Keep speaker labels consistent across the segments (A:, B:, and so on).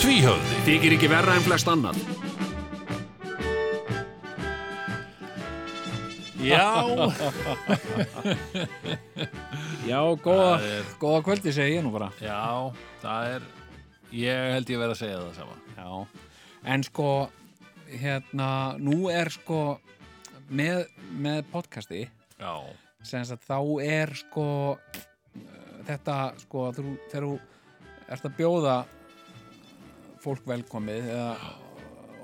A: Tvíhöfði
B: Þykir ekki verra en flest annan.
A: Já
C: Já, góða, góða kvöldi segi ég nú bara
A: Já, það er Ég held ég verið að segja það sama
C: Já, en sko hérna, nú er sko með, með podcasti
A: Já,
C: sem sagt þá er sko eh, þetta sko þegar þú- þegar þú ert að bjóða fólk velkomið eða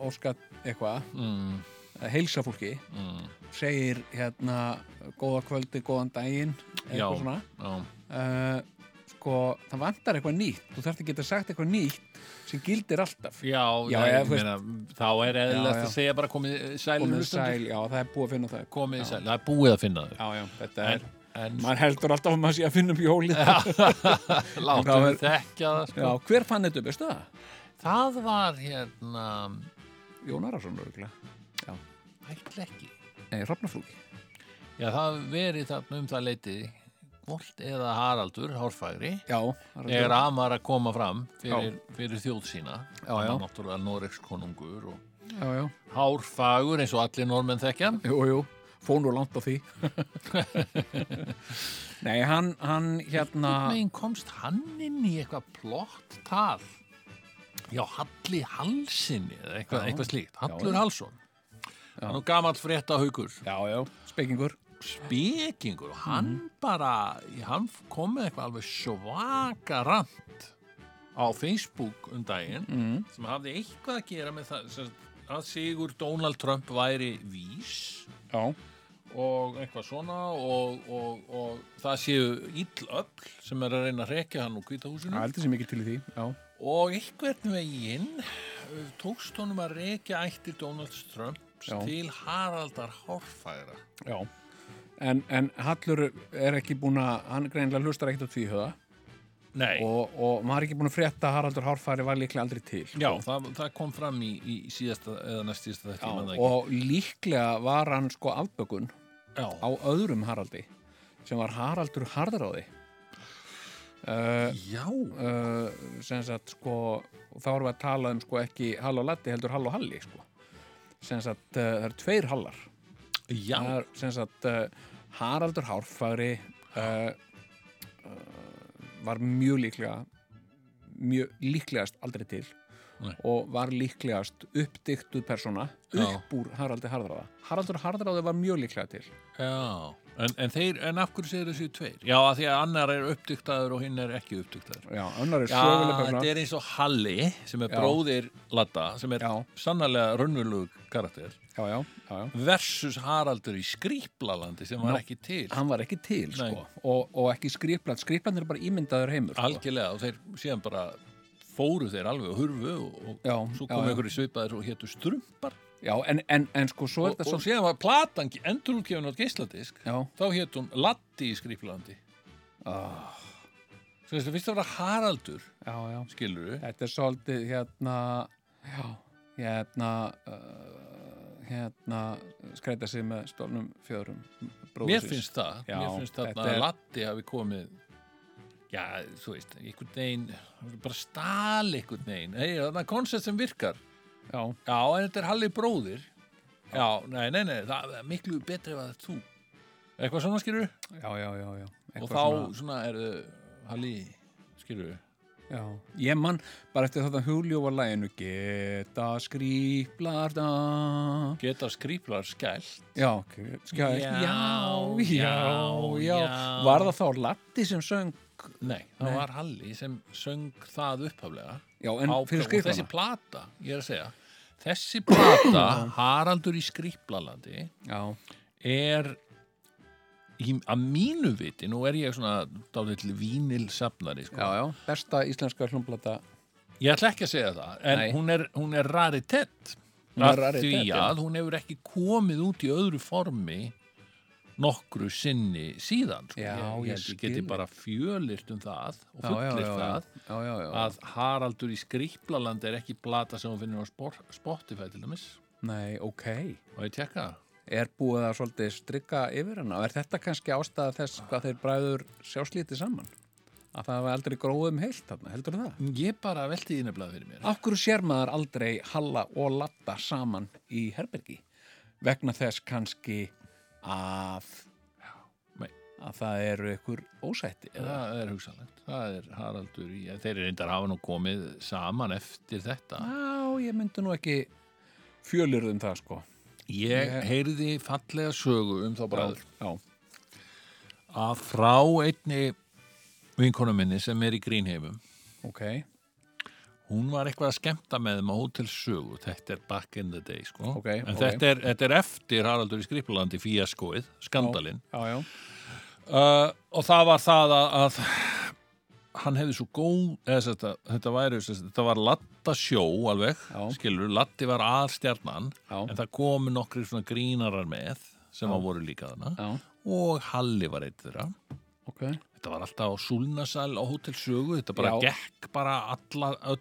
C: óska eitthvað
A: mm,
C: að heilsa fólki
A: mm,
C: segir hérna góða kvöldi, góðan daginn
A: Já.
C: eitthvað svona
A: já
C: uh, sko, það vantar eitthvað nýtt þú þarft að geta sagt eitthvað nýtt sem gildir alltaf
A: Já,
C: Já,
A: nei,
C: ég
A: ég meina, þá er eðlilegt
C: Já, já.
A: að segja bara komið sælum
C: komið sæl, já, það er búið að finna það
A: Komið sæl, það er búið að finna þau
C: já, já, þetta
A: En,
C: er,
A: en
C: maður heldur alltaf að maður sé að finna upp jólið já,
A: látum
C: það
A: við
C: er-
A: þekka það sko.
C: hver fann þetta, veistu það?
A: Það var hérna
C: Jón Arason, örgulega
A: Ætla ekki
C: nei, Hrafnafrúki
A: Já, það verið þarna um það leiti Volt eða Haraldur, hárfæri
C: já, það er
A: er
C: að
A: amar að koma fram fyrir, fyrir þjóð sína
C: Já,
A: Hann
C: já.
A: er náttúrulega Noregs konungur og
C: já, já,
A: hárfagur eins og allir normenn þekkja
C: jú, jú, fóð nú langt á því nei, hann, hann hérna
A: meginn komst hann inn í eitthvað plott tal já, Halli Halsinni eða eitthvað,
C: Já.
A: eitthvað slíkt,
C: Já,
A: Hallur
C: já.
A: Halsson hann er gamall frétta haukur
C: já, já, spekingur
A: spekingur og hann bara hann kom með eitthvað alveg svaka rand á Facebook um daginn
C: mm.
A: sem hafði eitthvað að gera með það sem, sagt að Sigur Donald Trump væri vís
C: já,
A: og eitthvað svona og, og, og það séu ill öll sem er að reyna að rekja hann úr kvítahúsinu
C: það heldur sér mikið til í því já,
A: og einhvern veginn uh, tókst honum að rekja ættir Donald Trump
C: Já.
A: til Haraldar Hárfæra
C: já en, en Hallur er ekki búin að hann greinlega hlustar ekkert á tvíhöða
A: Nei
C: og, og maður er ekki búin að frétta að Haraldur Hárfæri var líklega aldrei til
A: Já, það, það kom fram í, í síðasta eða næst síðasta þetta ég man það ekki.
C: og líklega var hann sko afbökun á
A: Já,
C: öðrum Haraldi sem var Haraldur Harðaráði uh,
A: já,
C: uh, sem sagt sko og þá erum við að tala um sko ekki Hall og Latti heldur Hall og Halli sko sem sagt uh, það eru tveir Hallar
A: já,
C: það er sem sagt uh, Haraldur Hárfæri uh, uh, var mjög líklega mjög líklegast aldrei til
A: Nei.
C: og var líklegast uppdyktuð persóna
A: Já.
C: upp úr Haraldi Harðráða Haraldur Harðráði var mjög líklega til
A: já. En, en, þeir, en af hverju segir þessu tveir? Já, af því að annar er uppdyktaður og hinn er ekki uppdyktaður.
C: Já, annar er
A: Já,
C: söguleg
A: þetta
C: persóna
A: er eins og Halli sem er
C: Já.
A: bróðir Latta sem er
C: Já.
A: sannarlega raunvölug karakter
C: já, já, já, já.
A: versus Haraldur í Skrýplalandi sem var
C: Nó.
A: ekki til
C: Hann var ekki til
A: Nei.
C: sko, og, og ekki skrifland skrifland er bara ímyndaður heimur sko.
A: algjörlega og þeir síðan bara fóru þeir alveg og hurfu og, og
C: Já,
A: svo
C: já,
A: komu
C: já.
A: einhverju svipaðir og hétu strumpar
C: Já, en, en, en sko svo
A: og,
C: er
A: og,
C: þetta svo
A: síðan var platan endurútgefin á geisladisk
C: Já,
A: þá hétt hún Latti í Skrýplandi
C: Ah.
A: Svo veist, fyrst að vera Haraldur
C: já, já
A: skilur við
C: Þetta er svolítið hérna já, hérna uh, hérna skreita sig með stofnum fjöðrum bróður
A: mér
C: síns.
A: finnst það,
C: Já,
A: mér finnst þarna
C: þetta
A: að
C: er-
A: Latti hafi komið já, þú veist, einhvern veginn bara stál einhvern veginn hey, þarna koncept sem virkar
C: Já,
A: já, en þetta er Halli bróðir já, nei, nei, nei, það er miklu betri ef að það er þú eitthvað svona skilur við
C: já, já, já, já.
A: og
C: Eitthvað
A: þá svona, er eh, Halli skilur við
C: já. Ég mann bara eftir þetta hugljófa læginu Geta skrýplar da
A: geta skrýplar skælt
C: Já, ok, skjæ
A: Já,
C: já, já,
A: já,
C: já
A: já.
C: Var það þá Latti sem söng
A: nei, það
C: Nei.
A: var Halli sem söng það upphaflega
C: Já, en
A: á,
C: fyrir
A: og þessi
C: skriflana
A: plata, ég er að segja þessi plata, Haraldur í Skriplalandi
C: Já,
A: er í, að mínu viti, nú er ég svona dálill vínilsafnari sko.
C: já, já, besta íslenska hljómblata
A: ég ætla ekki að segja það en
C: Nei.
A: hún er, hún er raritett
C: Hún er
A: Af
C: raritet,
A: því
C: já.
A: að hún hefur ekki komið út í öðru formi nokkru sinni síðan sko.
C: Já,
A: ég,
C: ég
A: ég, ég
C: skil.
A: geti bara fjölist um það og
C: já, já,
A: fullist
C: já, já,
A: það
C: já, já, já.
A: að Haraldur í Skriplaland er ekki blata sem hún finnir á Spor- Spotify til dæmis
C: nei, ok
A: og ég tekka
C: er búið að svolítið strikka yfir hana og er þetta kannski ástæða þess hvað þeir bræður sjáslítið saman að það var aldrei gróðum heilt þarna, heldur það?
A: ég bara velti því nefnilega fyrir mér
C: Af hverju sér maður aldrei Halla og Latta saman í herbergi? Vegna þess kannski að
A: Nei.
C: að það eru ykkur ósætti eða?
A: það er hugsanlegt það er Haraldur í, þeir eru reyndar hafa nú komið saman eftir þetta
C: Já, ég myndi nú ekki fjölurðum það sko
A: ég
C: Ég-
A: heyrði fallega sögu um þá bræður
C: já,
A: að frá einni vinkonu minni sem er í Grínheimum
C: ok
A: hún var eitthvað að skemmta með þeim á Hótel Sögu þetta er back in the day sko.
C: Ok,
A: en
C: ok.
A: Þetta, er, þetta er eftir Haraldur í Skriplalandi fíaskóið, skandalinn
C: Já, já,
A: uh, og það var það að, að hann hefði svo góð eða, þetta, þetta, væri, þetta var latta sjó alveg,
C: Já.
A: skilur latti var aðstjarnan
C: Já.
A: en það komu nokkri svona grínarar með sem að voru líka þarna
C: já,
A: og Halli var eitt þeirra
C: ok Já,
A: Þetta var alltaf á Súlnasal á Hótel Sögu, þetta bara
C: Já.
A: gekk bara alla, öll,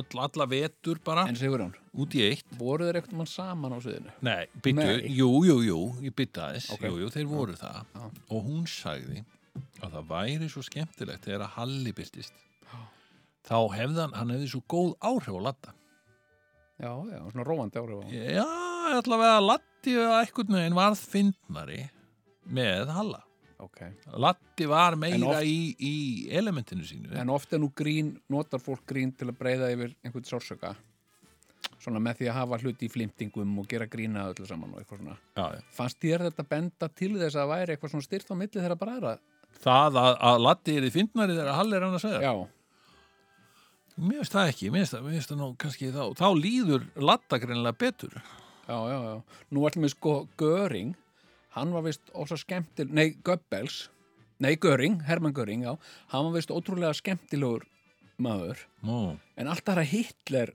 A: öll, alla vetur bara,
C: en Sigurjón,
A: út í eitt.
C: voru þeir eitthvað mann saman á sviðinu?
A: Nei, byttu,
C: Nei.
A: jú, jú, jú, ég bytta þess,
C: Ok.
A: jú, jú, þeir voru það. Og hún sagði að það væri svo skemmtilegt þegar að Halli byrtist. Þá hefði hann, hann hefði svo góð áhrif á Latta.
C: Já, já, svona róandi áhrif á
A: Já, allavega Latti eða einhvern veginn varð fyndnari með Halla.
C: Ok
A: Latti var meira
C: oft-
A: í, í elementinu sínu.
C: En oft er nú grín, notar fólk grín til að breyða yfir einhvern sársöka Svona með því að hafa hluti í flimtingum og gera grína öllu saman og eitthvað svona
A: já, já.
C: Fannst þér þetta benda til þess að það væri eitthvað svona styrt á milli þeirra bræðra?
A: það að, að Latti er í fyndnari þegar Halli er hann að segja
C: Já,
A: mér finnst það ekki, mér finnst það, mér finnst það nú kannski þá, þá líður Latta greinilega betur
C: já, já, já. Nú ætlum við sko Göring, hann var vist ósa skemmtil, nei, Goebbels, nei, Göring, Hermann Göring, já, hann var vist ótrúlega skemmtilegur maður,
A: Nú,
C: en alltaf þegar Hitler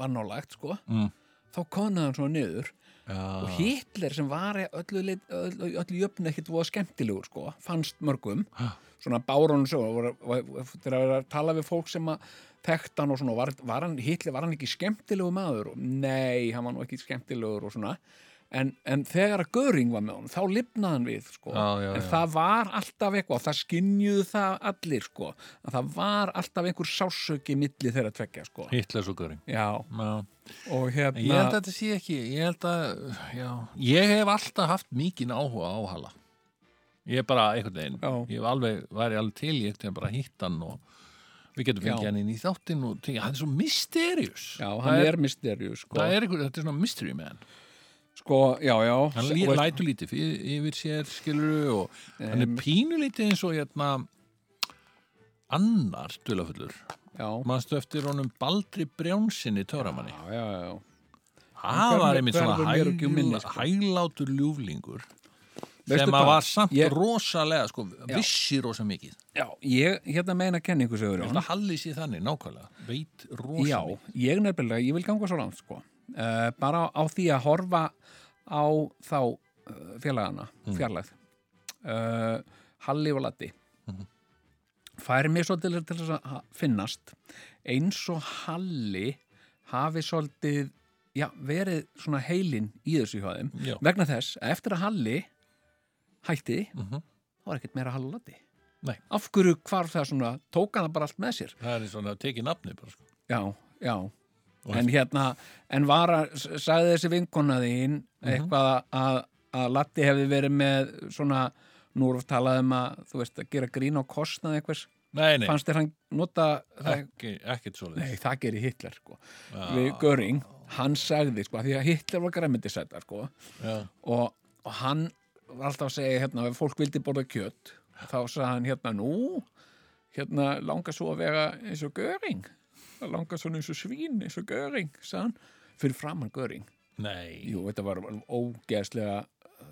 C: var nálægt, sko,
A: mm.
C: þá konaði hann svona niður og
A: já,
C: Hitler sem var öllu, leit- öllu, öllu jöfn ekkit voða skemmtilegur, sko, fannst mörgum,
A: Ha.
C: svona bárun svo, var- var- þegar að vera að tala við fólk sem að þekkt hann og svona, var, var hann, Hitler, var hann ekki skemmtilegu maður? Og Nei, hann var nú ekki skemmtilegur og svona. En, en þegar að Göring var með honum, þá lifnaði hann við, sko.
A: Já, já,
C: en
A: já.
C: það var alltaf eitthvað, og það skinjuðu það allir, sko. Að það var alltaf einhver sásöki milli þeirra tvekja, sko.
A: Hitler svo göring
C: Já,
A: já.
C: og
A: En ég held að
C: hérna,
A: þetta sé ekki ég held að, já, ég hef alltaf haft mikinn áhuga á Halla ég er bara einhvern veginn
C: Já.
A: ég hef alveg, væri alveg til, ég hef bara hitt hann og við getum fengið
C: Já.
A: hann inn í þáttinn og til, hann er svo mysterious
C: já,
A: það
C: hann er misterjú, sko.
A: það er einhver, þetta er svona mystery með hann
C: Sko, já, já.
A: hann
C: Og
A: lí,
C: veist-
A: lætur lítið fyrir, yfir sér skilur og hann er pínulítið eins og hérna annar duðlafullur
C: Já,
A: mannstu eftir honum Baldri Brjánsinni töramanni
C: já, já, já.
A: það
C: Hvernig-
A: var einmitt
C: hvernig
A: svona
C: mér ekki um minni,
A: hæl,
C: sko.
A: hælátur ljúflingur
C: Veistu
A: sem
C: hvað?
A: að var samt
C: Ég-
A: rosalega sko, vissi rosa mikið
C: Já, ég hérna meina kenningu, Sigurjón.
A: það halli sér þannig nákvæmlega veit rosa
C: Já,
A: mikið
C: ég nefnilega, ég vil ganga svo langt sko. uh, bara á, á því að horfa á þá uh, félagana,
A: Mm.
C: fjarlægð uh, Halli og Latti
A: Mhm.
C: fær mér svolítið til þess að ha- finnast eins og Halli hafi svolítið já, verið svona heilin í þessu hjá þeim
A: Já.
C: vegna þess að eftir að Halli hætti,
A: Mhm.
C: þá var ekkert meira Halli og Latti
A: Nei.
C: af hverju hvarf það svona, tók hann það bara allt með sér
A: það er svona að teki nafni bara, sko.
C: já, já
A: Og
C: en hérna, en var að sagði þessi vinkona þín
A: Mhm.
C: eitthvað að, að Latti hefði verið með svona, nú erum við talað um að þú veist, að gera grín á kostnað einhvers,
A: nei, Ah. nei,
C: fannst þér hann nota það,
A: ekki, ekkert svo
C: nei, það gerir Hitler sko,
A: Já.
C: við Göring hann sagði sko, af því að Hitler var græmyndisæta sko, og, og hann var alltaf að segja hérna, ef fólk vildi borða kjött þá sagði hann hérna nú hérna langar svo að vera eins og göring það langar svona eins og svín eins og göring sagði hann, fyrir framann göring
A: nei,
C: jú, þetta var ógeðslega uh,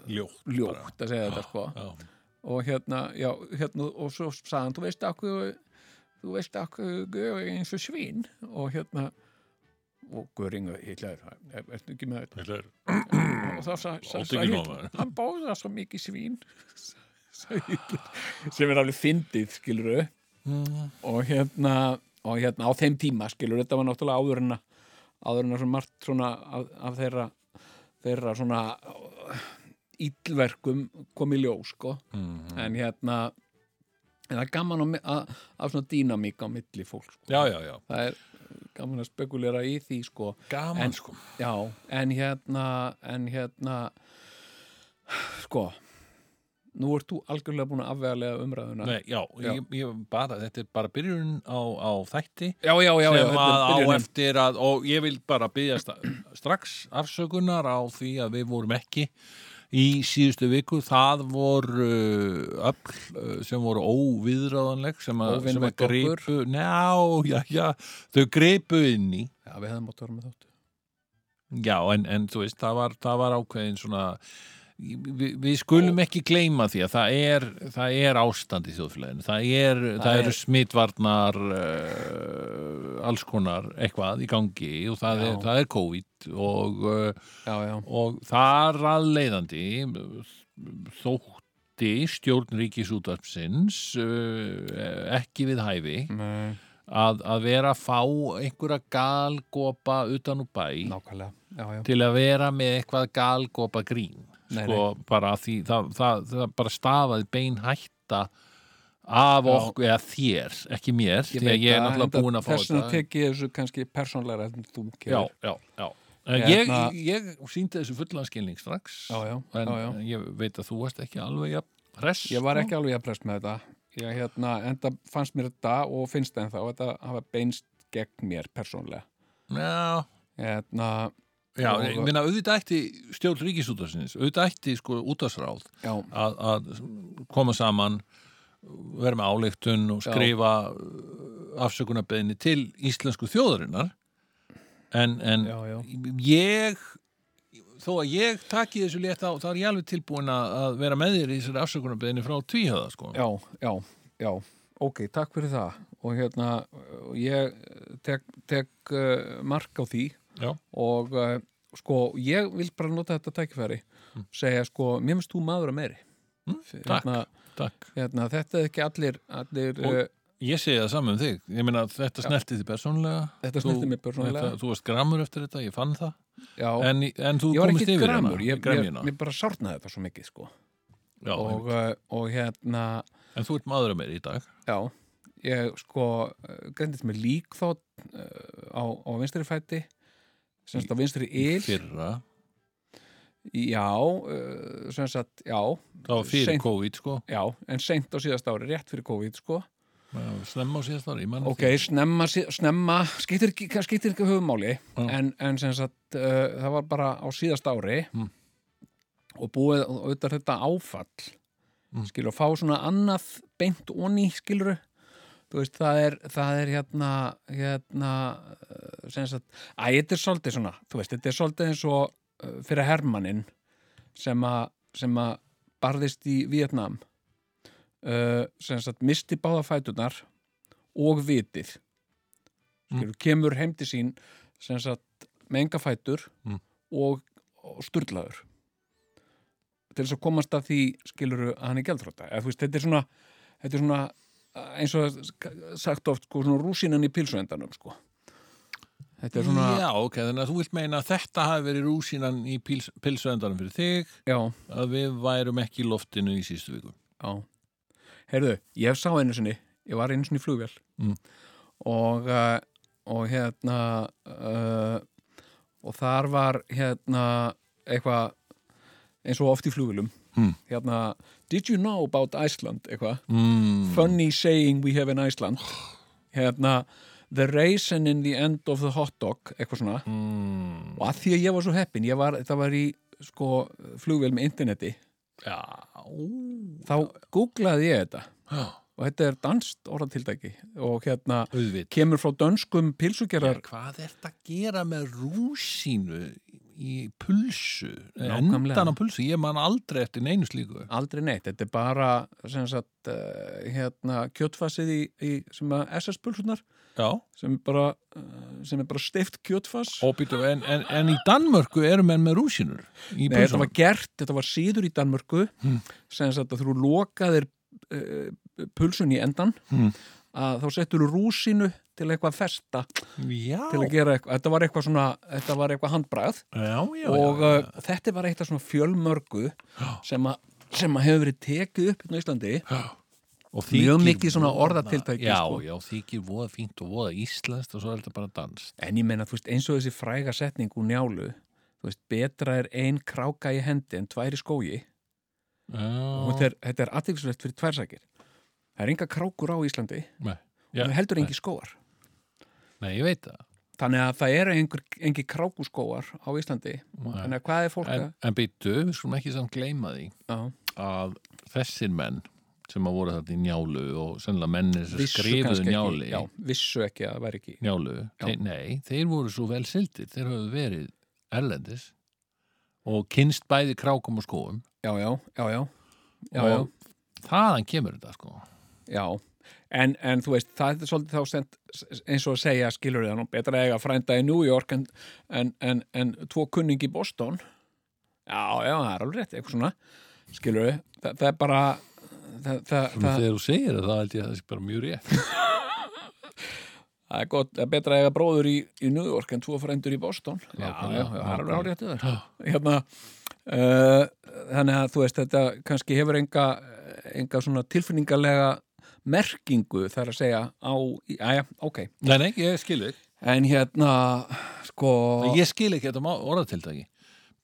A: ljótt, bara.
C: ljótt að segja þetta sko
A: Já.
C: og hérna, já, hérna og svo sagði hann, þú veist okkur þú veist okkur Guður er eins og svín og hérna og Guðringu hitlaður ertu ekki með þetta
A: Þetta er
C: og þá sa- sa-
A: Láttu
C: sa-
A: ekki
C: Hitler,
A: svona.
C: hann bóða svo mikið svín sagði Hitler sem er alveg fyndið skiluru og hérna og hérna á þeim tíma skilur þetta var náttúrulega áður en að áður en að svona margt svona af, af þeirra þeirra svona íllverkum kom í ljós sko
A: Mhm.
C: en hérna en það er gaman að, að, að svona dýnamík á milli fólk sko.
A: Já, já, já,
C: það er gaman að spekulera í því sko
A: gaman
C: En-
A: sko
C: já, en hérna en hérna sko nú ert þú algjörlega búin að afvegalega umræðuna
A: Nei, já, Ég, ég bara, þetta er bara byrjun á, á þætti
C: já, já, já, já,
A: sem
C: þetta
A: að
C: er
A: á
C: byrjunin.
A: eftir að, og ég vil bara byggja strax afsökunar á því að við vorum ekki í síðustu viku, það voru uh, öll uh, sem voru óviðráðanleg sem að, sem að
C: Óvinveitt okkur.
A: gripu, njá, já, já þau gripu inn í
C: já, við hefðum átt að vera með þáttu
A: Já, en, en þú veist, það var, það var ákveðin svona við, við skulum ekki gleyma því að það er, það er ástand í þjóðfélaginu það, er, það,
C: er-
A: eru smitvarnar uh, alls konar eitthvað í gangi og það,
C: Já.
A: er, það er COVID og, uh,
C: já, já,
A: og þar að leiðandi uh, þótti stjórn ríkisútarpsins uh, ekki við hæfi
C: nei
A: að, að vera að fá einhverja galgopa utan úr bæ
C: Nákvæmlega, já, já.
A: til að vera með eitthvað galgopa grín
C: Nei,
A: sko bara því það, það, það bara stafaði bein hætta af
C: Já.
A: okkur eða þér, ekki mér þegar
C: veit
A: ég er
C: það,
A: náttúrulega
C: enda
A: búin að fá
C: Þess vegna
A: þetta
C: tek ég þessu kannski persónlega en þú
A: já,
C: kemur.
A: já, já En Ég,
C: Hérna-
A: ég síndi þessu fullan skilning strax
C: Já, já,
A: en
C: já, já.
A: ég veit að þú varst ekki alveg jafn hress sko.
C: Ég var ekki alveg jafnlest með þetta. Ég hérna, enda fannst mér þetta og finnst það ennþá, þetta hafa beinst gegn mér persónlega.
A: Já,
C: Hérna,
A: já
C: Og-
A: ég minna auðvitað ætti stjórn ríkisútarsins auðvitað ætti sko útarsráð
C: já,
A: að, að koma saman vera með áleiktun og
C: Já.
A: skrifa uh, afsökunarbeðinni til íslensku þjóðarinnar en, en
C: Já, já.
A: ég þó að ég taki þessu létt á þá er ég alveg tilbúin að, að vera með þér í þessari afsökunarbeðinni frá tvíhöða sko.
C: já, já, já. Ok, takk fyrir það. Og hérna, og ég tek, tek uh, mark á því
A: Já.
C: og uh, sko, ég vil bara nota þetta tækifæri segja sko, mér finnst þú maður að meiri. Mm,
A: Mm. takk. Takk.
C: Hérna, þetta er ekki allir, allir
A: Og-
C: uh,
A: Ég segi það saman um þig ég meina þetta snerti þig persónlega
C: Þetta
A: Þú-
C: snerti mig persónulega.
A: þetta- Þú varst grammur eftir þetta, ég fann það
C: já,
A: en, en þú
C: ég var
A: komist
C: ekki
A: yfir
C: gramur,
A: hana,
C: ég, ég,
A: gremjuna.
C: mér bara sárnaði þetta svo mikið sko.
A: Já,
C: og, uh, og hérna,
A: En þú ert maður að mér í dag
C: já, ég sko grendist með lík þótt uh, á, á vinstri fæti, semst á vinstri
A: Í
C: yl,
A: fyrra
C: já, uh, sem sagt, já,
A: Það var fyrir
C: Seint.
A: COVID, sko.
C: já, en seint á síðast ári, rétt fyrir COVID sko.
A: Já, Snemma á síðast ári, ég mann
C: Ok, snemma, sí- snemma skiptir, ekki- kannski skiptir ekki höfumáli
A: Já.
C: en, en sem sagt uh, það var bara á síðast ári
A: Mm.
C: og búið og auðvitað þetta áfall
A: Mm.
C: skilur, fá svona annað beint onni skilur þú veist, það er, það er hérna hérna uh, sem sagt, að þetta er svolítið svona þú veist, þetta er svolítið eins og uh, fyrir hermannin sem að sem að barðist í Vietnam uh, sem sagt misti báða fæturnar og vitið
A: Mm.
C: Skilur, kemur heim til sín sem sagt með enga fætur
A: Mm.
C: og, og sturlaður til þess að komast að því skilur að hann er gjaldþróta Eða, þú veist, þetta er svona, þetta er svona uh, eins og sagt oft sko, svona rúsinan í pilsuendanum sko. þetta er svona
A: Já, ok, þannig að þú vilt meina að þetta hafi verið rúsinan í pils, pilsöndanum fyrir þig
C: já,
A: að við værum ekki í loftinu í síðustu viku.
C: Já. Heyrðu, ég sá einu sinni, ég var einu sinni í flugvél
A: Mm.
C: og, uh, og hérna uh, og þar var hérna eitthvað eins og oft í flugvélum
A: Mm.
C: hérna, did you know about Iceland eitthvað,
A: Mm.
C: funny saying we have in Iceland hérna, the raisin in the end of the hot dog eitthvað svona
A: Mm.
C: og að því að ég var svo heppin, ég var, það var í sko flugvél með interneti
A: Já, ú,
C: þá googlaði ég þetta
A: já,
C: og þetta er danst orðatildæki og hérna
A: auðvitað.
C: kemur frá dönskum pilsugerar
A: Hvað er þetta að gera með rúsinu í pulsu,
C: Nákvæmlega.
A: endan á pulsu ég man aldrei eftir neinu slíku
C: Aldrei neitt, þetta er bara sem sagt, uh, hérna, kjötfassið í, í sem að SS-pulsunar
A: Já,
C: sem, er bara, uh, sem er bara steift kjötfass
A: og býtum, en, en, en í Danmörku eru menn með rúsinur í
C: Nei,
A: pulsunum
C: þetta var gert, þetta var síður í Danmörku
A: Hmm.
C: sem sagt að þú lokaðir uh, pulsun í endan
A: Hmm.
C: að þá settur þú rúsinu til eitthvað festa til að
A: Já,
C: gera eitthvað, þetta var eitthvað svona þetta var eitthvað handbragð
A: já, já,
C: og
A: já.
C: uh, þetta var eitthvað svona fjölmörgu sem að, sem að hefur verið tekið upp hérna á Íslandi
A: og
C: mjög
A: þykir
C: mikið svona
A: voða-
C: orðatiltæki,
A: Já,
C: sko.
A: já, þykir voða fínt og voða íslenskt og svo er þetta bara dans
C: en ég meina, þú veist, eins og þessi fræga setning úr njálu, þú veist, betra er ein kráka í hendi en tvær í skógi og þetta
A: Já,
C: er, þetta er aðtilslegt fyrir tværsakir það er enga krákur á Íslandi
A: nei,
C: og
A: já,
C: það heldur engi skóar
A: nei, ég veit það
C: þannig að það eru engur, engi krákuskóar á Íslandi
A: Nei.
C: þannig að hvað er fólk að
A: En, en býttu, við skulum ekki samt gleyma því
C: Já.
A: að þessir menn sem að voru þetta í njálu og sennilega mennir sem
C: vissu
A: skrifuðu
C: kannski
A: njáli
C: ekki, já, vissu ekki að það væri ekki
A: njálu,
C: Já.
A: þeir, nei, þeir voru svo vel sildir, þeir höfðu verið erlendis og kynst bæði krákum og skóum
C: já, já, já, já, já, já.
A: og þaðan kemur þetta sko
C: Já, en, en þú veist, það er svolítið þá sent, eins og að segja, skilur það nú, betra að eiga frænda í New York en, en, en, en tvo kunning í Boston. Já, já, það er alveg rétt, eitthvað svona, skilur þau, það, það er bara, það, það,
A: Svona
C: það,
A: þegar þú segir það, það held ég að það sé bara mjög rétt
C: það er gott, það er betra að eiga bróður í, í New York en tvo frændur í Boston. Já, já,
A: Nákvæmlega,
C: já, það er alveg
A: nákvæmlega.
C: hálfrétt yfir. Hérna, uh, þannig að þú veist, þetta kannski hefur enga, enga svona tilfinningalega merkingu þar að segja á, já, já, ok.
A: Nei, nei, ég skil þig
C: En hérna, sko,
A: Ég skil ekki þetta má- orðatiltæki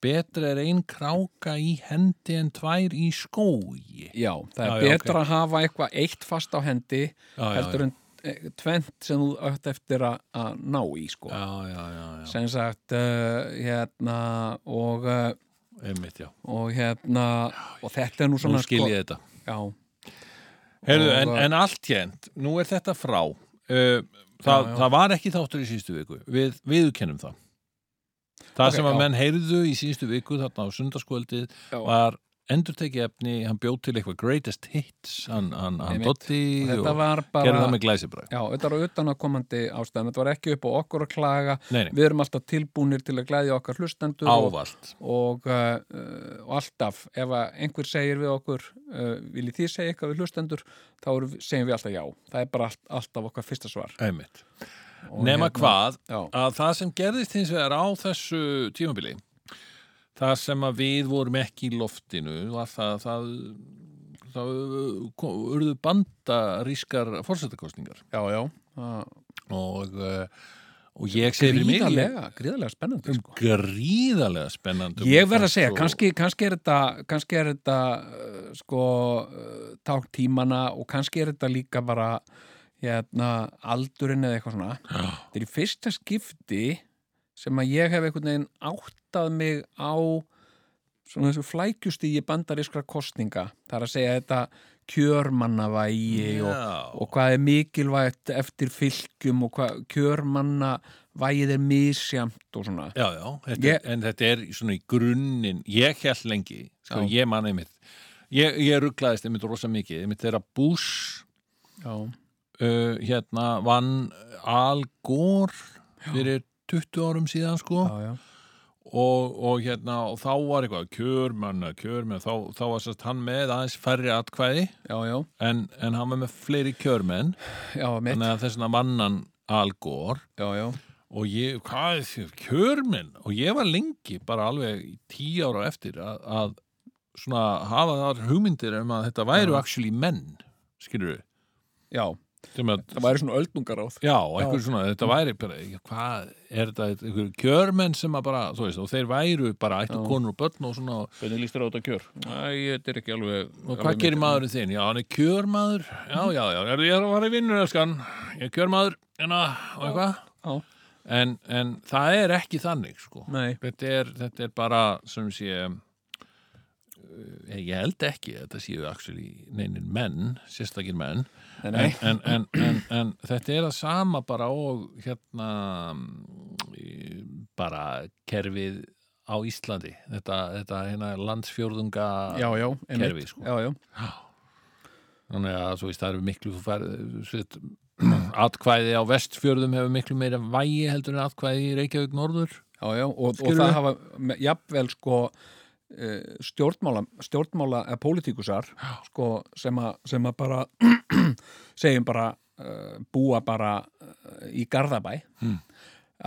A: Betra er ein kráka í hendi en tvær í skói
C: já, það
A: Já,
C: er
A: já,
C: betra að hafa eitthvað eitt fast á hendi
A: já,
C: heldur en eh, tvennt sem þú átt eftir að- að ná í, sko.
A: Já, já, já, já,
C: Sem sagt, uh, hérna, og, uh,
A: einmitt, já
C: og hérna, og þetta er nú
A: Nú
C: svona,
A: skil ég þetta
C: sko, já,
A: Heyrðu,
C: Og-
A: en, en allt hérnt, nú er þetta frá uh, það,
C: Já, já.
A: það var ekki þáttur í síðustu viku við, viðurkennum það það
C: Ok,
A: sem að
C: já.
A: menn heyrðu í síðustu viku þarna á sundarskvöldið
C: Já.
A: var endurtekið efni, hann bjóð til eitthvað greatest hits, hann, hann, hann
C: Einmitt.
A: dotti og,
C: og þetta var
A: gerði
C: bara,
A: það með glæsibræk
C: já, þetta var utanakomandi ástæðan, þetta var ekki upp á okkur að klaga,
A: nei, nei,
C: við erum alltaf tilbúnir til að glæðja okkar hlustendur og
A: ávalt
C: og, uh, og alltaf ef að einhver segir við okkur uh, viljið þið segja eitthvað við hlustendur þá erum, við- segjum við alltaf já það er bara allt, alltaf okkar fyrsta svar
A: einmitt,
C: Og
A: nema
C: hérna-
A: hvað
C: já,
A: að það sem gerðist hins vegar á þessu tímabili það sem að við vorum ekki í loftinu var það það, það kom, urðu bandarískar fórsetakostningar
C: já, já það-
A: og, eh, og ég segir fyrir mig
C: gríðarlega, gríðarlega spennandi
A: um
C: sko.
A: gríðarlega spennandi um
C: ég verð að segja,
A: og-
C: kannski, kannski er þetta kannski er þetta uh, sko uh, ták tímana og kannski er þetta líka bara hérna, aldurinn eða eitthvað svona
A: Já,
C: Þetta er í fyrsta skipti sem að ég hef einhvern veginn áttað mig á svona þessu flækjustígi bandarískra kostninga. Það er að segja þetta kjörmannavægi og,
A: já,
C: og hvað er mikilvægt eftir fylgjum og hvað kjörmannavægið er misjamt og svona.
A: já, já þetta,
C: Ég-
A: er- en þetta er svona í grunninn ég held lengi, sko,
C: Já.
A: ég man einmitt ég, ég rugglaðist einmitt rosa mikið einmitt þegar Bush
C: Já,
A: uh, hérna vann Al Gore fyrir 20 árum síðan sko
C: já, já.
A: og, og hérna og þá var eitthvað kjörmanna, kjörmanna þá, þá var sérst hann með aðeins færri atkvæði
C: Já, já,
A: en, en hann var með fleiri kjörmenn
C: já, mitt,
A: þannig að þess vegna vann hann Al Gore
C: já, já,
A: og ég, hvað er því, kjörmenn og ég var lengi, bara alveg í tíu ára á eftir að, að svona hafa þar hugmyndir um að þetta væru
C: Já.
A: actually menn, skilur við
C: já,
A: sem að
C: það væri svona öldungaráð.
A: Já, eitthvað svona, þetta væri bara, já, hvað er þetta, eitthvað kjörmenn sem að bara, þú veist, og þeir væru bara ættu
C: Já.
A: konur og börn og svona,
C: Hvernig líst þér á þetta kjör? Æ, þetta er ekki alveg...
A: og hvað gerir maðurinn þinn? Já, hann er kjörmaður, já, já, já, er, ég er að vara í vinnur, elskan, ég er kjörmaður, en að, og eitthvað,
C: Já,
A: en, en það er ekki þannig, sko,
C: nei,
A: þetta er, þetta er bara, sem sé, eh, ég held ekki að þetta séu actually neinir menn, sérstakir menn,
C: nei, nei.
A: en, en, en, en, en þetta er það sama bara og hérna mm, í- bara kerfið á Íslandi þetta, þetta eina landsfjórðunga
C: já, já, einmitt.
A: kerfi, sko.
C: já, já,
A: þannig að þú veist það eru miklu þú færð- þú veist, atkvæði á vestfjörðum hefur miklu meira vægi heldur en atkvæði í Reykjavík norður
C: já, já og, og
A: Skilurðu?
C: það hafa me- jafnvel sko eh, stjórnmála, stjórnmála eða pólitíkusar sko, sem, að, sem að bara segjum bara uh, búa bara uh, í Garðabæ
A: Mm.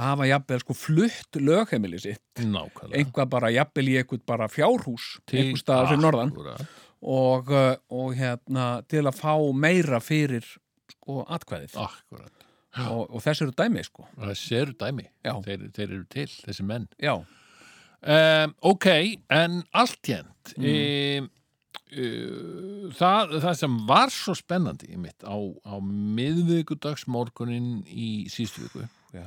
C: hafa jafnvel sko flutt lögheimili sitt
A: nákvæmlega
C: einhvað bara jafnvel í einhvern bara fjárhús einhver
A: Ah.
C: staðar fyrir norðan
A: Akkúrat.
C: og, uh, og hérna til að fá meira fyrir sko atkvæðið
A: Akkúrat.
C: og, og þess eru dæmi sko
A: það séu dæmi
C: Já.
A: þeir, þeir eru til, þessi menn
C: já,
A: Um, ok, en allt hérnt mm. það, það sem var svo spennandi mitt á, á miðvikudagsmorgunin í sístu viku
C: já.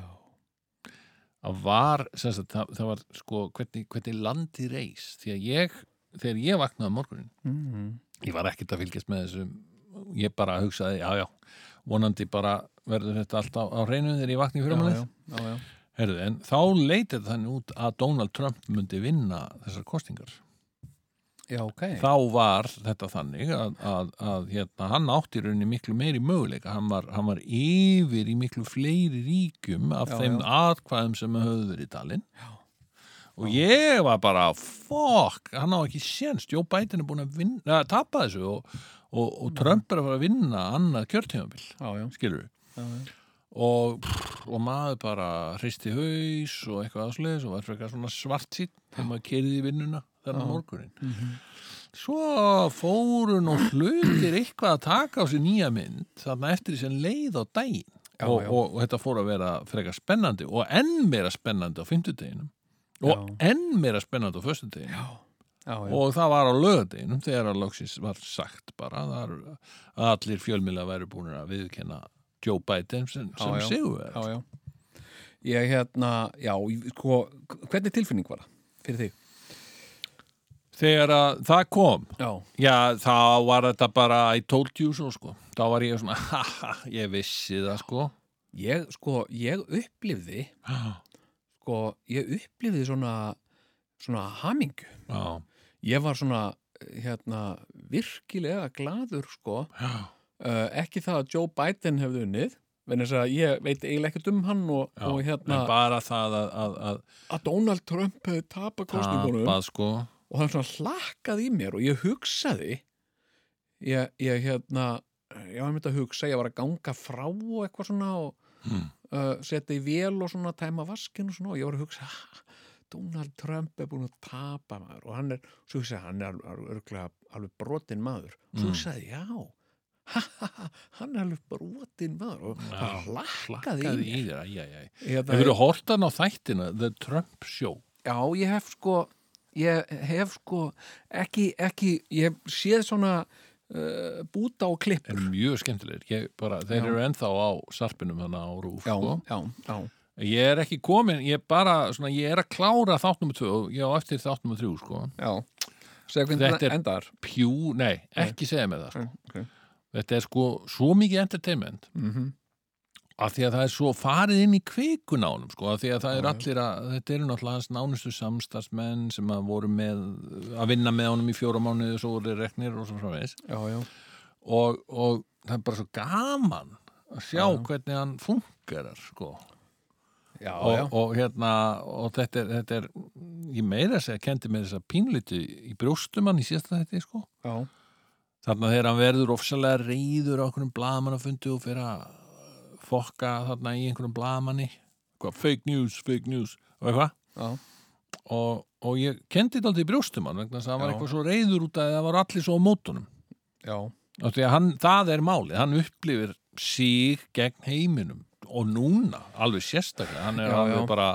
A: að var, sem sagt, það, það var sko hvernig, hvernig landi reis því að ég, þegar ég vaknaði á morgunin
C: Mm.
A: ég var ekkert að fylgjast með þessu ég bara hugsaði, já, já, vonandi bara verður þetta allt á, á reynu þegar ég vaknaði
C: Já,
A: fyrir
C: já,
A: málið
C: já, já.
A: Herðu, en þá leitið þannig út að Donald Trump myndi vinna þessar kostingar
C: já, ok
A: þá var þetta þannig að, að, að hérna, hann átti í rauninni miklu meiri möguleika hann var, hann var yfir í miklu fleiri ríkjum af
C: Já,
A: þeim
C: já.
A: atkvæðum sem höfðu verið talin og ég var bara fokk, hann á ekki sénst Jó Bætin er búin að vinna, að tapa þessu og, og,
C: Mm.
A: og Trump er að fara að vinna annað kjörtímabil,
C: já, já,
A: skilur við
C: já, já.
A: og, pff, og maður bara hristi haus og eitthvað aðsleðis og var frekar svona svart sítt þegar maður kerði í vinnuna þennan morgunin
C: Mhm.
A: svo fórun og hlutir eitthvað að taka á sér nýja mynd þarna eftir því sem leið á daginn
C: Já,
A: og,
C: já.
A: Og, og þetta fór að vera frekar spennandi og enn meira spennandi á fimmtudeginum og enn meira spennandi á föstudeginum
C: já, já.
A: og það var á lögadeginum þegar að loksins var sagt bara þar, að allir fjölmiðla væri búin að viðkenna Joe Biden sem, sem
C: já.
A: sigur
C: já, já. ég hérna, já, ég- sko hvernig tilfinning var það fyrir þig?
A: þegar að það kom
C: já,
A: já þá var þetta bara I told you so sko þá var ég svona ha ha ég vissi það sko
C: ég, sko, ég upplifði
A: já
C: sko, ég upplifði svona svona hamingu ég var svona, hérna virkilega gladur, sko
A: já
C: uh, ekki það að Joe Biden hefði unnið en þess að ég veit eiginlega ekkert um hann og,
A: Já,
C: og hérna
A: en bara það að, að, að
C: að Donald Trump hefði tapa kostningunum
A: tapað sko
C: og það svona hlakkaði í mér og ég hugsaði ég, ég hérna ég var myndi að hugsa, ég var að ganga frá og eitthvað svona og
A: Hmm.
C: uh, setja í vél og svona tæma vaskin og svona og ég var að hugsa "Ha, Donald Trump er búin að tapa maður og hann er, svo hugsaði, ég, hann er alveg, alveg, alveg brotinn maður svo
A: Mm.
C: hugsaði, ég, já hann er alveg brotinn maður og
A: Já,
C: það hlakkaði
A: plakkaði
C: í
A: í þér, æjæjæ
C: mér Hérna,
A: Hefur þú hortan á þættina The Trump Show
C: Já, ég hef sko ég hef sko ekki, ekki, ég hef séð svona uh, búta og klippur
A: er mjög skemmtilegir Ég bara, þeir
C: Já.
A: eru ennþá á sarpinum þannig á rúf
C: Já,
A: sko.
C: já, já,
A: ég er ekki komin, ég er bara svona, ég er að klára þátt nummer 2 og ég á eftir þátt nummer 3 sko.
C: já Segðu hvernig
A: Þetta
C: þetta
A: er-
C: endar
A: pjú, nei, ekki segja með það sko.
C: okay.
A: þetta er sko svo mikið entertainment
C: mm
A: af því að það er svo farið inn í kvikunánum sko, af því að það er
C: Já, já.
A: allir að þetta eru náttúrulega hans nánustu samstarfsmenn sem að voru með, að vinna með honum í fjóra mánuði og svo voru þeir reknir og svo framvegis
C: Já, já,
A: og, og það er bara svo gaman að sjá
C: Já, já.
A: hvernig hann fungerar sko
C: já, já,
A: og, og hérna og þetta er, þetta er ég meira að segja, kendi með þess að pínlíti í brjóstum hann í síðasta þetta sko.
C: já,
A: þarna þegar hann verður ofsalega reyður á einhvernum bladamannafundi og fyrir að fokka þarna í einhvernum bladamanni eitthvað, fake news, fake news og eitthvað
C: já,
A: og, og ég kendi þetta aldrei í brjóstum hann vegna þess að hann var
C: Já.
A: eitthvað svo reyður út að það var allir svo á mótunum
C: já,
A: og því að hann, það er málið, hann upplifir sig gegn heiminum og núna, alveg sérstaklega hann er
C: Já,
A: alveg
C: já.
A: bara,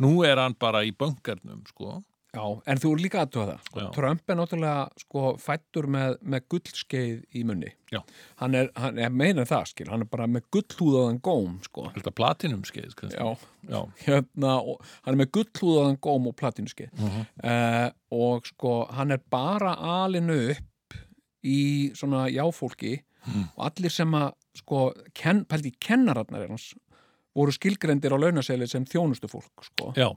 A: nú er hann bara í böngarnum, sko
C: já En þú er líka aðtöða það
A: Já.
C: Trump er náttúrulega sko fættur með, með gullskeið í munni
A: Já.
C: Hann er, hann er meina það skil, hann er bara með gullhúðaðan góm sko
A: Þetta platinum skeið, kannski.
C: Já,
A: Já.
C: hérna, og, hann er með gullhúðaðan góm og platinuski uh
A: Mhm.
C: og sko, hann er bara alinu upp í svona jáfólki
A: Mm.
C: og allir sem að sko, ken, pældi kennararnar hans voru skilgrendir á launaseli sem þjónustu fólk sko.
A: Já.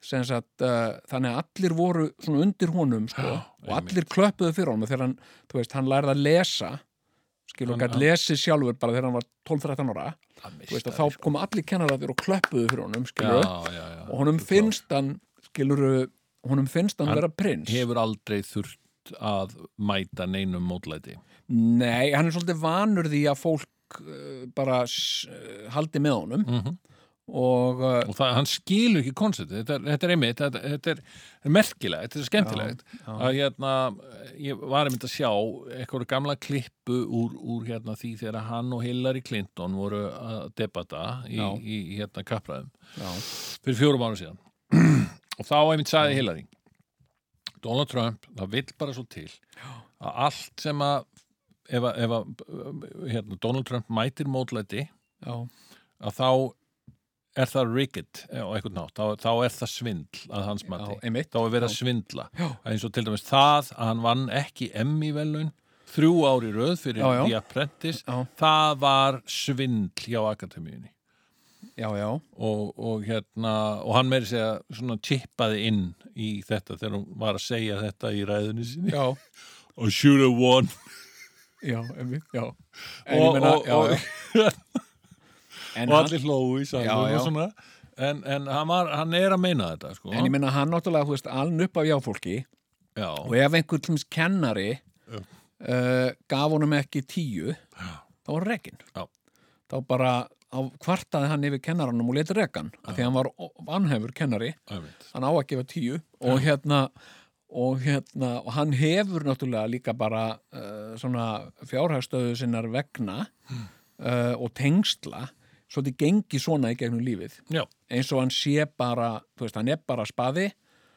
C: sem sagt, uh, þannig að allir voru svona undir honum sko, og allir klöppuðu fyrir honum og þegar hann, þú veist, hann lærði að lesa skilur hann
A: Hann-
C: gætt lesið sjálfur bara þegar hann var 12-13 ára
A: Hann
C: þú veist,
A: mistar
C: að þá komu allir kennaraðir og klöppuðu fyrir honum
A: sko. já,
C: skilur,
A: já, já.
C: og honum
A: Þú
C: finnst hann skilur, honum finnst hann,
A: Hann
C: vera prins
A: hefur aldrei þurft að mæta neinum mótlæti
C: nei, hann er svolítið vanur því að fólk uh, bara uh, haldi með honum
A: Mhm.
C: og uh,
A: og það, hann skilur ekki konceptið þetta, er- þetta er einmitt, þetta, þetta er merkilegt þetta er skemmtilegt
C: já.
A: að hérna, ég var einmitt að sjá eitthvað gamla klippu úr, úr hérna, því þegar hann og Hillary Clinton voru að debata í,
C: Já.
A: í hérna kappræðum
C: já,
A: fyrir fjórum árum síðan og þá einmitt sagði Hillary Donald Trump, það vill bara svo til að allt sem að ef að, ef að hérna, Donald Trump mætir mótlæti
C: já,
A: að þá er það rigged á einhvern nátt, þá, þá er það svindl að hans mati,
C: já, einmitt
A: þá er verið að svindla
C: Já.
A: eins og til dæmis það að hann vann ekki Emmy velun þrjú ári röð fyrir
C: Já, já.
A: The Apprentice
C: Já.
A: það var svindl hjá Akademíunni
C: já, já,
A: og, og hérna og hann meiri segja svona tippaði inn í þetta þegar hún var að segja þetta í ræðunni sinni
C: já
A: og should have won
C: Já, einmitt, já. En ég
A: og,
C: meina,
A: og,
C: já,
A: og,
C: já. En,
A: og
C: hann,
A: allir hlóu í salnum
C: Já, já.
A: og svona En, en hann, var, hann er að meina þetta sko.
C: en ég meina hann náttúrulega, þú veist, aln upp af jáfólki
A: Já,
C: og ef einhver tlumis kennari
A: Já.
C: uh, gaf honum ekki tíu, já. þá var rekin.
A: Já.
C: Þá bara á, kvartaði hann yfir kennaranum og leti rekan af því hann var ó- vanhæfur kennari,
A: einmitt.
C: hann á að gefa tíu og hérna og hérna, og hann hefur náttúrulega líka bara uh, svona fjárhagstöðu sinnar vegna uh, og tengsla svo þetta gengi svona í gegnum lífið
A: Já,
C: eins og hann sé bara, þú veist, hann er bara spaði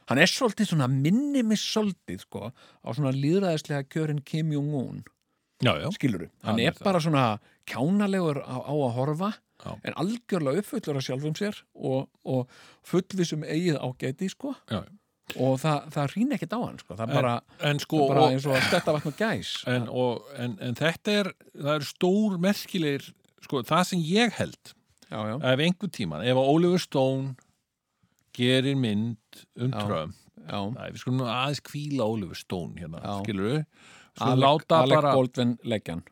C: hann er svolítið svona minni mig svolítið, sko, á svona líðræðislega kjörin Kim Jong-un
A: já, já.
C: skiluru, hann
A: Hann er
C: er
A: það.
C: bara svona kjánalegur á, á að horfa
A: Já.
C: en algjörlega uppfullur af sjálfum sér og, og fullvissum eigið ágæti, sko
A: já.
C: og það, það rýna ekkert á hann, sko það bara,
A: En sko,
C: það bara
A: og,
C: eins og að stetta vatn og gæs
A: en, og, en, en þetta er, það er stór merkilegir, sko, það sem ég held,
C: já, já,
A: ef einhver tíman, ef að Oliver Stone gerir mynd um
C: Já.
A: Trump,
C: já
A: Nei, við skulum nú aðeins kvíla Oliver Stone hérna,
C: Já.
A: skilur við, svo
C: Alec,
A: láta
C: Alec
A: bara,
C: Baldwin leggjan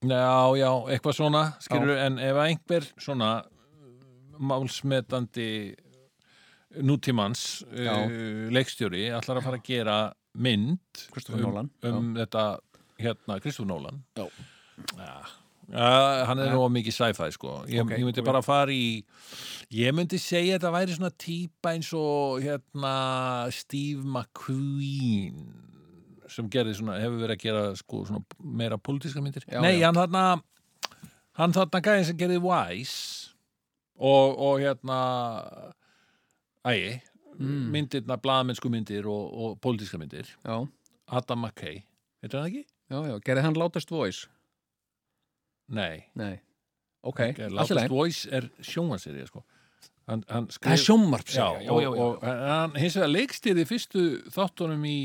A: já, já, eitthvað svona, skilur við, en ef að einhver svona uh, málsmetandi nútímans
C: Já.
A: uh, leikstjóri ætlar að fara að gera mynd
C: Christopher Nolan,
A: um þetta hérna Kristofur Nólan
C: Já.
A: hann er nú of mikið sci-fi sko ég,
C: Ok,
A: ég myndi
C: ok.
A: bara fara í ég myndi segja að þetta væri svona típa eins og hérna Steve McQueen sem gerði svona, hefur verið að gera sko svona meira pólitíska myndir
C: Já,
A: nei,
C: já.
A: hann þarna hann þarna gæði sem gerði Wise og, og hérna ægi mm. myndirna, blaðamennsku myndir og, og pólitíska myndir
C: já,
A: Adam McKay, heitir hann ekki?
C: já, já, gerði hann látast voice
A: Nei,
C: Nei, ok,
A: okay,
C: allt í
A: Loudest
C: læg
A: Voice er sjónvarserið sko. hann, hann
C: Það er
A: skrif
C: sjómvarpssería,
A: já, og, og en hann hins vegar leikstýrði fyrstu þáttunum í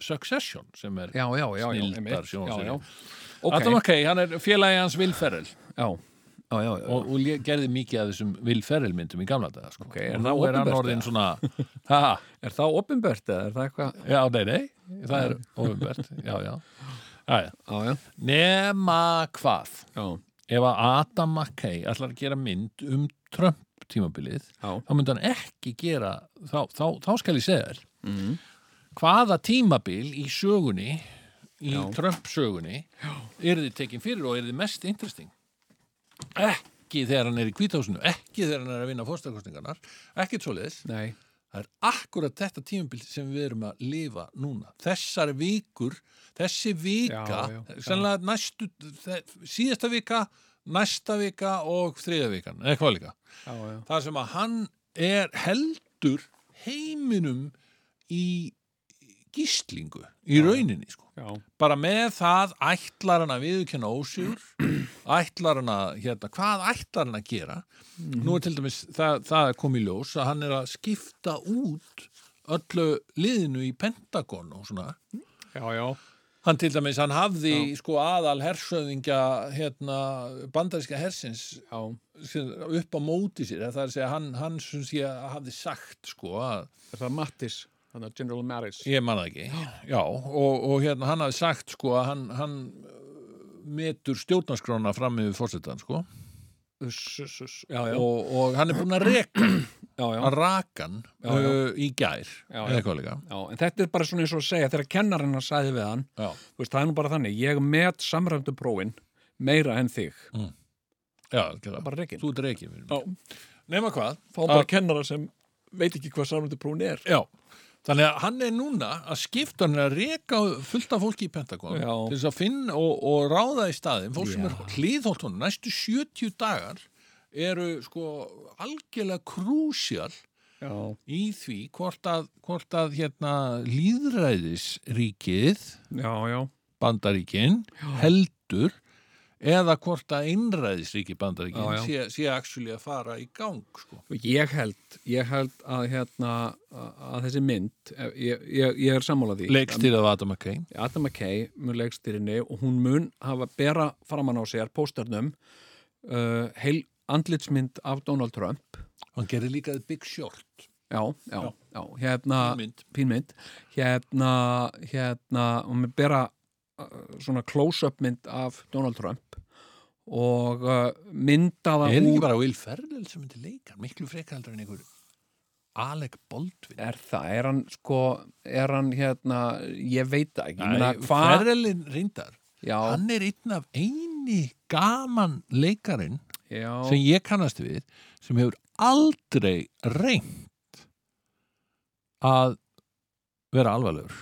A: Succession sem er
C: já, já, já, já,
A: Snilldar
C: einmitt. já,
A: sjónvarpssería.
C: já. Ok,
A: Adam McKay, hann er félagi hans Will Ferrell
C: já, já, já, já.
A: og, og lé- gerði mikið af þessum Will Ferrell myndum í gamla daga sko.
C: Ok, er
A: og
C: það
A: þá er hann
C: opinbert,
A: orðin svona ha,
C: Er það opinbert eða er það eitthvað?
A: já, nei, nei, það er ofinbært já, já, já, já.
C: Já, já,
A: nema hvað
C: já,
A: ef að Adam McKay ætlar að gera mynd um Trump tímabilið
C: já,
A: þá myndi hann ekki gera þá, þá, þá skal ég segja þér
C: Mhm.
A: hvaða tímabil í sögunni í
C: Já.
A: Trump sögunni er þið tekin fyrir og er þið mest interesting ekki þegar hann er í kvításinu ekki þegar hann er að vinna fórstakostingarnar ekkert svoleiðis,
C: nei,
A: það er akkurat þetta tímabil sem við erum að lifa núna þessar vikur, þessi vika
C: Já, já, já.
A: sennilega næstu þe- síðasta vika, næsta vika og þriða vikan, eða hvað líka
C: já, já,
A: þar sem að hann er heldur heiminum í gíslingu í rauninni sko
C: já,
A: bara með það ætlar hann að viðurkenna ósjúr ætlar hann að, hérna, hvað ætlar hann að gera nú er til dæmis, það, það er komið í ljós að hann er að skipta út öllu liðinu í Pentagon og svona
C: já, já,
A: Hann til dæmis, hann hafði sko aðal hersöðingja hérna, bandaríska hersins
C: já,
A: sem- upp á móti sér. Það er að segja, hann, hann sem sé hafði sagt sko að
C: er það Mattis, hann er General Maris
A: Ég man það ekki, já, og, og hérna hann hafði sagt sko að hann, hann uh, metur stjórnarskrána fram yfir fórsetan sko
C: Uss, uss, uss. já, já,
A: og, og hann er búinn að reka
C: já, já,
A: að raka hann
C: Já, já.
A: uh, í gær
C: Já,
A: eða
C: já.
A: eitthvað líka
C: já en þetta er bara svona eins og að segja þegar kennarinn að sagði við hann
A: já,
C: þú veist, það er nú bara þannig, ég met samræmdu prófin meira en þig
A: já, það
C: bara rekin.
A: þú ert rekin
C: Já.
A: nema hvað
C: þá er bara kennara sem veit ekki hvað samræmdu prófin er
A: já, þannig að hann er núna að skipta hann er að reka fullt af fólki í Pentagon
C: Já.
A: til þess að finna og, og ráða í staðin fólk sem er hliðholt honum næstu 70 dagar eru sko algjörlega krúsjál
C: já,
A: í því hvort að, hvort að hérna, líðræðisríkið,
C: já, já,
A: bandaríkin, heldur eða hvort að einræðisríki bandaríkin
C: Já, já.
A: sé, sé actually að fara í gang sko.
C: ég held ég held að hérna að, að þessi mynd, eh, ég, ég, ég er sammála því
A: leikstýrað af Adam McCain
C: Adam McKay mun leikstýrinni og hún mun hafa bera framan á sér pósternum uh, heil andlitsmynd af Donald Trump
A: hann gerir líka The Big Short
C: já, já, já, hérna
A: mynd.
C: pínmynd hérna, hérna hún mun bera uh, svona close-up mynd af Donald Trump og uh, mynda
A: er
C: það
A: ekki
C: úr
A: bara Will Ferrell sem myndi leika miklu frekaldur en einhver Alec Baldwin
C: er það, er hann sko er hann hérna, ég veit það ekki Ég meina,
A: Nei,
C: hvað-
A: Ferrellin reyndar
C: já,
A: hann er einn af eini gaman leikarinn
C: já,
A: sem ég kannast við sem hefur aldrei reynt að vera alvarlegur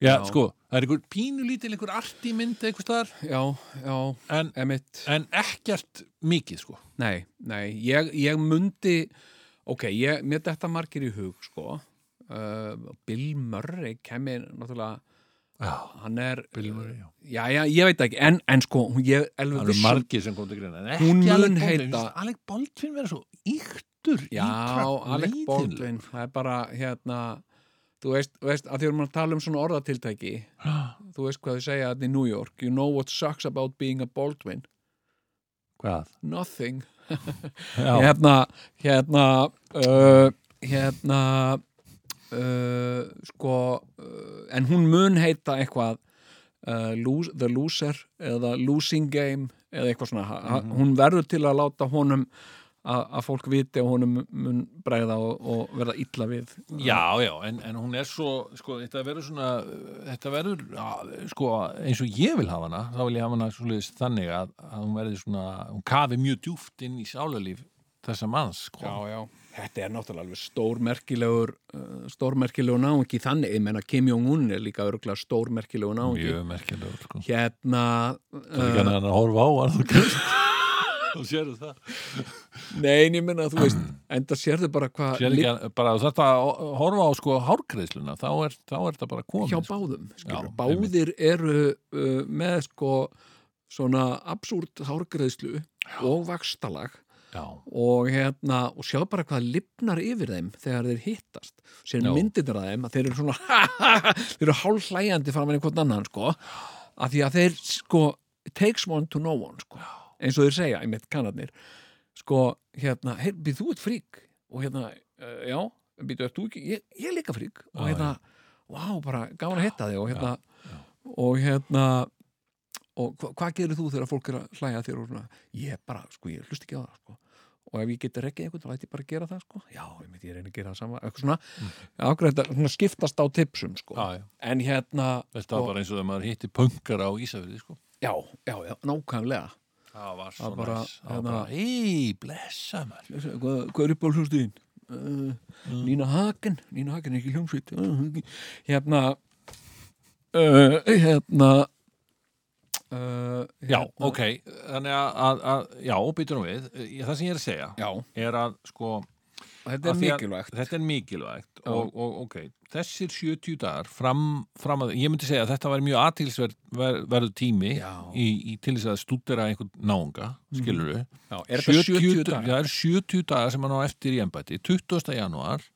A: Já,
C: Já.
A: sko, það er einhver pínulítil einhver arti mynd einhver staðar
C: já, já
A: en,
C: emitt
A: en ekkert mikið, sko
C: Nei, nei, ég, ég mundi ok, ég, mér detta margir í hug sko uh, Bill Murray kemur náttúrulega,
A: Já,
C: hann er uh,
A: Bill Murray, já
C: já, já, ég veit það ekki, en, en sko hún- ég
A: Það
C: elfur
A: eru margir sem kom til greina en ekki
C: Hún
A: Alec
C: mun
A: Baldwin. Mér
C: heita-
A: finnst Alec Baldwin vera svo yktur
C: já, Alec Baldwin, það er bara hérna, þú veist, þú veist að því erum að tala um svona orðatiltæki þú veist hvað þau segja þetta í New York you know what sucks about being a Baldwin
A: Hvað?
C: nothing
A: Já,
C: hérna hérna uh, hérna uh, sko uh, en hún mun heita eitthvað uh, lose, The Loser eða Losing Game eða eitthvað svona mm hún verður til að láta honum a- að fólk viti og honum mun bregða og, og verða illa við
A: Já, já, en, en hún er svo, sko, þetta verður svona, uh, þetta verður, já, sko, eins og ég vil hafa hana, þá vil ég hafa hana svolítið þannig að, að hún verður svona, hún kafi mjög djúft inn í sálalíf þessa manns, sko.
C: já Þetta er náttúrulega alveg stórmerkilegur uh, stórmerkilegur náungi þannig, ég menna Kim Jong-un er líka örgulega stórmerkilegur náungi
A: mjög merkilegur, sko.
C: Hérna
A: Það er ekki hann að horfa á hann, þú kemst. Þú sérðu það.
C: Nei, en ég minna að þú veist, enda sérðu bara hvað
A: Sérðu
C: liggur
A: Mm. ekki hann, bara þú þarft að horfa á, sko, hárgreiðsluna, þá er, þá er þetta bara komið.
C: hjá
A: sko.
C: báðum. skilur.
A: Já,
C: Báðir eru uh, með sko svona absúrt hárgreðslu og vakstalag
A: Já,
C: og hérna, og sjá bara hvað lifnar yfir þeim þegar þeir hittast sér
A: Já.
C: myndirnar af þeim að þeir eru svona þeir eru hálfhlæjandi framan í hvort annan sko, af því að þeir sko, it takes one to know one sko, eins og þeir segja, einmitt kannarnir sko, hérna, hey, býð þú ert frík og hérna, uh, já býðu ert þú ekki, ég, ég er líka frík og
A: Já,
C: hérna, vá, bara gaman að hitta þig og hérna, og hérna og hva, hvað gerir þú þegar fólk er að hlæja að þér og svona, ég bara, sko, ég hlust ekki á það sko. og ef ég geti rekkið einhvern, þá ætti ég bara að gera það sko. já, ég myndi ég reyna að gera það sama eitthvað svona, ákveð þetta svona skiptast á tipsum sko.
A: Mm. já, já.
C: en hérna
A: Þetta var
C: sko,
A: bara eins og þegar maður hitti punkar á Ísafjörði, sko.
C: já, já, já, nákvæmlega
A: Það var svo
C: bara,
A: næs. Það var
C: hérna-
A: bara, ei, blessa maður.
C: hvað, hvað er upp á hljóðstuðin? Uh,
A: Mm.
C: Nína Hagen Nína Hagen er ekki hljómsveit uh, ekki. hérna uh, hérna uh,
A: Já, ok, þannig að, að, að já, býtur hún við, Ég- það sem ég er að segja
C: já,
A: er að, sko, Af
C: þetta er
A: því að-
C: mikilvægt
A: þetta er mikilvægt
C: Já.
A: og, og ok, þessir 70 dagar fram, fram að, ég myndi segja að þetta var mjög aðtilsverðu tími
C: Já. Mhm.
A: í, í til þess að stúdera einhvern náunga, skilur við
C: Já, er þetta 70 dagar?
A: Það er 70 dagar sem hann á eftir í embætti, 20. janúar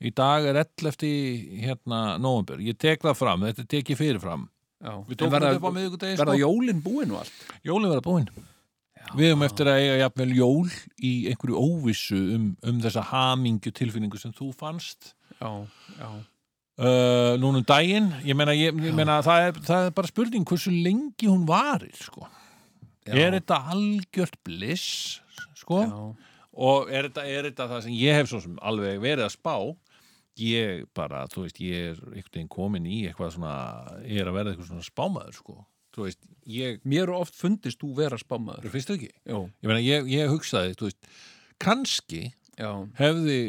A: í dag er 11. í, hérna nóvember, ég tek það fram, þetta er tekið fyrirfram
C: já.
A: Við
C: En
A: tókum
C: verða-
A: þetta upp á miðvikudegi
C: verða
A: sko.
C: jólin búin og allt
A: Jólin verða búin Við höfum eftir að eiga jafnvel jól í einhverju óvissu um, um þessa hamingju tilfinningu sem þú fannst
C: já, já,
A: uh, núna um daginn ég meina, ég, ég meina það, er, það er bara spurning hversu lengi hún varir sko.
C: já,
A: er þetta algjört bliss sko?
C: já,
A: og er þetta, er þetta það sem ég hef svo sem alveg verið að spá ég bara, þú veist, ég er einhvern veginn komin í eitthvað svona ég er að verða eitthvað svona spámaður sko. þú veist, ég,
C: mér er oft fundist þú vera spámaður
A: finnst þú ekki?
C: já,
A: Ég meina, ég, ég hugsaði, þú veist kannski
C: já,
A: hefði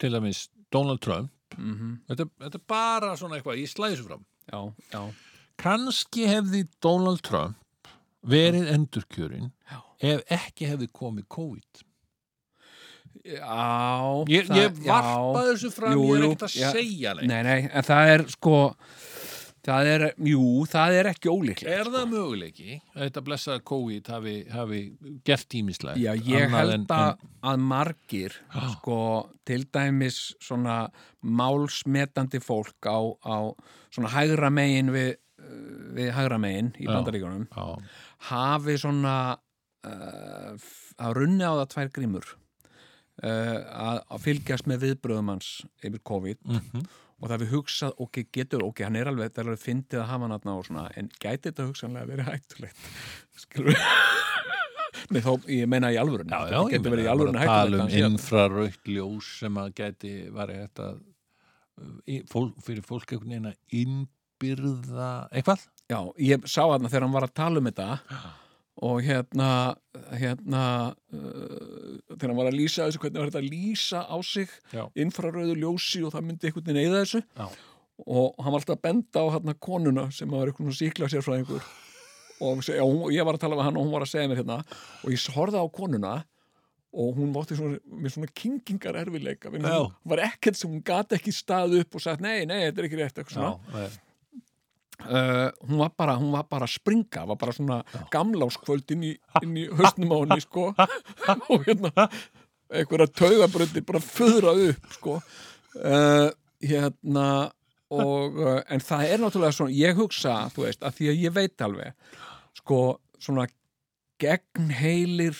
A: til að minnst Donald Trump
C: mm
A: þetta, þetta er bara svona eitthvað, ég slæði svo fram
C: já, já
A: kannski hefði Donald Trump verið endurkjörin
C: Já.
A: ef ekki hefði komið COVID
C: Já,
A: ég,
C: það-
A: ég varpa
C: já.
A: þessu fram
C: Jú,
A: ég er
C: jú,
A: ekkert að
C: já.
A: segja neitt
C: Nei, nei, en það er sko það er, jú, það er ekki ólíklegt sko.
A: er það möguleiki að þetta blessaða COVID hafi, hafi gert tímislegt
C: Já, ég held að, að margir
A: Já.
C: sko, til dæmis svona málsmetandi fólk á, á svona hægra megin við, uh, við hægra megin í
A: Já.
C: bandaríkjunum
A: já,
C: hafi svona uh, f- að runni á það tvær grímur uh, að, að fylgjast með viðbröðum hans yfir COVID
A: mhm,
C: og það við hugsað, ok, getur, ok, hann er alveg, það er alveg fyndið að hafa hann aðna og svona, en gæti þetta hugsanlega verið hættulegt? Skilur við? Nei, þá, ég meina í alvörun,
A: já, já,
C: þetta
A: ég
C: getur
A: meina
C: verið í
A: að
C: alvörun
A: tala um
C: hættulegt. Um
A: infraraukt ljós sem að geti verið þetta í- fólk, fyrir fólk einhvern veginn að innbyrða eitthvað
C: já, ég sá aðna þegar hann var að tala um þetta og hérna, hérna, uh, þegar hann var að lýsa þessu, hvernig var þetta að lýsa á sig
A: já,
C: infrarauðu ljósi og það myndi einhvern veginn eyða þessu
A: Já.
C: og hann var alltaf að benda á hérna konuna sem var einhvern síkla sérfræðingur og seg, já, hún, ég var að tala við hann og hún var að segja mér hérna og ég horfði á konuna og hún vótti svona, með svona kingingar erfileika
A: Já.
C: hún var ekkert sem hún gat ekki stað upp og sagt nei, nei, þetta er ekki rétt eitthvað
A: já,
C: svona uh, hún, var bara, hún var bara að springa var bara svona gamláskvöld inn í, inn í höstnum á henni sko. og hérna einhverja taugabröndir bara föðra upp sko. uh, hérna og, uh, en það er náttúrulega svona ég hugsa, þú veist, að því að ég veit alveg sko, svona gegnheilir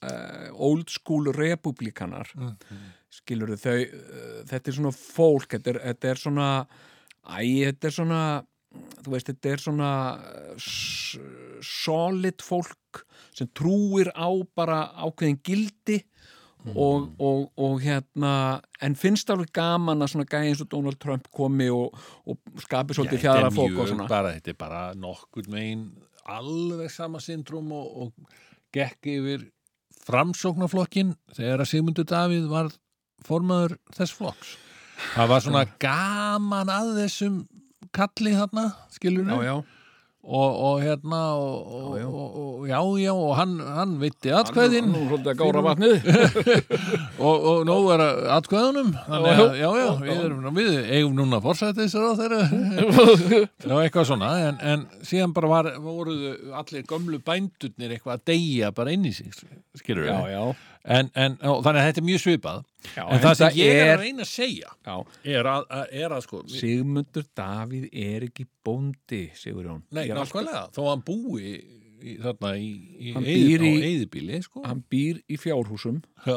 C: uh, old school republikanar skilur þau uh, þetta er svona fólk, þetta er, þetta er svona æ, þetta er svona þú veist, þetta er svona uh, s- solid fólk sem trúir á bara ákveðin gildi og, og, og hérna en finnst alveg gaman að svona gæði eins og Donald Trump komi og, og skapi svolítið fjara fólk og svona
A: bara, þetta er bara nokkur megin alveg sama syndrom og, og gekk yfir framsóknarflokkin þegar að Sigmundur Davíð var formaður þess flokks það var svona gaman að þessum kalli þarna skilur
C: já, já,
A: og, og hérna og, og,
C: Já, já.
A: og, og, já, já, og hann, hann veitti
C: hann
A: atkvæðin
C: nú svolítið að gára vatnið
A: og, og nóg er að atkvæðunum þannig að, já, já,
C: Já, já.
A: við, erum, við eigum núna forsættis á þeirra og eitthvað svona en, en síðan bara var, voruðu allir gömlu bændurnir eitthvað að deyja bara inn í sig, skilur
C: já, já,
A: en, en og, þannig að þetta er mjög svipað
C: já
A: en það sem ég er
C: er
A: að reyna að segja
C: já,
A: er að, að, er að sko
C: Sigmundur Davíð er ekki bóndi Sigurjón
A: nei,
C: Ég er alltaf-
A: nákvæmlega, þó að hann búi í, þarna í, í,
C: Hann
A: eyði-
C: býr
A: á
C: í-
A: eyðibýli sko.
C: hann býr í fjárhúsum
A: já,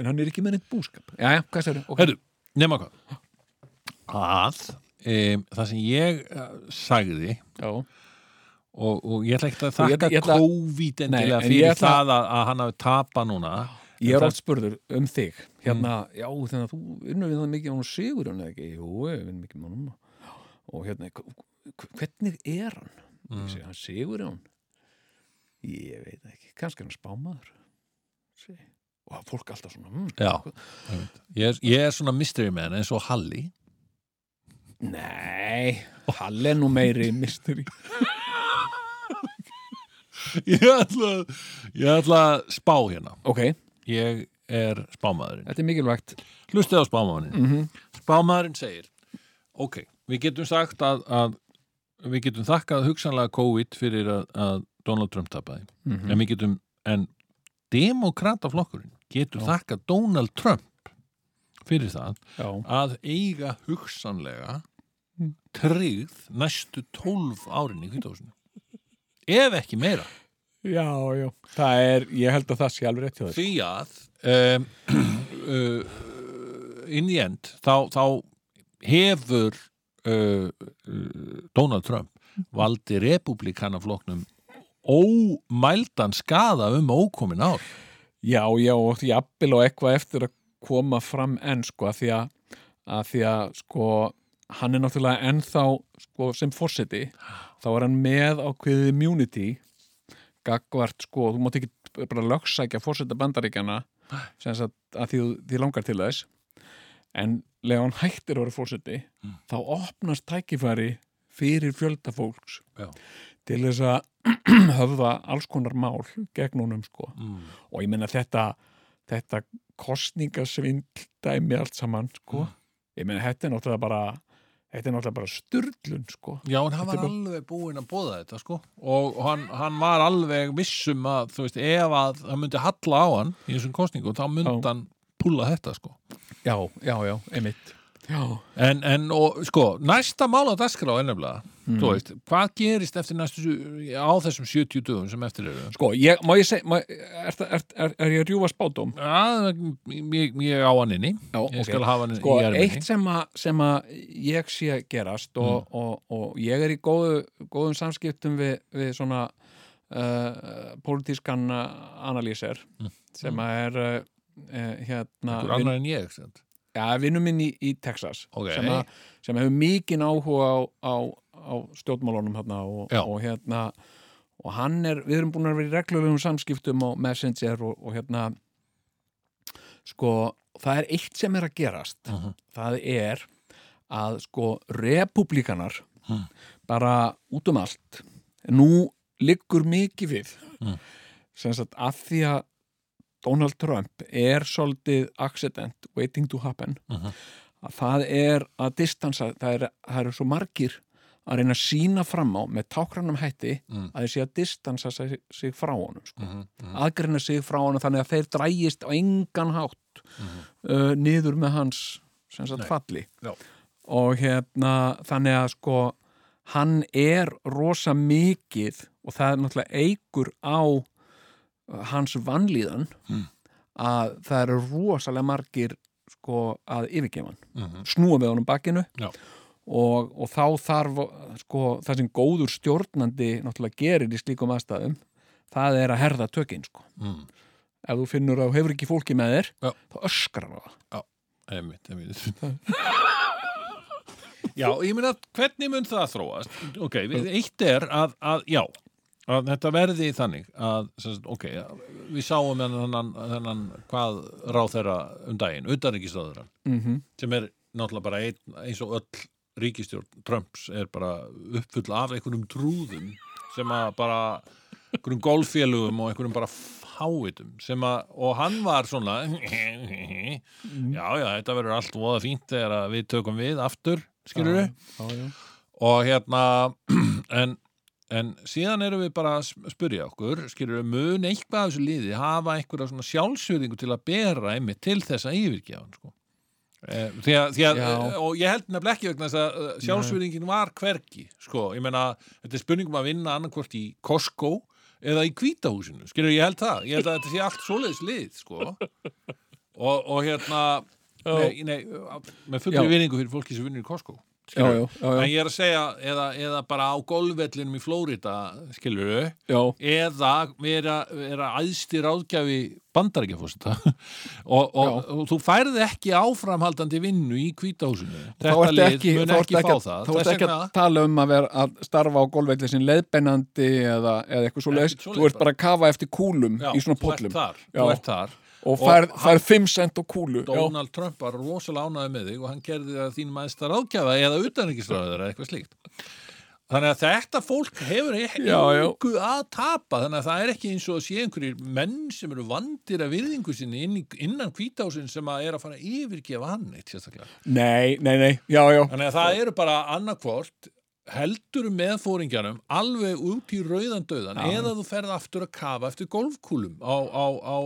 C: en hann er ekki með neitt búskap já, já, hvað sér okay.
A: herru, nema hvað að um, það sem ég uh, sagði
C: já,
A: og, og ég ætla ekkert að
C: Og ég
A: þakka
C: ætla- ég ætla-
A: COVID endilega
C: Nei, en ég
A: fyrir
C: ætla-
A: það að, að hann hafi tapað núna
C: Ég er
A: En
C: oft spurður um þig hérna, já, þannig að þú vinnur við það mikið án sigur hann ekki, jú, við vinnum mikið með honum og hérna, hv- hv- hvernig er hann? Ég segi, hann sigur hann ég veit það ekki, kannski er hann spámaður segi. og það fólk alltaf svona mm,
A: Já, einmitt. ég er, ég er svona mystery man eins og Halli
C: nei, Halle nú meiri misteri,
A: Ég ætla, ég ætla að spá hérna
C: ok,
A: Ég er spámaðurinn
C: þetta er mikilvægt
A: Hlustið á spámaðurinn
C: mm -hmm.
A: Spámaðurinn segir Ok, við getum sagt að, að við getum þakkað hugsanlega COVID fyrir að, að Donald Trump tapaði en við getum, en demokrataflokkurinn getur
C: Já.
A: þakkað Donald Trump fyrir það
D: já,
A: að eiga hugsanlega tryggð næstu 12 árin í kvítahúsinu ef ekki meira
C: Já, já, það er, ég held að það sé alveg rétt hjá þér.
A: því að um, uh, in the end þá, þá hefur uh, uh, Donald Trump valdi republikanafloknum ómældan skaða um ókomin ár
C: Já, já, og því appil og eitthvað eftir að koma fram enn, sko, að því að, að því að, sko, hann er náttúrulega ennþá, sko, sem fórseti, þá er hann með ákveðið immunity, gagvart, sko, þú mátt ekki bara lögsækja fórseta bandaríkjana, sem sagt að því því langar til þess, en lega hann hættir að vera fórseti, þá opnast tækifæri fyrir fjölda fólks
A: Já.
C: til þess að höfða alls konar mál gegn honum, sko
A: mm.
C: og ég meina þetta þetta kostningasvindl dæmi allt saman sko ég meina þetta er náttúrulega bara þetta er náttúrulega bara styrlun sko
A: Já, en hann
C: Þetta
A: var
C: er bara-
A: alveg búinn að bóða þetta sko og hann, hann var alveg vissum að þú veist, ef að hann myndi halla á hann í þessum kostningum, þá myndi
C: Já.
A: hann púla þetta sko
C: já, já, já, einmitt já,
A: En, en og, sko, næsta mál á dagskrá er nefnilega,
C: Mm.
A: þú veist, hvað gerist eftir næstu, á þessum 70 dögum sem eftir eru?
C: sko, ég, má ég segja má, er, er, er, er ég að rjúfa spátum?
A: Já, ég, ég á hann inni,
C: Já,
A: ég
C: ok.
A: skal hafa hann
C: sko,
A: í erminni.
C: eitt sem, að, sem að ég sé gerast og, og, og ég er í góðu, góðum samskiptum við, við svona uh, pólitískan uh, analýser sem að er uh, eh, hérna
A: Einhver annar en ég, sem. sagt.
C: Já, vinnum minn í, í Texas
A: Ok.
C: sem, að, sem hefur mikinn áhuga á, á, á stjórnmálunum hérna og,
A: Já.
C: og hérna og hann er, við erum búin að vera í reglulegum samskiptum og messenger og, og hérna sko, það er eitt sem er að gerast
A: Mhm.
C: það er að sko republikanar
A: Mhm.
C: bara út um allt nú liggur mikið við
A: Mhm.
C: sem sagt að því að Donald Trump er svolítið accident waiting to happen að það er að distansa, það eru er svo margir að reyna að sína fram á með tákranum hætti
A: Mm.
C: að þeir sé að distansa sig, sig frá honum sko.
A: Mhm, mhm.
C: aðgreina sig frá honum þannig að þeir drægist á engan hátt uh, niður með hans sem sagt
A: Mhm. Nei.
C: falli
A: Já.
C: og hérna þannig að sko hann er rosa mikið og það er náttúrulega eigur á uh, hans vanlíðan
A: Mm.
C: að það eru rosalega margir sko að yfirgefa hann
A: Mhm,
C: snúa við honum bakinu
A: Já.
C: og, og þá þarf sko, það sem góður stjórnandi náttúrulega gerir í slíkum aðstæðum það er að herða tökin sko.
A: mhm.
C: ef þú finnur að þú hefur ekki fólki með þér
A: Já.
C: þá öskrar það
A: Einmitt, einmitt. já, ég meina, hvernig mun það þróast? Ok, við- eitt er að, að já, að þetta verði þannig að, sem sagt, ok, við sáum þennan, þennan hvað ráð þeirra um daginn, utanríkisráðurra,
C: mm -hmm.
A: sem er náttúrulega bara ein, eins og öll ríkistjórn Trumps er bara uppfull af einhvernum trúðum sem að bara einhverjum golffélugum og einhverjum bara fáitum sem að, og hann var svona já, já, þetta verður allt voða fínt þegar að við tökum við aftur, skilur við
C: já,
A: og hérna en, en síðan erum við bara að sp- spyrja okkur, skilur við mun eitthvað af þessu liði hafa einhverja svona sjálfsöðingu til að bera einmitt til þess að yfirgefa hann sko Eh, Því að, því að,
C: Já.
A: og ég held nefnilega ekki vegna þess að eh, sjálfsvirðingin var hvergi sko, ég meina, þetta er spurningum að vinna annarkvort í Costco eða í kvítahúsinu, skilur ég held það ég held að þetta sé allt svoleiðis lið sko. og, og hérna nei, nei, með
C: Já.
A: fullri vinningu fyrir fólki sem vinnur í Costco
C: já,
A: skilurðu.
C: já, já,
A: En
C: já,
A: ég er að segja, eða, eða bara á golfvellinum í Flórida, skilur við,
C: já.
A: eða vera, vera æðsti ráðgjafi bandarækjafósita og, og, og þú færði ekki áframhaldandi vinnu í kvítahúsinu. Þetta
C: ertu
A: lið mun
C: þá ertu
A: ekki fá
C: að-
A: það.
C: þá ertu
A: Þess
C: ekki
A: vegna,
C: að tala um að vera að starfa á golfvelli sem leiðbennandi eða, eða eitthvað svo leiðis
A: Ekkert svoleiðis
C: þú ert bara að kafa eftir kúlum
A: já,
C: í svona
A: þú ert
C: pollum
A: þar,
C: Já.
A: þú ert þar.
C: og
A: Og
C: færð
A: hann-
C: fær 5 cent á kúlu já,
A: Donald Trump var rosalega ánæði með þig og hann gerði það þín maðursta ráðgjafa eða utanrikisráður eða eitthvað slíkt. Þannig að þetta fólk hefur e-
C: Já, já.
A: engu að tapa, þannig að það er ekki eins og að sé einhverjir menn sem eru vandir að virðingu sinni inn, í- innan hvításin sem að er að fara að yfirgefa hann eitt sérstaklega.
C: nei, nei, nei, já, já
A: Þannig að það eru bara annarkvort heldur með fóringjanum alveg út í rauðan döðan eða þú ferð aftur að kafa eftir golfkúlum á, á, á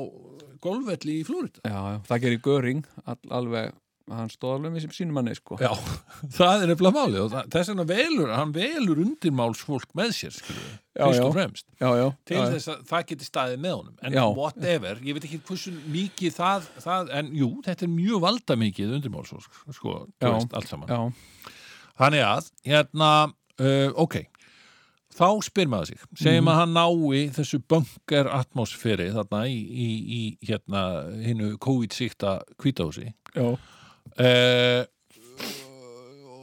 A: golfvelli í Flórida.
C: Já, já, það gerir göring all, alveg hann stóð alveg með sínum manni sko.
A: Já, það er nefnilega máli og það- þess vegna velur, hann velur undirmálsfólk með sér, skilur,
C: Já,
A: fyrst og
C: já.
A: fremst
C: já, já,
A: til
C: já,
A: þess að það geti staðið með honum en
C: Já.
A: whatever, ég veit ekki hversu mikið það, það en jú, þetta er mjög valdamikið undirmálsfólk, sko, þú
C: Já.
A: veist, allt saman
C: já,
A: Þannig að, hérna, uh, ok, þá spyr maður sig, segjum
C: Mhm.
A: að hann nái þessu bunker atmosferi þarna í, í, í hérna, hinnu COVID-sýkta kvítahúsi
C: já,
A: uh,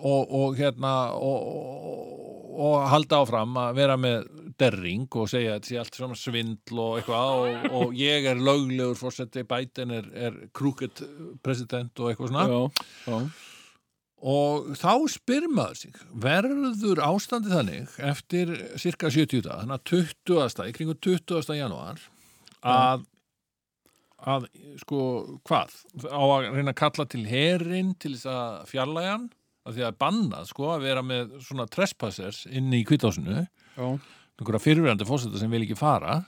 A: og, og hérna, og, og, og halda áfram að vera með derring og segja að þetta sé allt svona svindl og eitthvað og, og ég er löglegur fórseti, Biden er, er krúket president og eitthvað svona
C: já, já.
A: og þá spyr maður sig verður ástandi þannig eftir cirka 70 dag þannig að 20. í kringu 20. janúar að að sko hvað á að reyna að kalla til herin til þess að fjarlægja hann af því að er bannað sko að vera með svona trespassers inn í kvításinu
C: já.
A: einhverja fyrirverandi fósetta sem vil ekki fara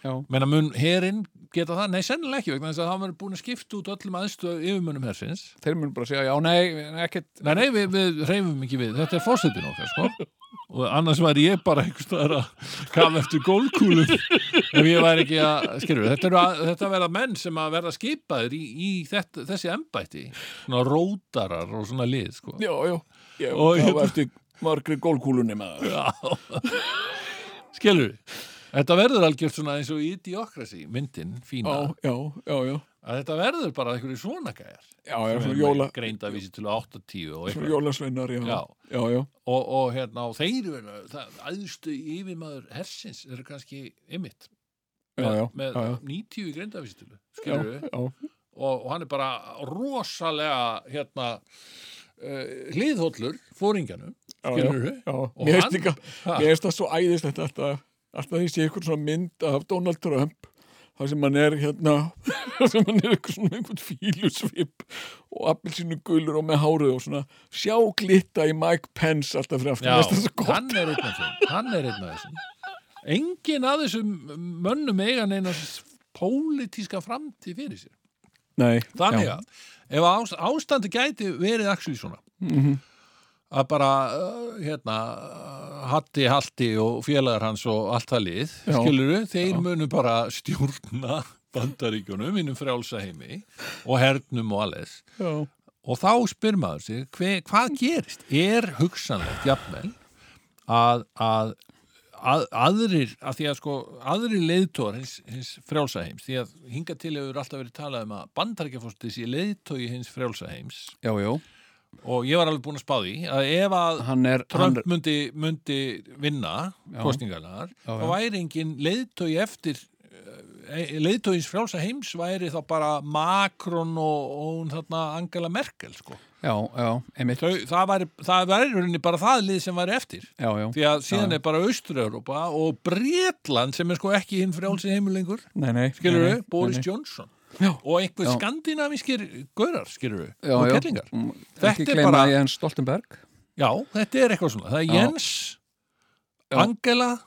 C: Já.
A: menna mun herin geta það, nei sennilega ekki vegna þess að það verður búin að skipta út öllum aðstöðu yfirmönnum hersins
C: þeir munu bara að segja, já, nei, ekkert
A: Nei, nei, við, við reyfum ekki við. Þetta er fórsetin okkar, sko. Og annars væri ég bara einhvers staðar að kafa eftir gólkúlum ef ég væri ekki að, skilur, þetta, eru að, þetta verða menn sem að verða skipaður í, í þetta, þessi embætti, svona rótarar og svona lið, sko.
C: já, já, já,
A: Og
C: það
A: ég-
C: var eftir margri gólkúlunni maður
A: Skilur, þetta verður algjört svona eins og idiokrasi, myndin, fína,
C: já, já, já, já,
A: að þetta verður bara einhverju svona gæjar.
C: já, já, svona jóla
A: Greinda vísi til 8-10 og
C: svona
A: eitthvað.
C: jólasveinar, já,
A: Já.
C: já, já,
A: og, og hérna og þeir verða, það, æðstu yfirmaður hersins eru kannski ymmit
C: já, já,
A: með
C: já, já.
A: 90 greindavísitölu
C: já,
A: skilur við,
C: já,
A: og, og hann er bara rosalega hérna uh, hliðhóllur fóringanum,
C: já,
A: skilur við
C: já,
A: Og hann-
C: mér veist líka
A: Ha?
C: mér veist það svo æðislegt alltaf, alltaf því sé ykkur svona mynd af Donald Trump þar sem hann er hérna þar sem hann er ykkur svona einhvern fílusvip og appelsínu gulur og með hárið og svona sjá glitta í Mike Pence alltaf fyrir aftur,
A: Já,
C: mér veist það svo gott
A: hann er einn af þeim hann er einn af þessum engin að þessum mönnum eiga neina pólitíska framtíð fyrir sér
C: Nei,
A: Þannig
C: já,
A: að ef ás- ástandi gæti verið actually svona
C: Mhm.
A: að bara uh, hérna uh, Hatti Halti og félagar hans og allt það lið,
C: Já.
A: skiluru þeir munu bara stjórna bandaríkjunum, innum frjálsa heimi og hernum og alles
C: já,
A: og þá spyr maður sig hve, hvað gerist, er hugsanlegt jafnvel að, að að, aðrir að því að sko, aðrir leiðtóar hins, hins frjálsa heims, því að hinga til hefur alltaf verið talað um að bandarækjafóstið sé leiðtói hins frjálsa heims
E: já, já,
A: og ég var alveg búin að spá því að ef að
E: hann er hann,
A: Trump myndi, myndi vinna kostningarnar,
E: Já,
A: þá
E: já.
A: væri engin leiðtói eftir eh, leiðtóins frjálsa heims væri þá bara Macron og, og hún þarna Angela Merkel sko.
E: já, já, einmitt
A: Þau, það væri, það væri í rauninni bara það lið sem væri eftir
E: já, já,
A: því að síðan er bara Austur-Európa og Bretland sem er sko ekki hinn frjálsi heimur lengur
C: nei, nei
A: skilur
C: nei,
A: við,
C: nei,
A: Boris
C: nei,
A: Johnson
C: Já.
A: og einhver
E: Já.
A: skandinavískir gaurar skilur við,
E: Já, Mm,
A: og
E: já.
A: kellingar
C: Ekki
A: Þetta er
C: gleyma
A: bara-
C: bara... Jens Stoltenberg
A: já, þetta er eitthvað svona, það er
C: Já.
A: Jens Angela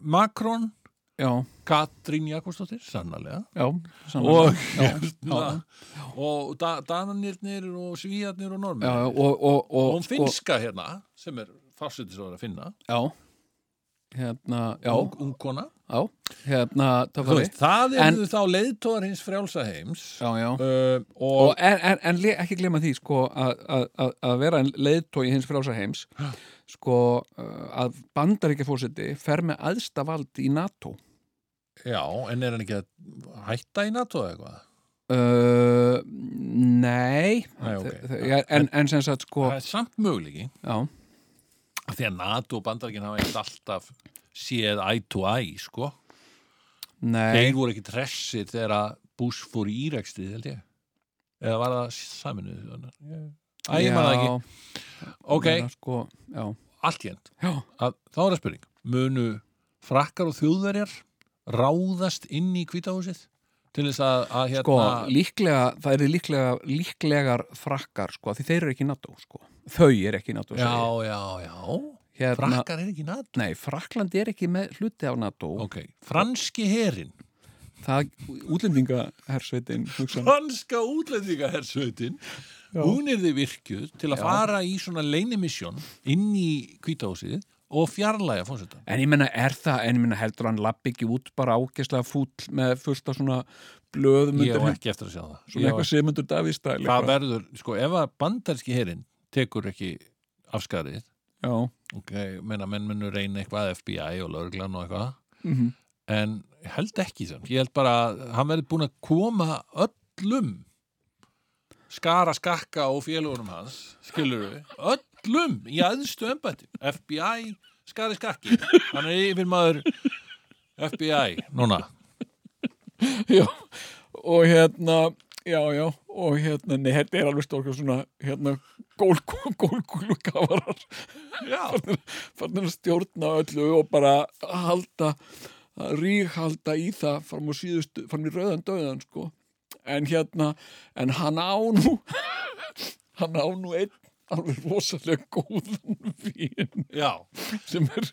A: Macron,
C: Já,
A: Katrín Jakobsdóttir sannarlega
C: já, sannlega
A: og, hérna, og da, Dananirnir og Svíjarnir og
E: já,
A: Normir
E: já, og, og, og,
A: og hún finnska hérna sem er fársættisóður að finna
E: já, hérna, já,
A: ung, ungkona
E: já hérna,
A: Þú
E: töfari
A: veist, það
E: En-
A: eru þá leiðtóðar hins frjálsa heims
E: já, já
A: uh, og,
C: og en, en, en le- ekki glema því sko að- að að- að vera leiðtói hins frjálsa heims sko uh, að bandaríkja fórseti fer með aðsta vald í NATO
A: já, en er hann ekki að hætta í NATO eða eitthvað?
C: uh, nei,
A: Nei, ok.
C: Þe- þe- ja, en, en sem sagt sko
A: Það er samt möguleiki
C: já,
A: af því að NATO og bandarkin hafa eitt alltaf séð eye to eye, sko
C: nei
A: Þeir voru ekki tressir þegar að Bush fór í írækstrið, held ég eða var það saminu Æ, ég man það ekki,
C: já,
A: ok,
C: meina, sko, já,
A: allt jönd
C: já,
A: að, þá er það spurning, munu frakkar og þjóðverjar ráðast inn í kvítahúsið til þess að, að hérna
C: sko líklega, það eru líklega líklegar frakkar sko, því þeir eru ekki í NATO sko, þau eru ekki í NATO
A: já,
C: segi ég.
A: já, já
C: hérna,
A: Frakkar er ekki NATO
C: nei, Frakland er ekki með hluti af NATO
A: Ok, franski herin
C: það útlendingahersveitin hugsan,
A: Hanska útlendingahersveitin hún er þið virkjuð til að fara í svona leinimissjón inn í kvítahúsið og fjarlæga fórseta
C: en ég menna er það en ég menna heldur hann lappi ekki út bara ágæslega fúll með fullt af svona blöðum
A: ég
C: undir
A: á
C: hund,
A: ekki eftir að sjá það
C: svona
A: Ég á
C: eitthvað semundur Davíðstæl
A: það verður, sko, ef að bandarski herin tekur ekki afskarið
C: já,
A: ok, menna menn munu reyna eitthvað að FBI og lauruglan og eitthvað
C: mm -hmm.
A: en ég held ekki sem ég held bara að hann verður búin að koma öllum skara skakka og félugunum hans skilur við, öllum í aðstu embætti, FBI skari skakki, hann er yfir maður FBI, núna
C: já og hérna já, já, og hérna, nei, þetta er alveg stórkja svona, hérna, gólkúlukafarar
A: já,
C: farnir að stjórna öllu og bara halda að ríghalda í það fram á síðustu, fram í rauðan döðan sko. en hérna en hann á nú hann á nú einn alveg rosalega góðan vín
A: já
C: sem er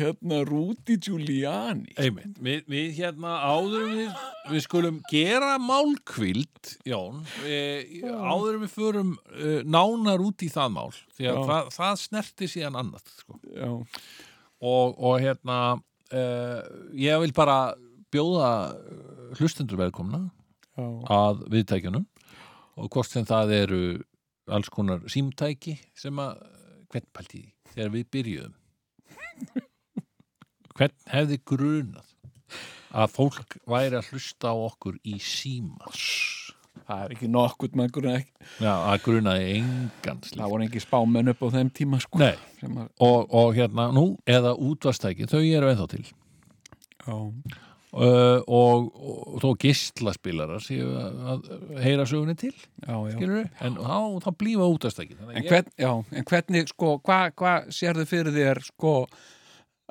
C: hérna Rúti Giuliani
A: Einmitt, við, við hérna áður en við, við skulum gera málkvild, Jón, e, áður en við förum e, nánar út í það mál, því að
C: Já.
A: það, það snerti síðan annað, sko.
C: já,
A: Og, og hérna, e, ég vil bara bjóða eh, hlustendur velkomna
C: já,
A: að viðtækjunum og hvort sem það eru alls konar símtæki sem að hvern pælti í því þegar við byrjuðum hvern hefði grunað að fólk væri að hlusta á okkur í síma
C: það er ekki nokkurt maður ekki,
A: Já, að grunaði engan slíkt
C: það voru ekki spámenn upp á þeim tíma sko
A: Nei,
C: sem að,
A: og, og hérna nú, eða útvarstæki, þau eru ennþá til
C: já,
A: uh, og, og, og þó gíslaspilarar séu að, að heyra sögunni til
C: já, já.
A: skilur en þá, þá blífa útvarstæki
C: En, hvern, já, en hvernig, sko, hvað hva sérðu fyrir þér, sko,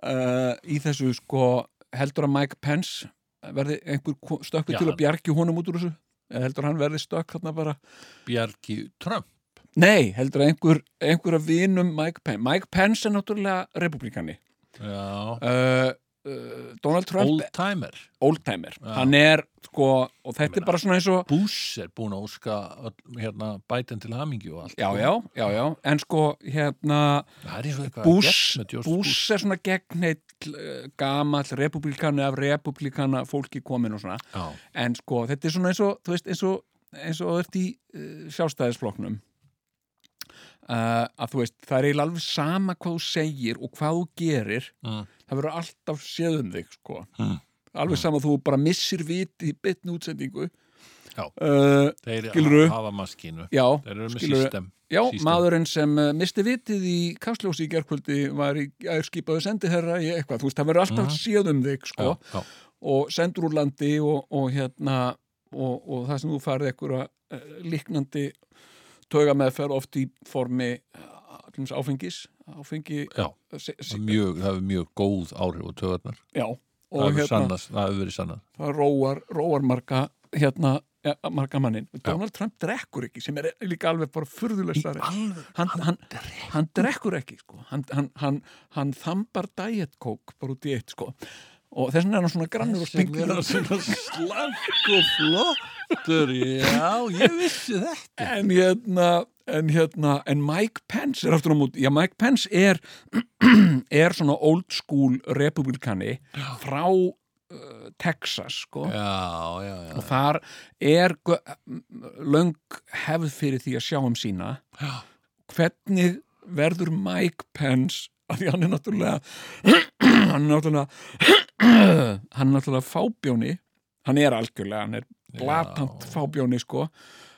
C: uh, í þessu, sko, heldur að Mike Pence verði einhver ko- stökkur
A: Já,
C: til að
A: hann-
C: bjargi honum út úr þessu? Eða heldur hann verði stökk hérna bara?
A: Bjarki Trump
C: Nei, heldur að einhver, einhver að vinum Mike Pence. Mike Pence er náttúrulega republikani.
A: Já,
C: Uh, uh, Donald Trump,
A: old timer
C: oldtimer.
A: Já.
C: Hann er, sko, og þetta
A: meina-
C: er bara svona eins og,
A: Bush er búin að óska öll- hérna, bætin til hamingju og allt
C: já, já, já, já, en sko, hérna,
A: Það er eins og eitthvað
C: Bush,
A: að gert með George
C: Bush er svona gegnheit gamall republikanu af republikana fólki komin og svona
A: Já,
C: en sko þetta er svona eins og þú veist eins og, eins og þú ert í uh, sjálfstæðisflokknum uh, að þú veist það er eiginlega alveg sama hvað þú segir og hvað þú gerir
A: Mm.
C: það verður alltaf séðum þig sko
A: Mm.
C: alveg sama þú bara missir viti í bytni útsendingu
A: Já.
C: uh,
A: þeir
C: Skilurðu?
A: hafa maskínu
C: já
A: Þeir eru með
C: skilurðu?
A: system
C: Já,
A: System.
C: maðurinn sem uh, misti vitið í kastljósi í gerkvöldi var í ærskipaðu sendiherra í eitthvað, þú veist, það verður alltaf
A: Mhm.
C: séð um þig, sko,
A: já, já.
C: og sendur úr landi og, og hérna og, og það sem þú farið einhverja uh, líknandi tauga meðferð oft í formi uh, til dæmis áfengis, áfengi eh,
A: Já.
C: se,
A: Það
C: se,
A: er Mjög, það hefur mjög góð áhrif og töðarnar
C: já,
A: Það
C: og
A: hefur
C: hérna,
A: sannast- það hefur verið sannað
C: það róar, róar marga, hérna, ja, marga mannin Donald Trump drekkur ekki, sem er líka alveg bara furðulegstari
A: alveg
C: hann, hann, hann drekkur ekki sko. hann, hann, hann, hann þambar diet coke bara út í eitt sko. og þess vegna er hann svona grannur og
A: sem er
C: spingur
A: að svona slank og flottur Já, ég vissi þetta
C: en hérna en hérna, en Mike Pence er aftur á múti, já Mike Pence er er svona old school republikani frá uh, Texas sko
A: Já, já, já
C: og þar er gö- löng hefð fyrir því að sjá um sína
A: Já.
C: hvernig verður Mike Pence af því hann er náttúrulega hann er náttúrulega hann er náttúrulega fábjóni hann er algjörlega, hann er blatant
A: Já.
C: fábjóni sko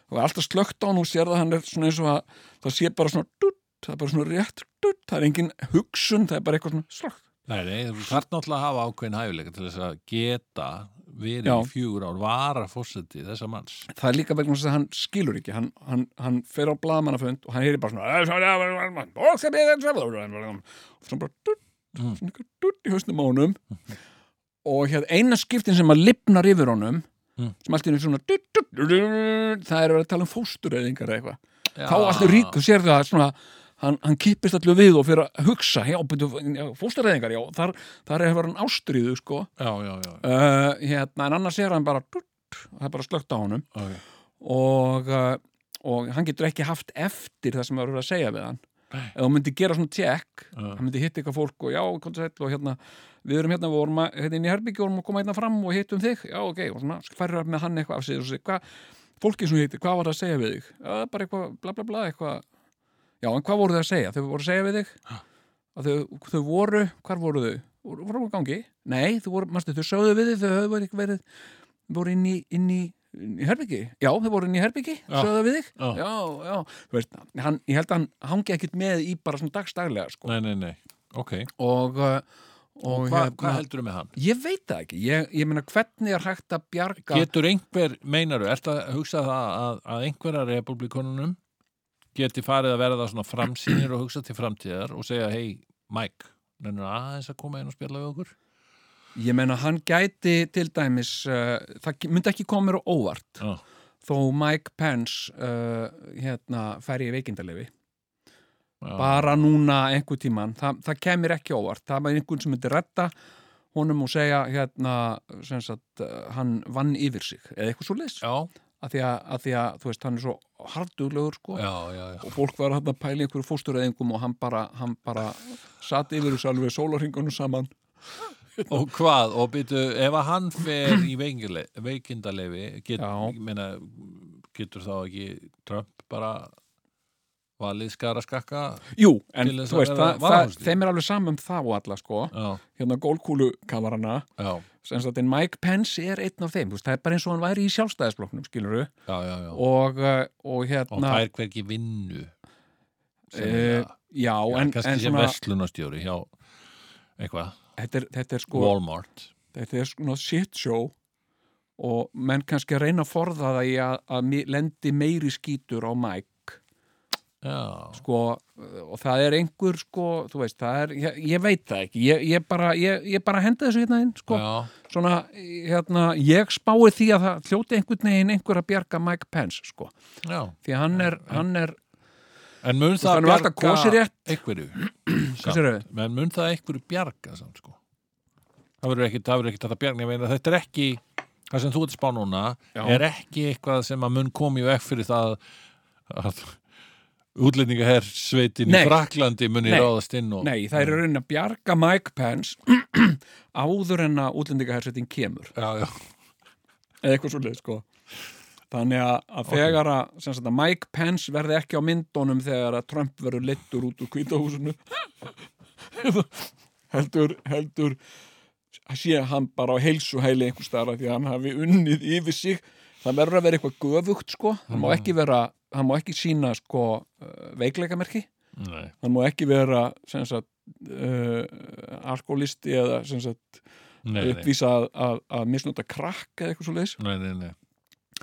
C: og alltaf slögt á hann og sér það hann er svona eins og að það sé bara svona dutt, það er bara svona rétt dutt, það er engin hugsun, það er bara eitthvað svona slögt
A: Nei, nei, þú þarf náttúrulega að hafa ákveðin hæfileika til þess að geta verið
C: Já.
A: í fjögur ár, vara fórseti þessa manns.
C: það er líka vegna þess að hann skilur ekki hann, hann, hann fer á blaðmannafönd og hann heyri bara svona og það er svona bara dutt,
A: Mm.
C: svona eitthvað dutt í hausnum á honum og hérna eina skiptin sem að lifnar yfir honum
A: Mm.
C: sem allt er svona dutt, dutt, dutt, dutt, það er að vera að tala um fóstureyðingar eða eitthvað
A: Já.
C: þá allt er rík, þú sér það svona hann, hann kippist allir við og fyrir að hugsa já, byrju, já, fóstarreðingar, já, þar, þar hefur hann ástriðu, sko
A: já, já, já.
C: uh, hérna, en annars er hann bara tut, það er bara slögt á honum
A: Okay.
C: og, uh, og hann getur ekki haft eftir það sem það eru að segja við hann
A: Nei.
C: ef hann myndi gera svona tjekk
A: Já.
C: hann myndi hitta eitthvað fólk og já, komdu sæll og hérna, við erum hérna, við vorum að, hérna inn í herbyggi og vorum að koma hérna fram og hittum þig já, ok, og svona færður með hann eitthvað af sig og segir, hvað, fólkið sem þú hittir, hvað var það að segja við þig já, bara eitthvað, bla bla bla, eitthvað já, en hvað voru þau að segja, þau voru að segja við þig að þau, þau voru, hvar voru þau voru voru á gangi, nei, þau voru manstu, þau sögðu við þig, þau höfðu verið, verið voru inn í, inn í, inn í herbyggi já, þau voru inn í herbyggi,
A: Já.
C: sögðu þau við þig
A: Já.
C: já, já, þú veist, hann, ég held að hann hangi ekkit með í bara svona dagstaglega sko.
A: Nei, nei, nei, ok
C: og, uh, og
A: Hva, Hvað heldurðu með hann?
C: ég veit það ekki, ég, ég meina hvernig er hægt að bjarga
A: Getur einhver, meinaru, ert að hugsa það að, að einhverja republikununum geti farið að verða svona framsýnir og hugsa til framtíðar og segja, hei, Mike, nennir aðeins að koma inn og spjalla við okkur?
C: ég meina hann gæti til dæmis uh, það ge- myndi ekki koma mér á óvart
A: Já.
C: þó Mike Pence uh, hérna fer í veikindalefi
A: Já.
C: bara núna einhver tíman Þa, það kemur ekki á óvart, það er einhvern sem myndi retta honum og segja hérna sem sagt uh, hann vann yfir sig eða eitthvað svo leys
A: Já,
C: að því að, að, því að þú veist hann er svo harduglegur sko
A: já, já, já.
C: og fólk var hann að pæla í einhverju fósturreðingum og hann bara, hann bara satt yfir þessu alveg sólarringunum saman
A: Og hvað, og byrju, ef að hann fer í veikindale- veikindalefi, get,
C: Já.
A: ég meina, getur þá ekki Trump bara valið skara skakka?
C: Jú, en
A: Til þess
C: þú
A: að
C: veist,
A: vera
C: það, það,
A: varahúsdýr.
C: þeim er alveg saman um það og alla sko
A: Já,
C: hérna gólkúlukamarana
A: já,
C: sem sagt en Mike Pence er einn af þeim þú veist, það er bara eins og hann væri í sjálfstæðisblokknum skilur
A: já, já, já.
C: og, uh, og
A: Og
C: hérna
A: fær hvergi vinnu sem
C: Eh,
A: er-
C: já,
A: Já,
C: en,
A: kannski
C: en
A: sem
C: svona,
A: verslunastjóri hjá eitthvað,
C: þetta er, þetta er sko
A: Walmart
C: þetta er svona shit show og menn kannski að reyna að forða það í að, að mi- lendi meiri skítur á Mike
A: Já,
C: sko, og það er einhver sko, þú veist, það er, ég, ég veit það ekki ég, ég, bara, ég, ég bara henda þessu hérna inn sko,
A: já,
C: svona, hérna ég spái því að það hljóti einhvern veginn einhver að bjarga Mike Pence, sko
A: já
C: því að hann er, hann er
A: En mun
C: hann
A: það
C: er alltaf kosið rétt.
A: einhverju
C: hvað sérðu?
A: samt. En mun það einhverju bjarga samt sko Það verður ekki, það verður ekki þetta bjarga Ég meina þetta er ekki, það sem þú ert að spá núna
C: Já.
A: er ekki eitthvað sem að mun komi og ekki fyrir það að útlendingahersveitin í
C: Nei.
A: Fraklandi muni
C: Nei.
A: ráðast inn og
C: nei, það er raunin að bjarga Mike Pence áður en að útlendingahersetting kemur
A: Já, já,
C: eða eitthvað svolítið sko þannig að, að þegar að, sem sagt, að Mike Pence verði ekki á myndunum þegar að Trump verður littur út úr kvítahúsinu heldur, heldur að sé hann bara á heilsuhæli einhvers staðar af því að hann hafi unnið yfir sig það verður að vera eitthvað göfugt sko hann
A: Mhm.
C: má ekki vera, hann má ekki sína sko eh, veikleikamerki
A: nei
C: hann má ekki vera sem sagt uh, alkoholisti eða sem sagt
A: Nei, nei,
C: uppvísa að, að, að misnota krakk eða eitthvað svo leiðis
A: nei, nei, nei.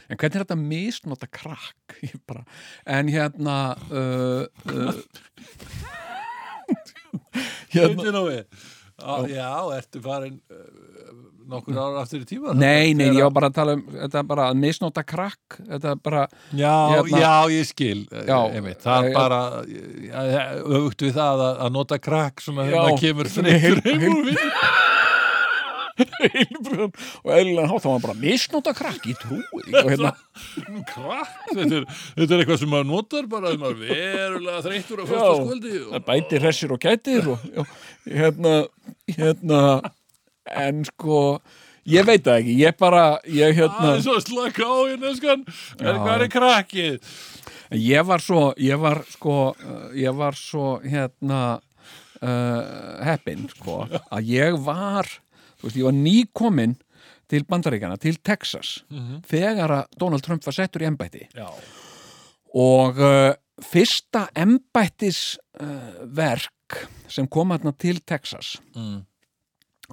C: En hvernig er þetta misnota krakk? Ég Bara, en hérna uh, uh, hérna,
A: Bíddu nú við. Á, já, ertu farin uh, nokkur ára aftur í tíma?
C: Nei, nei,
A: Þegar-
C: ég var bara að tala um þetta er bara að misnota krakk þetta er bara,
A: Já,
C: hérna-
A: já, ég skil já, einmitt, það
C: Eh,
A: er bara eh, öfugt við það að, að nota krakk svona
C: Já,
A: þegar það Hérna kemur
C: svona
A: þreytur
C: heil-
A: heim úr vinnu.
C: heilbrun og eðlilega hátt, það var bara misnota krakk í trú og hérna,
A: Nú, Krakk, þetta er, þetta er eitthvað sem maður notar bara þegar maður er verulega þreytur á fyrstaskvöldi
C: það
A: og
C: bæti hressir og gætir og já, hérna, hérna en sko ég veit það ekki, ég bara ég, hérna,
A: aðeins að slaka á hérna skan
C: Já.
A: er hvað er krakkið?
C: En Ég var svo, ég var sko, uh, ég var svo hérna uh, heppin sko, að ég var, þú veist, ég var nýkomin til Bandaríkjana, til Texas, þegar að Donald Trump var settur í embætti
A: Já,
C: og uh, fyrsta embættisverk sem kom hérna til Texas,
A: Mm.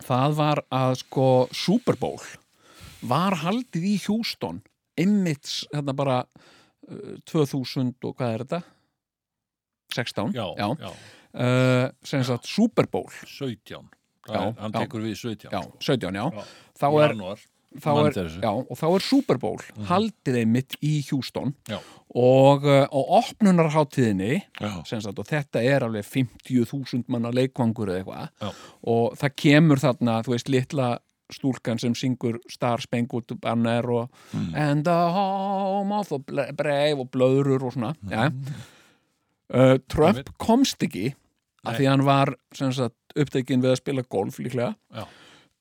C: það var að sko Super Bowl var haldið í Houston, ymmits hérna bara 2000 og hvað er þetta? 16,
A: já, já,
C: Uh, sem sagt Super Bowl
A: 17
C: Já,
A: já, hann
C: já.
A: tekur við 17
C: já,
A: sko.
C: 17, já,
A: Já,
C: þá
A: í
C: er,
A: janúar.
C: þá
A: Man
C: er,
A: eftir þessu.
C: já, og þá er Super Bowl haldið einmitt í Houston
A: Já.
C: og uh, á opnunarháttíðinni
A: Já.
C: sem sagt, og þetta er alveg 50.000 manna leikvangur eða
A: Já.
C: eitthvað og það kemur þarna, þú veist, litla stúlkan sem syngur Star Spangled Banner og
A: Hmm.
C: And the Home of the Bla- Brave og blöðrur og svona ja. uh, Trump
A: Hmm. Einmitt.
C: komst ekki
A: Nei.
C: af því hann var sem sagt, upptekinn við að spila golf líklega
A: Já.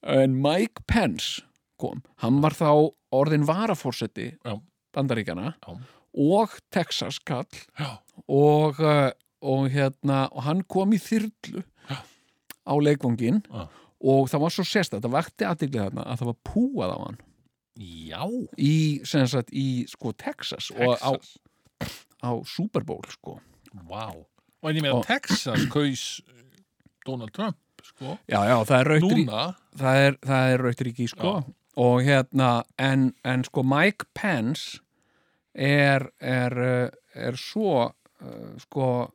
C: en Mike Pence kom, hann var þá orðin varafórseti
A: Já.
C: bandaríkjana
A: Já.
C: og Texas kall
A: Já.
C: og, uh, og hérna og hann kom í þyrlu
A: Já.
C: á leikvangin
A: Já.
C: og það var svo sérstætt, það vakti aðdegli þarna að það var púað á hann
A: Já.
C: í, sem sagt, í sko Texas, og á,
A: Texas.
C: á Super Bowl sko
A: Vá. Og en ég með
C: Og-
A: að Texas kaus eh, Donald Trump, sko.
C: Já, já, það er rautt ríki,
A: Núna.
C: það er, það er rautt ríki sko og hérna, en, en sko Mike Pence er, er, uh, er svo uh, sko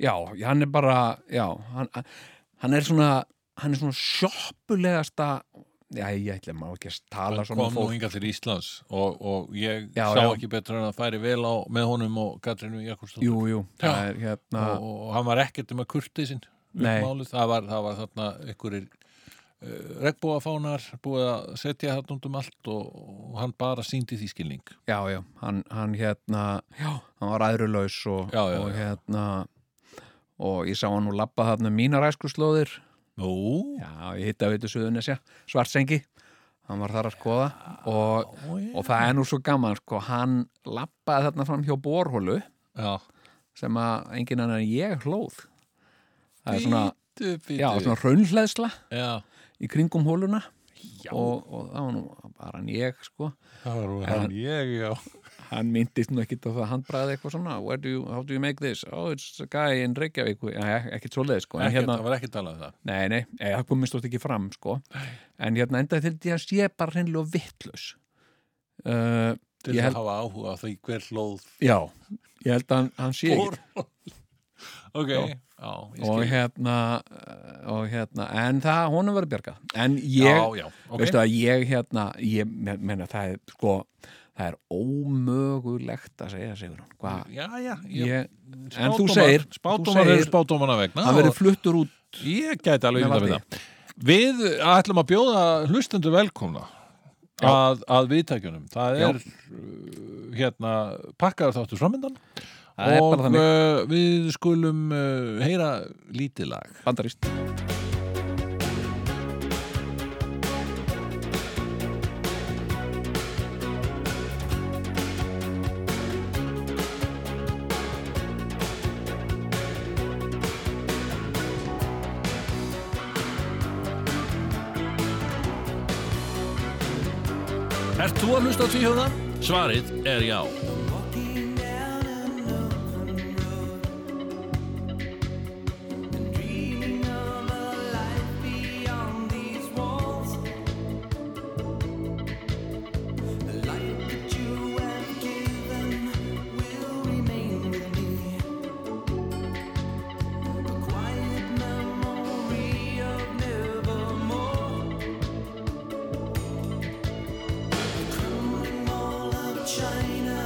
C: já, hann er bara já, hann, hann er svona hann er svona sjoppulegasta já, ég ætla maður ekki að tala
A: Hann
C: svona
A: kom
C: um
A: nú
C: fólk
A: hingað til Íslands og, og ég
C: Já,
A: sá
C: já.
A: ekki betur en að færi vel á með honum og Katrinu Jakobsdóttur
C: jú, jú, það
A: Já.
C: er hérna
A: og, og hann var ekkert um að kurtið sinn
C: Nei.
A: málið, það var, það var þarna einhverjir uh, regnbúafánar búið að setja þarna út um allt og, og hann bara síndi því skilning
C: já, já, hann, hann hérna já, hann var æðrulaus og,
A: Já, já,
C: og
A: já.
C: hérna og ég sá hann nú labba þarna um mínar æskuslóðir
A: Nú,
C: Já, ég hitta veitu Suðunesja, Svartsengi hann var þar að skoða og,
A: Ó, já.
C: og það er nú svo gaman sko, hann lappaði þarna fram hjá borhólu
A: já
C: sem að enginn annar en ég hlóð það er svona,
A: Bítu, bítu.
C: já, svona raunhleðsla
A: Já.
C: í kringum hóluna og, og það var nú bara hann ég sko
A: það var nú hann ég, já
C: hann myndist nú ekkit á það að hann bræði eitthvað svona Where do you, how do you make this? Oh, it's a guy in Reykjavík já, ekkit svoleiðið sko en
A: ekkert, það var ekki talað um það
C: Nei, nei, nei, það komið stótt ekki fram sko. en hérna endaði til því að sé bara hreinlega vittlaus uh,
A: til
C: Ég
A: að
C: held-
A: hafa áhuga á því hver hlóð
C: Já, ég held að hann, hann sé ekki
A: bor ok, já, ég
C: og
A: skil
C: hérna, uh, og hérna en það, honum verið bjargað en ég,
A: já, já, ok
C: veistu að ég hérna ég me- meina það er sko það er ómögulegt að segja Sigurinn, hvað
A: já, já, já.
C: ég, en þú segir, þú
A: spátumar
C: segir-
A: eru spátumana vegna
C: hann
A: og-
C: verið fluttur út
A: Ég gæti alveg
C: Með
A: ímyndað með
C: valdi.
A: það. Við ætlum að bjóða hlustendu velkomna að, að viðtækjunum. Það
C: Já.
A: er uh, hérna pakkaður þáttur framöndan
C: Það er bara
A: og
C: þannig.
A: uh, við skulum uh, heyra lítið lag.
C: bandarist
A: Er þú að hlusta tvíhjóða? Svarið er já.
F: Walking down an open road and dreaming of a life beyond these walls, the light that you have given will remain with me. A quiet memory of nevermore, crumbling wall of China.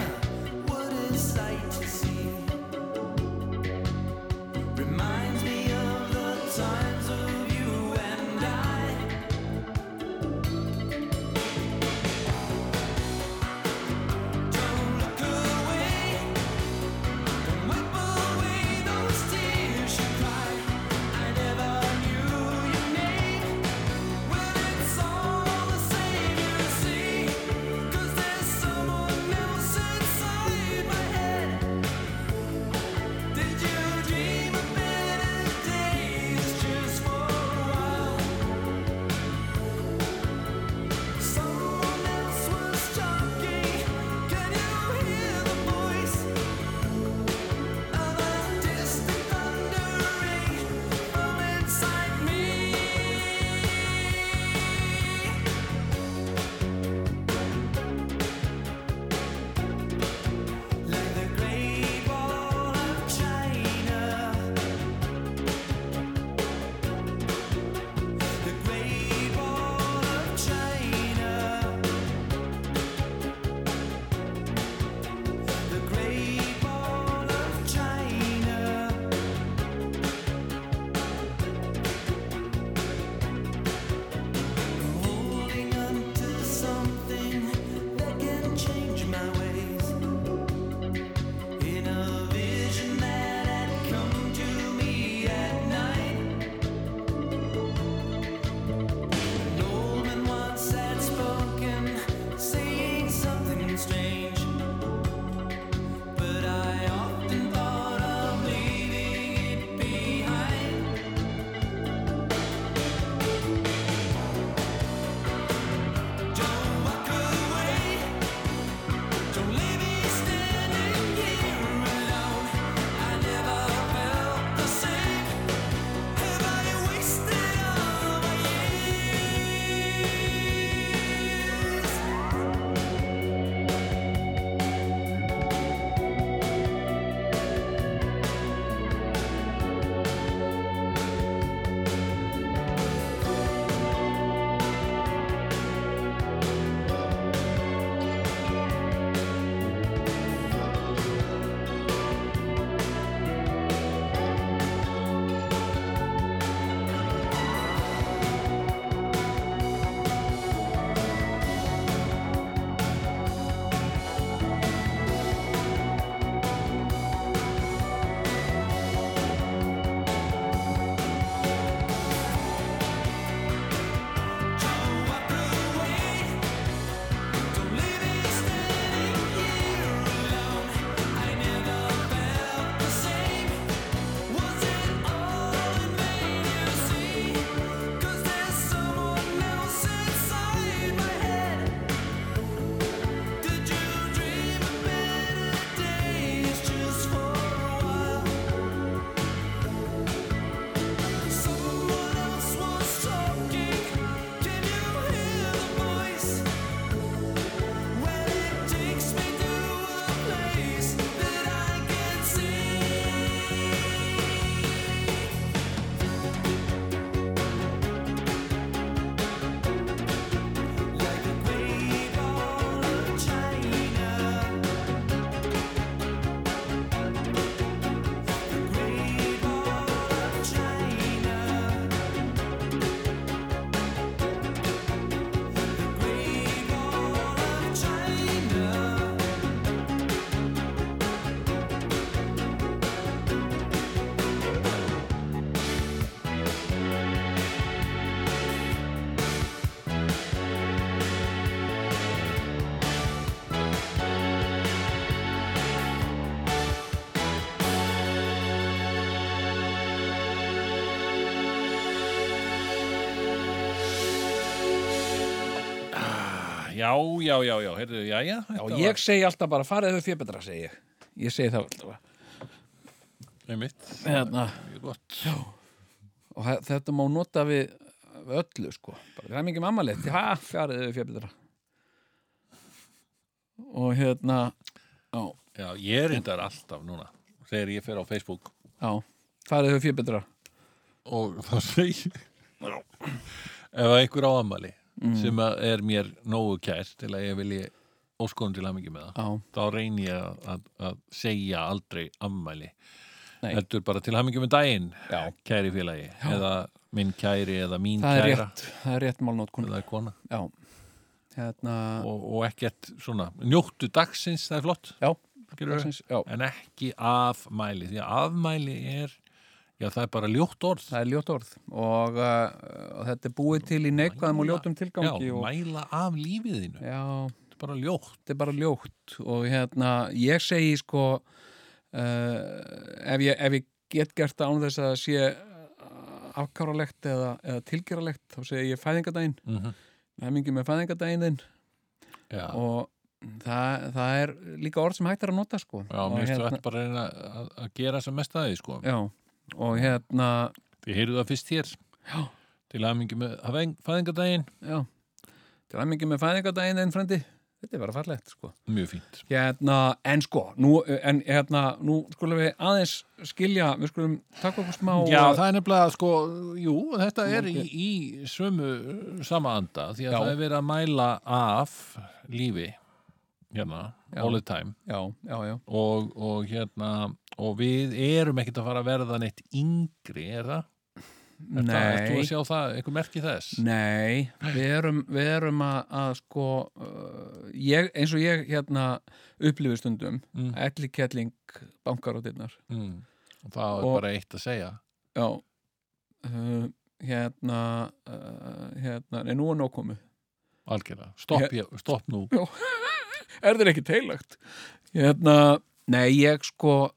A: já, já, já, já, heyrðu, já, já.
C: Já, ég segi alltaf bara farið þau þér betra, segi ég. Ég segi það alltaf.
A: Einmitt,
C: Hérna.
A: mjög gott.
C: Og þa- þetta má nota við öllu, sko. Bara, það er mikið mammalegt. Já, farið þau þér betra. Og hérna, já,
A: Já, ég er reyndar alltaf núna, þegar ég fer á Facebook
C: já, farið þau þér betra.
A: og þá segi ef að einhver á ammali sem að er mér nógu kært til að ég vilji óskonum til hamingi með það
C: Já,
A: þá reyni ég að, að, að segja aldrei ammæli
C: Nei.
A: heldur bara til hamingi með daginn
C: Já.
A: kæri félagi, eða minn kæri eða mín
C: það er
A: kæra
C: rétt, það er rétt málnótkun.
A: eða kona
C: Já, hérna,
A: og, og ekkert svona, njóttu dagsins það er flott,
C: já,
A: gerðu
C: dagsins, já.
A: en ekki afmæli, því að afmæli er já, það er bara ljótt orð
C: Það er ljótt orð og, uh, og þetta er búið til í neikvæðum og ljótum tilgangi
A: já,
C: og,
A: mæla af lífið þínu
C: já,
A: þetta er bara ljótt
C: þetta er bara ljótt og hérna, ég segi sko uh, ef, ég, ef ég get gert það án þess að það sé eh, afkáralegt eða, eða tilgeralegt þá segi ég fæðingadaginn
A: mm -hmm.
C: hemingi með fæðingadaginn þinn
A: já,
C: og það, það er líka orð sem hægt er að nota sko
A: já
C: og,
A: mér finnst
C: hérna,
A: þetta bara að reyna að, að gera sem mest aðeins sko
C: já, og hérna
A: ég heyrðu það fyrst hér
C: Já.
A: til aðmingi með hafeng- fæðingadaginn
C: já, til hemingi með fæðingadaginn þinn frendi þetta er bara farlegt sko
A: mjög fínt
C: Hérna, en sko, nú, en, hérna, nú skulum við aðeins skilja, við skulum taka okkur smá
A: Já,
C: eh,
A: það er nefnilega sko, jú, þetta er í, í sömu uh, sama anda því að
C: Já.
A: það er verið að mæla af lífi hérna,
C: Já.
A: all the time
C: já, já, já,
A: og, og hérna og við erum ekkert að fara að verða neitt yngri, er það? Er það, ert þú
C: nei,
A: að sjá það, einhver merki þess?
C: nei, við erum, við erum að, að sko, uh, ég, eins og ég, hérna, upplifið stundum,
A: Mm.
C: elli kettling bankar á dittnar,
A: Mm. Og Það er
C: Og-
A: bara eitt að segja
C: já, uh, hérna, uh, hérna, nei, nú er nóg komið.
A: algjörlega, stopp, ég, stopp nú
C: er þér ekki teilagt hérna, nei ég sko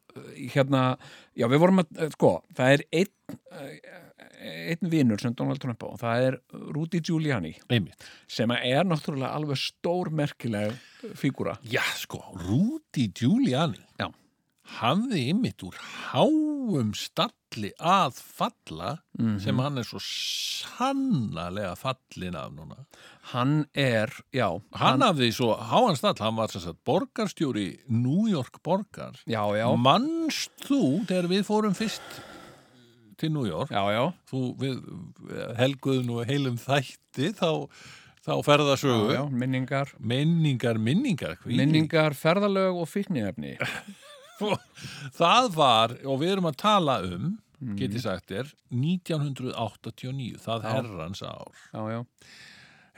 C: hérna, já við vorum að sko, það er einn uh, einn vinur sem Donald Trump á og það er Rudy Giuliani
A: einmitt.
C: sem að er náttúrulega alveg stórmerkileg fígúra
A: Já, sko, Rúdi Giuliani
C: Já.
A: hafði einmitt úr háum stalli að falla
C: Mhm.
A: sem hann er svo sannarlega fallin af núna.
C: hann er, já
A: Hann, hafði svo háan stall, hann var sem sagt borgarstjóri New York borgar.
C: já, já,
A: Manst þú þegar við fórum fyrst til New York?
C: já, já,
A: Þú, við helguðum nú heilum þætti þá, þá ferðasögu.
C: já, já minningar
A: Minningar, minningar hví?
C: minningar, ferðalög og fíknefni
A: Sko, Það var, og við erum að tala um geti sagt er 1989, það herrans ár
C: já, já,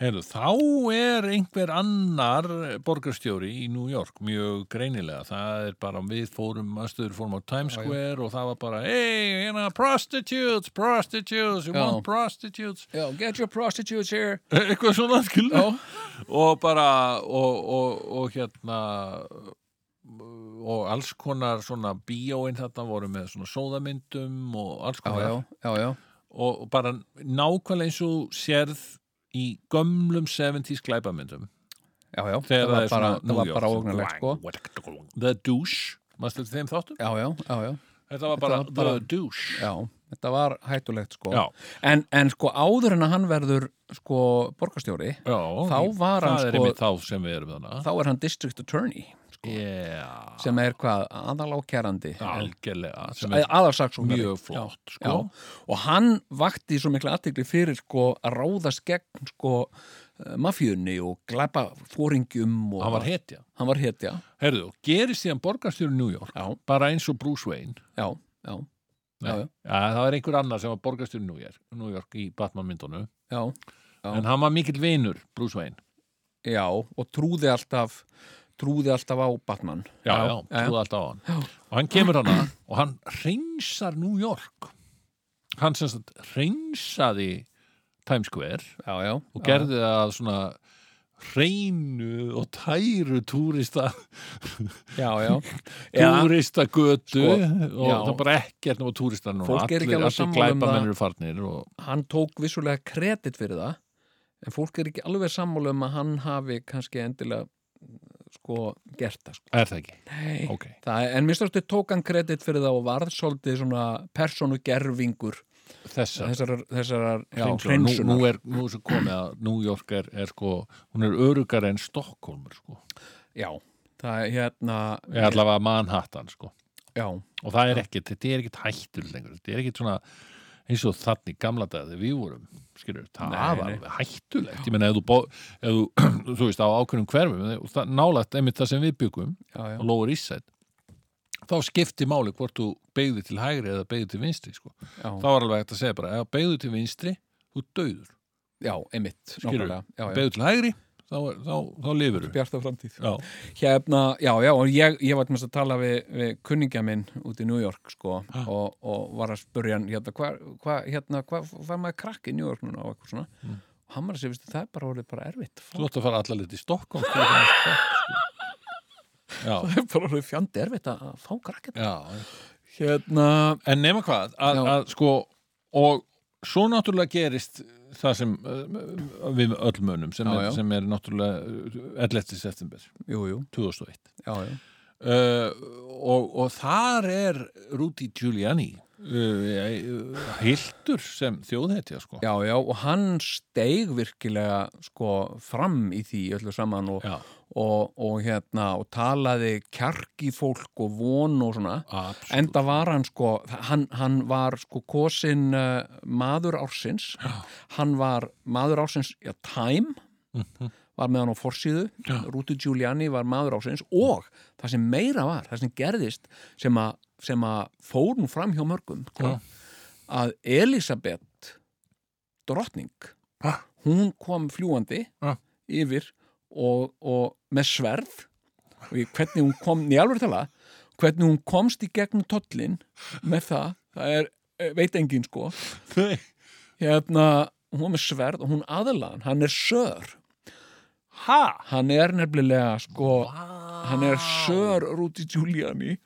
A: Heru, Þá er einhver annar borgarstjóri í New York mjög greinilega, það er bara við fórum, aðstöður fórum á Times Square og það var bara, hey, you know, prostitutes prostitutes, you
C: Já.
A: want prostitutes
C: já, get your prostitutes here
A: eitthvað svona skilur
C: Já.
A: og bara og, og, og hérna og alls konar svona bíóin þetta voru með svona sóðamyndum og alls
C: já,
A: konar
C: já, já, já,
A: og og bara nákvæmlega eins og sérð í gömlum 70s glæpamyndum
C: já, já
A: þegar það,
C: var
A: er
C: bara,
A: svona
C: það
A: New
C: var
A: York,
C: bara
A: svona
C: ógnarlegt sko
A: blang, The Douche, maður stöldið þeim þáttum
C: já, já, já, já
A: þetta var bara,
C: var bara-
A: The Douche
C: Já, þetta var hættulegt sko
A: Já.
C: en, en sko áður en að hann verður sko borgarstjóri
A: Já,
C: Þá var hann
A: það er
C: sko-
A: einmitt þá sem við erum sko. þannig
C: þá er hann district attorney
A: yeah,
C: sem er hvað aðalákerandi
A: algjörlega sem er
C: aðalsaksóknari
A: mjög flott
C: Já,
A: sko.
C: og hann vakti svo mikla aðtikli fyrir sko að ráðast gegn sko eh, mafíunni og glæpa fóringjum og
A: hann var hetja
C: hann var hetja
A: Herðu, gerist síðan borgarstjóri New York
C: já,
A: bara eins og Bruce Wayne
C: já, já, já, já,
A: ja, það var einhver annar sem var borgarstjóri New York, New York í Batman myndunum
C: já, Já.
A: en hann var mikill vinur, Bruce Wayne
C: já og trúði alltaf trúði alltaf á Batman
A: já, já,
C: já.
A: trúði alltaf á hann og hann kemur hana og hann reynsar New York hann sem sagt reynsaði Times Square
C: já, já,
A: og
C: já,
A: gerði það svona reynu og tæru túrista
C: já, já. Já,
A: túristagötu
C: Sko,
A: og
C: já.
A: það er bara ekkert nema túristar núna
C: Fólk er ekki
A: allir,
C: alveg
A: allir
C: sammála um
A: glæpa mennir farnir og
C: hann tók vissulega kredit fyrir það en fólk er ekki alveg sammála um að hann hafi kannski endilega mm, sko gert það sko.
A: Er það ekki?
C: Nei.
A: Ok.
C: Það, en minnstastu tók hann kredit fyrir það og varð svolítið svona persónugerfingur
A: Þessar.
C: þessarar, þessarar já,
A: Já, nú, nú
C: hreinsunar.
A: er, nú er svo komið að New York er, er sko, hún er örugar en Stokkólmur sko.
C: Já, það er hérna
A: Eða allavega Manhattan sko.
C: Já,
A: Og það er ekkit, þetta er ekkit hættur lengur. Þetta er ekkit svona eins og þannig gamla dag þegar við vorum, skilur, það
C: Nei,
A: var
C: nei.
A: alveg hættulegt. Ég meina, ef þú, bó, ef þú, þú veist, á ákveðnum hverfum, og það- nálægt einmitt það sem við byggum,
C: já, já,
A: og Lower East Side, þá skipti máli hvort þú beigði til hægri eða beigði til vinstri, sko.
C: já,
A: Þá var alveg hægt að segja bara, ef beigðu til vinstri, þú dauður.
C: já, einmitt
A: Skilurðu?
C: nákvæmlega. já, já.
A: beigðu til hægri, þá, er- þá, þá lifur þú.
G: bjarta framtíð
A: Já,
C: Hérna, já, já, og ég, ég var mest að tala við, við kunningja minn út í New York, sko, og, og var að spurja hann, hérna, hvað, hva, hérna, hvað var maður krakk í New York núna og eitthvað svona,
A: Mm.
C: og hann var að segja, veistu, það er bara orðið bara erfitt,
A: þú ætti að fara allar litið í Stokkólm. Sko. Já,
C: það er bara orðið fjandi erfitt að að fá krakkið.
A: já,
C: Hérna,
A: En nema hvað, að,
C: Já.
A: að sko og svo náttúrulega gerist það sem uh, við öll munum sem,
C: Já,
A: er,
C: já.
A: sem er náttúrulega 11. september
C: jú, jú,
A: 2001
C: já, já,
A: uh, og, og þar er Rudy Giuliani uh, hildur sem þjóðhetja sko
C: já, já, og hann steig virkilega, sko, fram í því öllu saman og,
A: Já.
C: og, og hérna, og talaði kjarki fólk og von og svona,
A: Absolutt.
C: Enda var hann sko, hann, hann var sko kosin uh, maður ársins, hann var maður ársins, já, Time, var með hann á forsíðu, Rúti Giuliani var maður ársins og það sem meira var, það sem gerðist, sem að, sem að fórun fram hjá mörgum, sko, að Elisabeth, drottning,
A: Ha?
C: hún kom fljúandi
A: Ha?
C: yfir og, og með sverð og ég, hvernig hún kom, ég alveg tala hvernig hún komst í gegnum tollin með það, það er eh, veit engin sko
A: Nei.
C: hérna, hún var með sverð og hún aðalaðan, hann er sör
A: Ha?
C: hann er nefnilega sko hann er sör Rúti Giuliani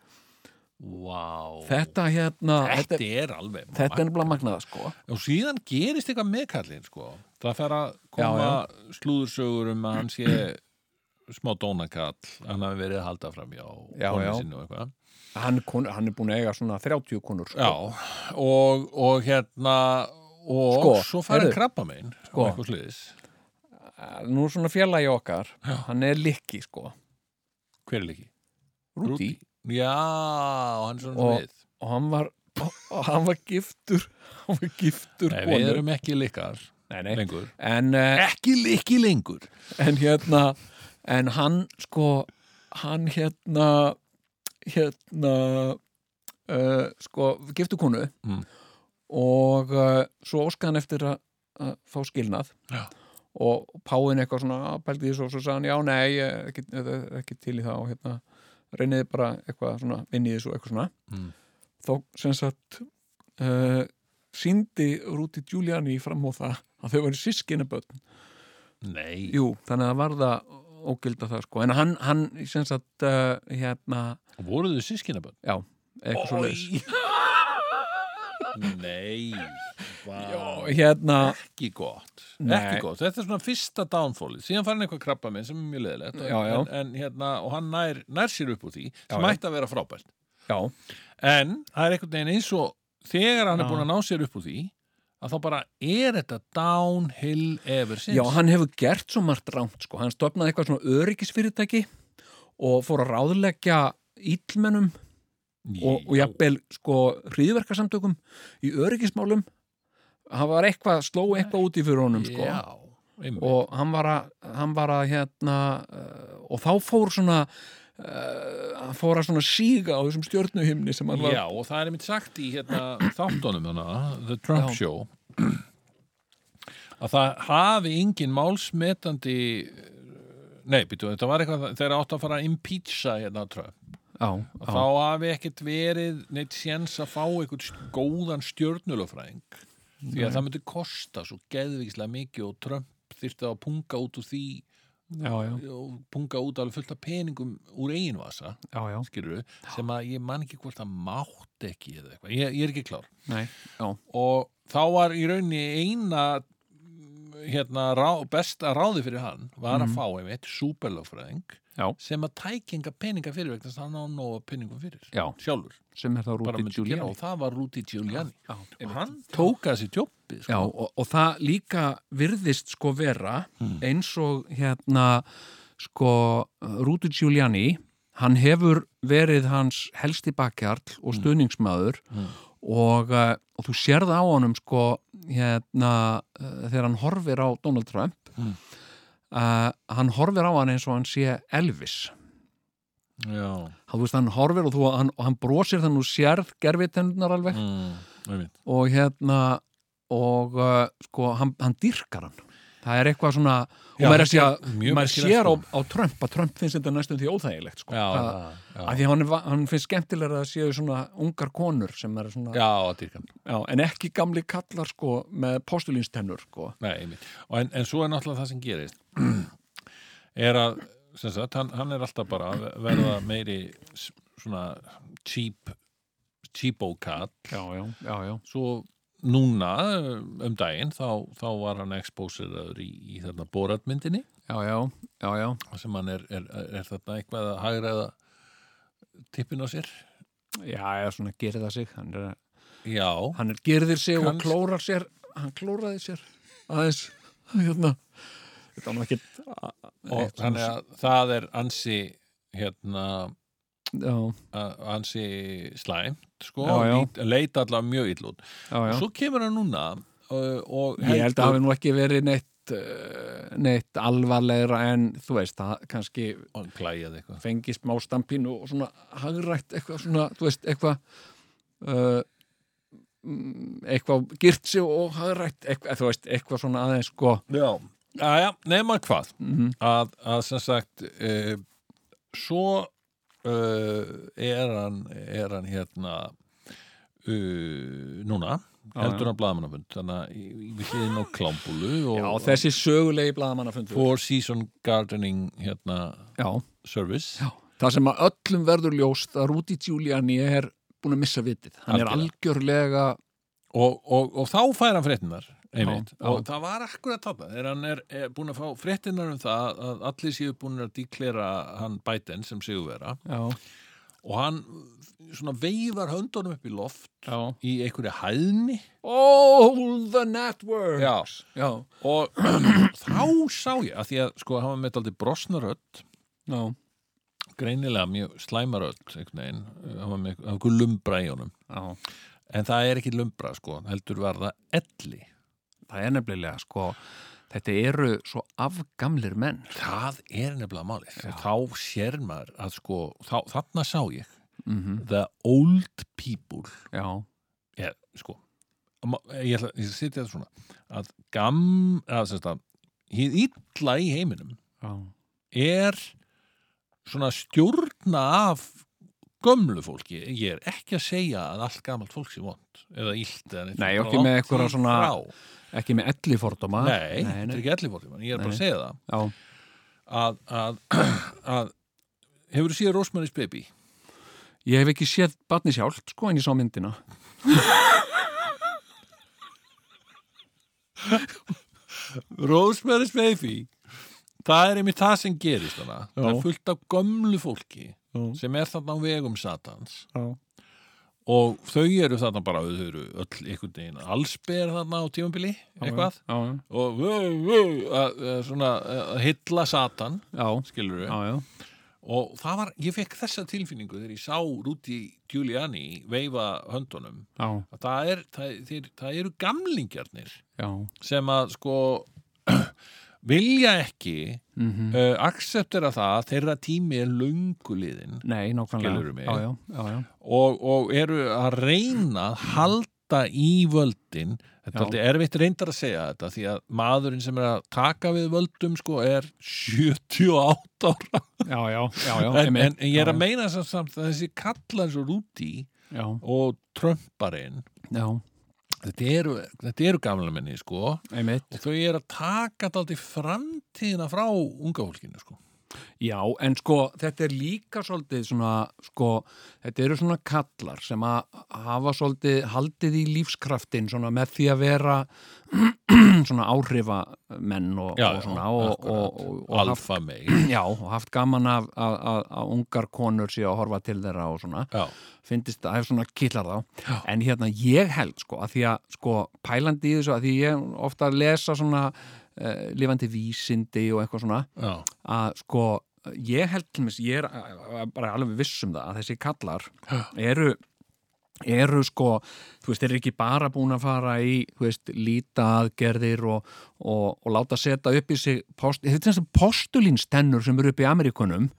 A: Vá
C: þetta hérna,
A: Þetta
C: þetta,
A: er alveg
C: þetta er nefnilega magnaða sko
A: og síðan gerist eitthvað með kallinn sko. það fer að koma slúðursögur um að hann sé smá dónakall, hann hafi verið að halda fram já,
C: Já, já.
A: og eitthvað
C: hann, er kon- hann er búin að eiga svona 30 konur sko.
A: já, og, og hérna og
C: Sko,
A: svo farið
C: heyrðu.
A: krabba megin
C: Sko.
A: eitthvað sliðis,
C: Eh, nú er svona félagi okkar hann er likki sko,
A: hver er líki?
C: Rúti
A: já, og hann er svona
C: Og-
A: og, við
C: og hann var og hann var giftur hann var giftur
A: Nei, við
C: konu.
A: erum ekki likar
C: nei, nei.
A: lengur
C: En, eh,
A: ekki liki lengur
C: en hérna en hann sko hann hérna hérna uh, sko giftu konu
A: Mm.
C: og uh, svo óskaði hann eftir að, að fá skilnað
A: Já.
C: og páin eitthvað svona "Ah, pældi því svo, svo sagði hann já nei ég er ekki, ég er ekki til í það og hérna reyniði bara eitthvað svona inn í þessu eitthvað svona
A: Mm.
C: þó sem sagt uh, síndi Rúti Giuliani fram á það að þau varu sískinaböld
A: nei,
C: Jú, þannig að varða ógilda það sko, en hann, hann sem sagt, uh, hérna
A: voruðu sískinabönd?
C: já, eitthvað svo leis
A: nei vá
C: hérna,
A: ekki gott,
C: Nei.
A: ekki gott þetta er svona fyrsta downfallið, síðan fær hann eitthvað krabba minn sem er mjög leðilegt
C: Já, já.
A: En, en, hérna, og hann nær, nær sér upp úr því sem
C: já.
A: ætti að vera frábært
C: já,
A: en það er einhvern veginn eins og þegar hann
C: Já.
A: er búin að ná sér upp úr því að þá bara er þetta downhill ever since
C: já, hann hefur gert svo margt rámt sko, hann stofnaði eitthvað svona öryggisfyrirtæki og fór að ráðleggja ítlmennum og, og jafnvel sko hriðverkasamtökum í öryggismálum hann var eitthvað, sló eitthvað út í fyrir honum sko
A: já, einmitt.
C: og hann var að, hann var að hérna, uh, og þá fór svona uh, hann fór að svona síga á þessum stjörnuhimni sem hann var
A: já, og það er einmitt sagt í hérna, þáttunum hana, The Trump
C: Já.
A: Show að það hafi engin málsmetandi nei, býtu, þetta var eitthvað þegar átt að fara að impeacha hérna Trump,
C: já,
A: að þá hafi ekkert verið neitt séns að fá einhvern st- góðan stjörnulofræðing því að það myndi kosta svo geðvíkslega mikið og Trump þyrfti að punga út úr því
C: já, já,
A: og punga út alveg fullt af peningum úr eiginvasa
C: já, já.
A: skilur sem að ég man ekki hvort það mátt ekki eða eitthvað, ég, ég er ekki klár
C: Nei, já,
A: og þá var í rauninni eina hérna, rá, besta ráði fyrir hann var að fá einmitt súperlögfræðing
C: Mhm. Já.
A: sem að tækinga peninga fyrir vegna þess að hann á nóga peningum fyrir
C: Já.
A: sjálfur,
C: sem er þá
A: bara
C: Rúti
A: myndi gera
C: Giuliani
A: og það var Rúti Giuliani
C: Já,
A: og hann tók að sér tjópi sko.
C: Já, og, og það líka virðist sko vera eins og hérna sko Rúti Giuliani hann hefur verið hans helsti bakkjarl og stuðningsmaður og, eh, og þú sérð á honum sko hérna eh, þegar hann horfir á Donald Trump mm. hann horfir á hann eins og hann sé Elvis
A: Já.
C: hann, veist, hann horfir og, þú, hann, og hann brosir þannig og sérð gerfitendunar alveg
A: Mm, einmitt.
C: og hérna og uh, sko, hann, hann dyrkar hann það er eitthvað svona og
A: Já,
C: maður, er að
A: þetta er
C: segja-
A: mjög
C: maður
A: merkilegt,
C: sér á,
A: sko.
C: á Trump að Trump finnst þetta næstum því óþægilegt sko.
A: Já,
C: það,
A: já,
C: að því að hann, er va- hann finnst skemmtilega að séu svona ungar konur sem er svona
A: já, að dýrka hann.
C: Já, en ekki gamli kallar sko með postulínstennur sko.
A: Nei, einmitt. Og en, en svo er náttúrulega það sem gerist er að sem sagt, hann, hann er alltaf bara að verða meiri s- svona cheap cheapo cat
C: já, já, já, já.
A: svo núna eh, um daginn þá, þá var hann exposeraður í, í þarna boratmyndinni
C: Já, já, já, já.
A: sem hann er, er, er þarna eitthvað að hagraða tippin á sér
C: Já, já, svona gerða sig. Hann er,
A: já,
C: hann er gerðir sig og
A: Kannst-
C: klórar sér. Hann klóraði sér aðeins. Hérna. Þetta var nú ekki...
A: og þannig að það er ansi hérna
C: Já,
A: a- ansi slæmt sko,
C: Já, já.
A: lít- leit allavega mjög ill út
C: já, já.
A: svo kemur hann núna uh, og
C: Ég held að það hafi nú ekki verið neitt, eh, neitt alvarlegra en þú veist, það kannski
A: hann klæjaði eitthvað
C: fengi smá stampínu og svona hagrætt eitthvað svona, þú veist, eitthvað uh, mm, eitthvað girt sig og hagrætt eitthvað, þú veist, eitthvað svona aðeins sko mhm.
A: Já, Aja, nema hvað að, að sem sagt e, svo e, er hann er hann hérna e, núna heldur hann blaðamannafund þannig að í- í- við hliðin á klámbúlu og
C: Já, þessi sögulegi blaðamannafundur
A: Four Season Gardening hérna,
C: Já,
A: Service
C: já, það sem að öllum verður ljóst að Rúti Giuliani er búin að missa vitið, hann er algjörlega
A: og, og, og þá fær hann fréttinar einmitt,
C: Já, já.
A: og það var akkurat þarna þegar hann er, er búin að fá fréttinar um það að allir séu búin að deklera hann Biden sem sigurvera
C: Já,
A: og hann svona veifar höndunum upp í loft
C: já
A: í einhverju hæðni
C: All the network
A: Já.
C: já,
A: og þá sá ég að því að sko hann var með aldrei brosnarödd
C: já,
A: greinilega mjög slæmarödd einhvern veginn, Eh, hann var með einhver- einhver lumbra í honum
C: já.
A: en það er ekki lumbra sko, heldur var það elli
C: það er nefnilega sko þetta eru svo afgamlir menn
A: það er nefnilega málið og þá sér maður að sko þá, þarna sá ég
C: mm -hmm.
A: the old people
C: já,
A: ég, sko ma- ég ætla ég sitja þetta svona að gam, að sem sagt hýð illa í heiminum
C: já,
A: er svona stjórna af gömlu fólki ég er ekki að segja að allt gamalt fólk sé vond eða illt eða neitt.
C: Nei,
A: Bara
C: ekki með
A: langt
C: einhverja
A: því
C: svona-
A: frá.
C: ekki með elli fordóma
A: nei,
C: nei,
A: þetta er
C: nei.
A: ekki allir fólki ég er bara
C: Nei.
A: að segja það
C: Já.
A: að, að, að hefur þú séð Rosemary's Baby
C: ég hef ekki séð barni sjálft sko en ég sá myndina
A: Rosemary's Baby það er einmitt það sem gerist þarna það er fullt af gömlu fólki sem er þarna á vegum satans
C: já,
A: og þau eru þarna bara þau eru öll einhvern veginn allsber þarna á tímabili eitthvað
C: já, já,
A: og vö, vö, að, að svona að hylla satan
C: já,
A: skilur við
C: já, já.
A: og það var, ég fekk þessa tilfinningu þegar ég sá Rúti Giuliani veifa höndunum
C: já,
A: að það, er, það, þeir, það eru gamlingjarnir
C: já.
A: sem að sko vilja ekki
C: Mm -hmm.
A: uh, akseptera það að þeirra tími er lönguliðin
C: nei, nákvæmlega
A: Skilurðu mig?
C: já, já, já, já.
A: og, og eru að reyna að halda í völdin þetta
C: Já.
A: er alltaf erfitt reyndar að segja þetta því að maðurinn sem er að taka við völdum sko er 78 ára
C: já, já, já, já
A: en, en,
C: einmitt.
A: en ég er að
C: Já,
A: meina samt, samt að þessi kallar svo rúti
C: já,
A: og trömparinn
C: já,
A: þetta eru, þetta eru gamla menni sko
C: einmitt
A: og þau eru að taka þetta alltaf framtíðina frá unga fólkinu sko
C: Já, en sko, þetta er líka svolítið svona, sko, þetta eru svona kallar sem að hafa svolítið haldið í lífskraftin svona með því að vera svona áhrifamenn og,
A: Já,
C: og svona
A: já,
C: og,
A: akkurat.
C: og, og, og haft,
A: alfa mig
C: já, og haft gaman af að- að að ungar konur sé að horfa til þeirra og svona
A: já,
C: finnist að það er svona killar þá en hérna ég held sko að því að sko pælandi í þessu að því ég ofta að lesa svona uh, lifandi vísindi og eitthvað svona
A: já,
C: að sko ég held til mér, ég er eh, bara alveg viss um það að þessi kallar eru eru sko, þú veist, þeir eru ekki bara búin að fara í, þú veist, líta aðgerðir og, og, og láta setja upp í sig post, þetta er sem postulínstennur sem eru upp í Ameríkunum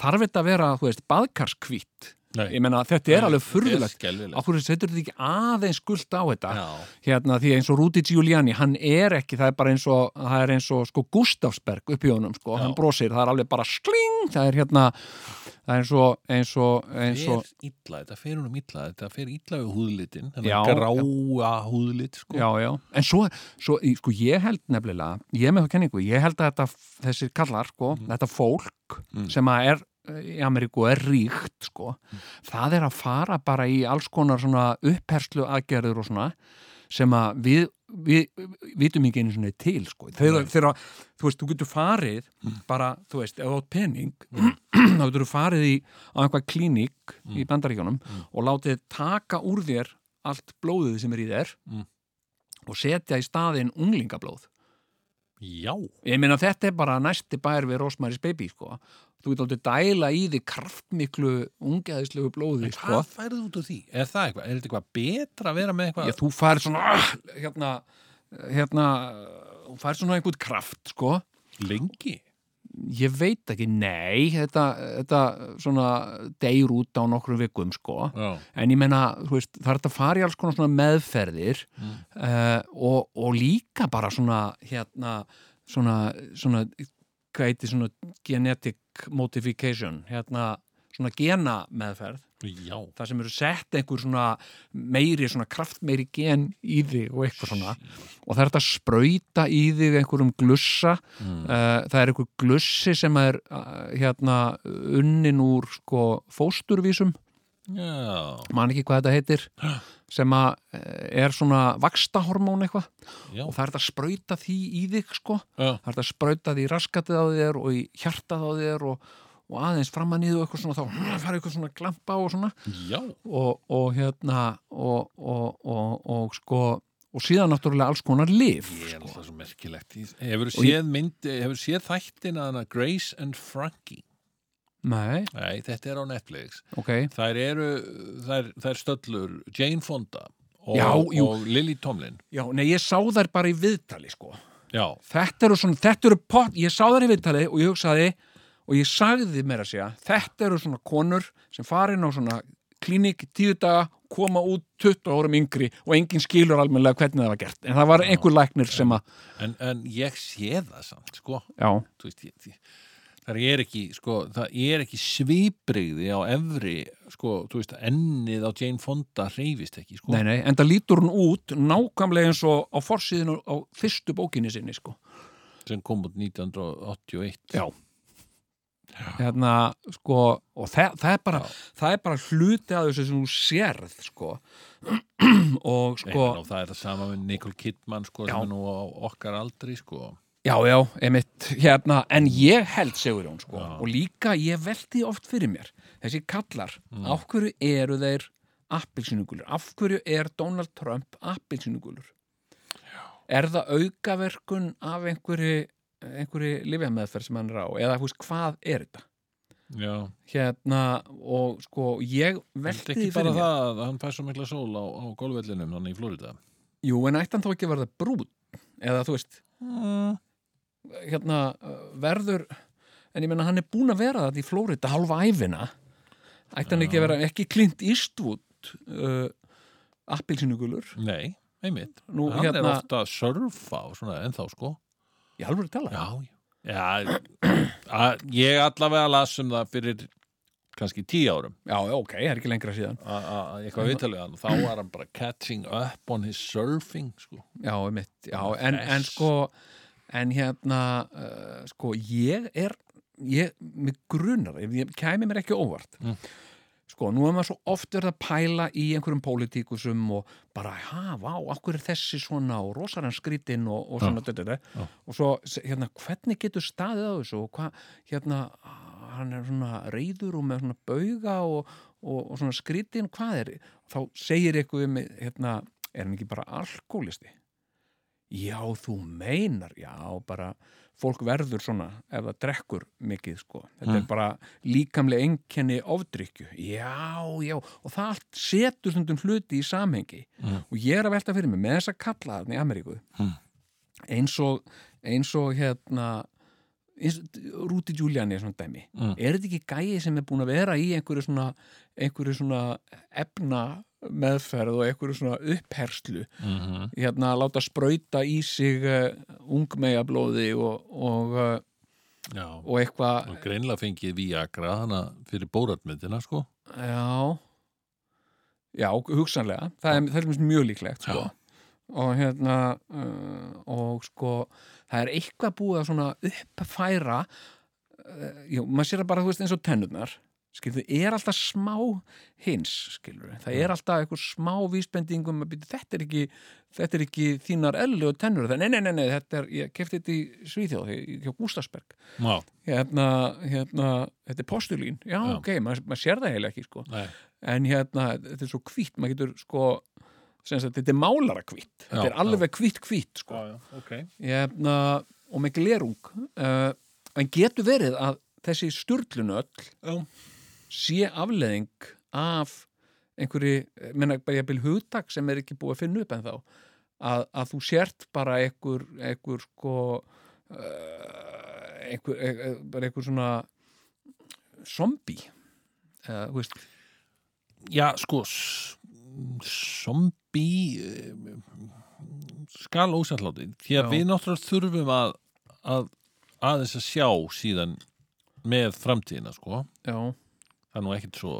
C: þarf þetta að vera, þú veist, baðkarskvít
A: Nei.
C: ég meina, þetta er alveg
A: Þetta
C: furðulegt
A: er skelfilegt.
C: af hverju setur þetta ekki aðeins skulda á þetta
A: Já.
C: hérna, því eins og Rúti Giuliani, hann er ekki það er bara eins og, það er eins og sko Gustafsberg upp í honum, sko, hann brosir það er alveg bara sling, það er hérna það er eins og, eins og, eins
A: fer
C: og
A: illa, þetta fer húnum illa þetta fer illa við húðlitin
C: Já.
A: þennan gráa húðlit sko.
C: já, já, en svo, svo í- sko, ég held nefnilega, ég er með það kenningu ég held að þetta, þessir kallar, sko þetta fólk sem að er eh, í Ameríku er ríkt, sko það er að fara bara í alls konar svona uppherslu aðgerður og svona sem að við við vitum ekki einu svona til sko. þegar, þegar að, þú veist, þú getur farið bara, þú veist, ef þú átt pening þá getur þú farið í á einhvað klínik í bandaríkjónum og látið taka úr þér allt blóðið sem er í þér
A: Mm.
C: og setja í staðin unglingablóð
A: já,
C: ég meina þetta er bara næsti bær við Rosmaris Baby, sko þú getur aldrei dæla í því kraftmiklu ungeðislegu blóði, sko
A: hvað færðu út úr því? er það eitthvað, er þetta eitthvað betra að vera með eitthvað
C: Já, þú fær svona ah, hérna, hérna þú fær svona einhvern kraft, sko
A: lengi?
C: Ég veit ekki, nei, þetta, þetta svona deyr út á nokkrum vikum sko.
A: já,
C: En ég meina, þú veist, það er þetta að fara í alls konar svona meðferðir eh, og, og líka bara svona, hérna, svona, svona, hvað heiti svona genetic modification, hérna, svona genameðferð
A: já,
C: það sem eru sett einhver svona meiri, svona kraftmeiri gen í þig og eitthvað svona og það er þetta að sprauta í þig einhverjum glussa Eh, það er einhver glussi sem er eh, hérna unnin úr sko fósturvísum
A: já,
C: man ekki hvað þetta heitir sem að eh, er svona vakstahormón eitthvað
A: já.
C: og það er þetta að sprauta því í þig sko
A: Já.
C: það er þetta að sprauta því í raskatið á þér og í hjartað á þér og, og aðeins framan í þig og eitthvað svona þá hm, fara eitthvað svona glampa og svona
A: já.
C: og, og hérna og, og, og, og sko og síðan náttúrulega alls konar lif
A: Ég er
C: sko.
A: alltaf svo merkilegt í þessu. Hefur séð, mynd, hefur séð þættin að hana Grace and Frankie?
C: Nei,
A: Nei, þetta er á Netflix.
C: ok,
A: Þær eru, þær, þær stöllur Jane Fonda og,
C: Já, jú.
A: og Lily Tomlin.
C: já, nei, ég sá þær bara í viðtali sko,
A: Já,
C: þetta eru svona þetta eru pott, ég sá þær í viðtali og ég hugsaði og ég sagði mér að segja þetta eru svona konur sem farin á svona klínik í tíu daga koma út 20 árum yngri og enginn skilur almennilega hvernig það var gert en það var einhver læknir sem að
A: en, en ég sé það samt, sko.
C: já,
A: Þú veist, ég, ég, það er ekki, sko, það er ekki svipriði á efri, sko, þú veist, ennið á Jane Fonda hreyfist ekki, sko.
C: nei, nei, en það lítur hún út nákvæmlega eins og á forsýðinu á fyrstu bókinni sinni sko
A: Sem kom út 1981.
C: Já. hérna, sko, og það, það, er bara, það er bara hluti að þessu sem þú sérð, sko og
A: Nei,
C: sko,
A: menn, og það er það sama með Nicole Kidman sko, sem
C: Já.
A: er nú á okkar aldri sko.
C: já, já, emitt hérna, en ég held Sigurjón, sko og líka, ég velti oft fyrir mér þessi kallar,
A: Mm.
C: af hverju eru þeir appilsinugulur, af hverju er Donald Trump appilsinugulur er það aukaverkun af einhverju einhverju lifjameðferð sem hann er á eða þú veist, hvað er þetta?
A: Já,
C: hérna og sko ég
A: Velti
C: velti
A: ekki
C: því fyrir
A: bara
C: mér
A: það að hann fær svo mikla sól á, á golfvellinum hann í Florida
C: jú en ætti hann þá ekki að verða brún eða þú veist Mm, hérna uh, verður en ég menna hann er búin að vera það í Flórida halva æfina ætti hann ekki að vera ekki klint ístvút uh, appilsinugulur
A: Nei, einmitt
C: Nú,
A: Hann er
C: hérna-
A: ofta að surfa og svona ennþá sko
C: ég halvur að tala
A: Já, já, að, Ég allavega las um það fyrir kannski tíu árum
C: já, já, ok, það er ekki lengra síðan
A: að- að að eitthvað viðtalið hann þá var hann bara catching up on his surfing sko.
C: já, mitt, já, en, en
A: Þess.
C: sko en hérna uh, sko ég er ég, mig grunar, ef ég kæmi mér ekki á óvart sko, nú er maður svo oft verið að pæla í einhverjum pólitíkusum og bara, ha, vá, akkur er þessi svona og rosarann skrítinn og, og svona þetta, þetta. og svo, s- hérna, hvernig getur staðið á þessu og hvað, hérna hann er svona reyður og með svona bauga og, og, og svona skrítinn hvað er, þá segir eitthvað um, hérna, er hann ekki bara alkoholisti já, þú meinar já, bara, fólk verður svona ef það drekkur mikið sko. þetta er bara líkamlega einkenni ofdrykju, já, já og það allt setur stundum hluti í samhengi og ég er að velta fyrir mig með þess að kalla þarna í Ameríku eins og eins og hérna eins, Rúti Giuliani er svona dæmi
A: Mm,
C: er þetta ekki gæi sem er búin að vera í einhverju svona, einhverju svona efna meðferð og einhverju svona uppherslu
A: mhm.
C: hérna að láta sprauta í sig uh, ungmeja blóði og, og, uh,
A: Já,
C: og eitthvað
A: og greinlega fengið Viagra hana fyrir bóratmyndina, sko.
C: Já Já, hugsanlega Það er, það er til dæmis mjög líklegt sko. og hérna uh, og sko, það er eitthvað búið að svona uppfæra uh, jú, maður sér það bara, þú veist, eins og tennurnar skilur, er alltaf smá hins, skilur, það er alltaf eitthvað smá vísbendingum, að byrja, þetta er ekki þetta er ekki þínar ellu og tennur það, nei, nei, nei, nei, þetta er, ég kefti þetta í Svíþjóð, í- hjá Gústasberg
A: Já,
C: hérna, hérna, þetta er postulín já,
A: Já.
C: ok, maður mað sér það heila ekki sko.
A: nei,
C: en hérna, þetta er svo hvítt maður getur sko sem sagt, þetta er málara hvítt, þetta
A: Já,
C: er alveg hvítt hvítt sko,
A: já, ok.
C: hérna og með glerung uh, en getur verið að þessi sturlunöll
A: Já.
C: sé afleðing af einhverju, eh, menna bara ég hugtak sem er ekki búið að finna upp en þá að, að þú sért bara einhver, einhver sko eh, einhver, einhver, bara einhver svona zombie eða, þú veist
A: Já, sko, s- zombi eh, skal ósætláti. Því að
C: Já.
A: við náttúrulega þurfum að, að aðeins að sjá síðan með framtíðina, sko.
C: já
A: Það er nú ekkert svo,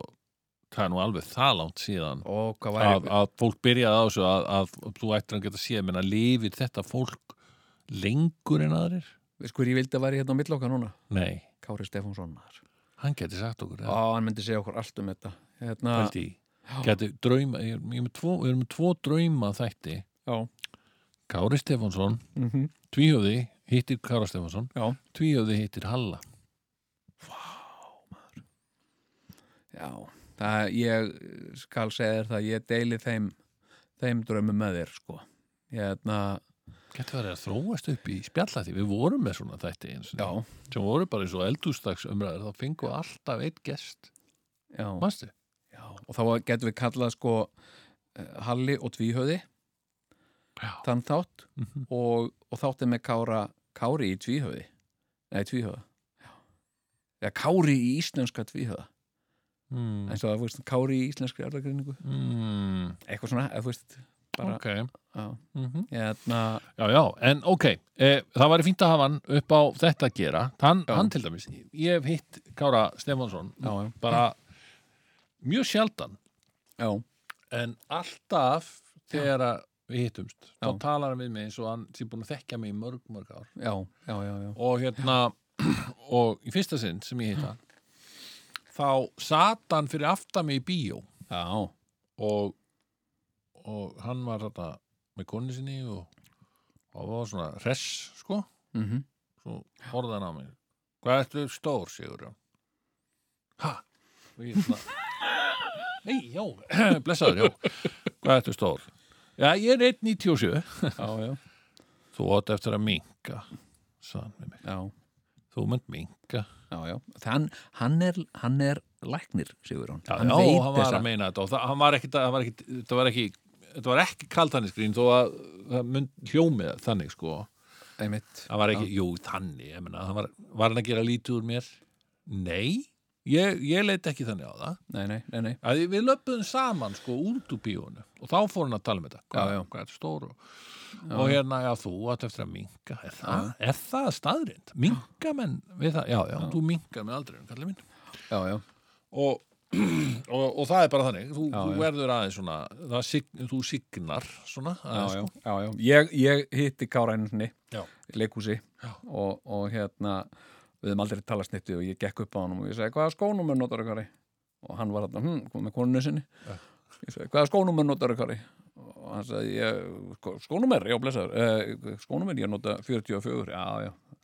A: það er nú alveg það langt síðan
C: Ó, hvað væri
A: að, að fólk byrjaði á þessu að, að þú ættir að geta séð, menna, lifir þetta fólk lengur en aðrir?
C: Veist hver ég vildi að væri hérna á millokkar núna?
A: Nei,
C: Kári Stefánsson maður.
A: hann geti sagt okkur
C: Á,
A: það.
C: hann myndi segja okkur allt um þetta. Hérna,
A: Pældi í. Gæti drauma, ég, ég, er með tvo, við erum með tvo drauma þætti.
C: já,
A: Kári Stefánsson,
C: mm
A: tvíhjóði hittir Kára Stefánsson,
C: já,
A: tvíhjóði hittir Halla.
C: já. Það, ég skal segja þér það, ég deili þeim, þeim draumum með þér, sko. Hérna,
A: Gæti verið að þróast upp í spjalla því við vorum með svona þætti eins
C: já,
A: og sem voru bara eins og eldústags umræður, þá fengum við alltaf eitt gest.
C: já,
A: Manstu?
C: já. Og þá getum við kallað, sko, eh, Halli og Tvíhöði,
A: Já.
C: þann þátt,
A: Mhm.
C: og, og þáttið með Kára, Kári í Tvíhöði. Nei, Tvíhöða. Já, já Kári í íslenska Tvíhöða.
A: Mm.
C: eins og það, þú veist, Kári í íslenskri erðagreiningu
A: Mm.
C: eitthvað svona, eða þú veist bara,
A: Ok.
C: já,
A: Mm
C: hérna,
A: Já, já, en ok, e, það væri fínt að hafa hann upp á þetta að gera, hann,
C: Já.
A: hann til dæmis, ég hef hitt Kára Stefánsson
C: Já, já.
A: bara mjög sjaldan,
C: já,
A: en alltaf þegar að við hittumst, þá
C: Já.
A: talar hann við mig eins og hann sé búin að þekkja mig í mörg, mörg ár
C: já, já, já, já.
A: og hérna, og í fyrsta sinn sem ég hitt hann, þá sat hann fyrir aftan mig í bíó
C: já,
A: og, og hann var þetta með konni sinni og, og hann var svona hress, sko
C: mhm
A: svo horfði hann á mig hvað ertu stór, Sigurjón? ha? og ég svona nei, já, blessaður, já hvað ertu stór? já, ég er 1.97
C: já, já,
A: þú átt eftir að minka sann með mig,
C: já,
A: þú mynd minka
C: já, já þann, hann er, hann er læknir, sigur hún
A: já,
C: hann
A: já, hann var
C: þessa-
A: að meina þetta og það, hann var ekki, það var ekki, það var ekki þetta var ekki kaltanisgrín þó að það mynd hljómið þannig sko
C: einmitt,
A: það var ekki, jú, þannig, ég meina það var, var hann að gera lítið úr mér? nei, ég, ég leit ekki þannig á það
C: nei, nei, nei, nei
A: að við löpum saman sko út úr bíónu og þá fór hann að tala með þetta hvað,
C: Já, já.
A: hvað er stóru og hérna, já, þú átt eftir að minka er það, er það staðrind? minka menn við það, já, já, þú minkar með aldrei kallið minn
C: já, já,
A: og, og, og það er bara þannig þú,
C: Já,
A: þú
C: já.
A: verður aðeins svona það, sig- þú signar svona
C: já,
A: aðeins,
C: já,
A: sko.
C: já, já. Ég, ég hitti Kára henni
A: Já.
C: leikúsi
A: Já.
C: og, og hérna
H: við höfum aldrei talað snitti og ég gekk upp á hann og ég segi hvaða skónum er notar ykkur í?" og hann var þarna, hm, kom með konunni sinni ég segi hvaða skónum er notar ykkur í?" og hann sagði "Ég- skónum er, já blessaður eh, skónum er, ég nota 44 já, já,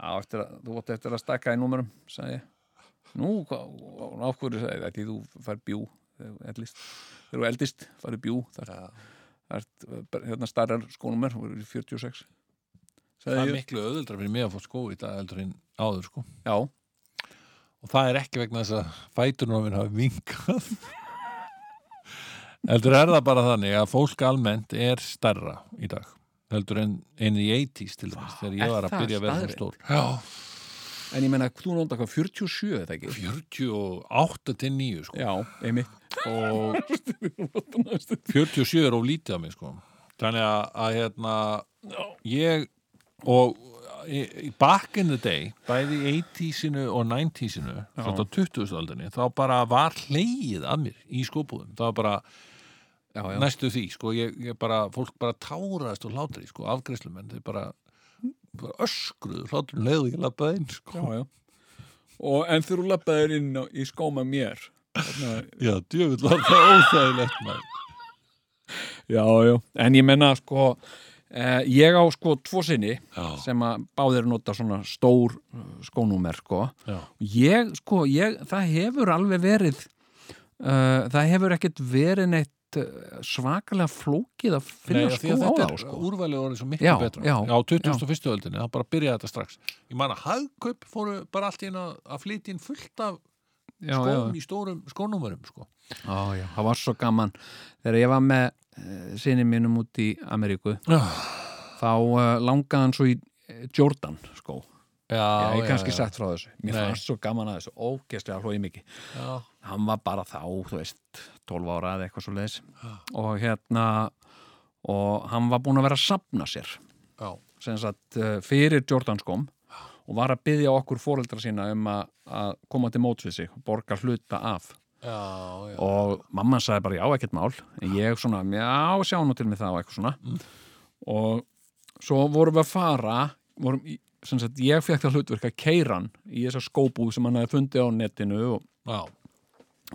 H: já eftir að, þú átt eftir að stakka í númerum, sagði ég nú, hvað, af hverju sagði ég "Af því þú fær bjú þegar þú eldist, þegar þú eldist farið bjú þar, þar, hérna starrar skónum er, 46
A: það er
H: sagði ég,
A: miklu öðuldra fyrir mig að fá skó í dag eldur en áður sko
H: já
A: og það er ekki vegna þess að fæturnum minn hafi vinkað heldur er það bara þannig að fólk almennt er stærra í dag heldur en, en í 80s til þess þegar
H: er
A: ég var að
H: það
A: byrja að vera svona
H: staðreynd?
A: stór já,
H: En ég meina, þú nóndar hvað, 47 eða ekki?
A: 48 til 9 sko
H: Já, einmitt.
A: og 47 er of lítið af mig sko þannig að, að hérna ég og í- í back in the day bæði í 80-sinu og 90-sinu þetta 20-aldinni, þá bara var hlegið að mér í skóbúðum það var bara
H: Já, já.
A: næstu því sko, ég, ég bara, fólk bara táraðist og hlátri, sko, afgreislumenn þeir bara, bara öskruðu hlátur leiðu ég labbaði inn sko
C: já. Og, en þegar þú lappaður inn á, í skóma mér þarna-
A: já, djöfull var það óþægilegt maður
C: Já, já, en ég menna sko eh, ég á sko tvo sinni
A: já,
C: sem að báðir nota svona stór skónúmer sko
A: já,
C: ég sko, ég, það hefur alveg verið uh, það hefur ekkert verið neitt uh, svakalega flókið að
A: Nei,
C: finna
A: af því
C: skó
A: að
C: á
A: þetta
C: þá
A: er
C: sko
A: úrvalið orðið svo miklu
C: Já,
A: betra
C: já,
A: á 21. öldinni, það bara byrjaði þetta strax ég man að hagkaup fóru bara allt í einu að- að flytja inn fullt af
C: já, já,
A: skóum í stórum skónúmurum sko.
C: já, já, það var svo gaman þegar ég var með uh, sinni mínum út í Ameríku
A: já,
C: þá uh, langaði hann svo í eh, Jordan skó, já,
A: já,
C: ég hef kannski
A: já.
C: sagt frá þessu mér
A: Nei.
C: fannst svo gaman að þessu, ógeðslega hlóið mikið
A: já,
C: hann var bara þá, þú veist 12 ára eða eitthvað svo leiðis og hérna og hann var búin að vera að sapna sér
A: já,
C: sem sagt eh, fyrir Jordanskóm og var að byggja okkur fóreldra sína um að, að koma til móts við sig borga hluta af
A: já, já.
C: og mamma sagði bara já, ekkert mál en ég svona, já, sjá nú til mig það og eitthvað svona og svo vorum við að fara vorum, í- sem sagt, ég fekk það hlutverk að keiran í þessa skóbúð sem hann hafi fundið á netinu og
A: já.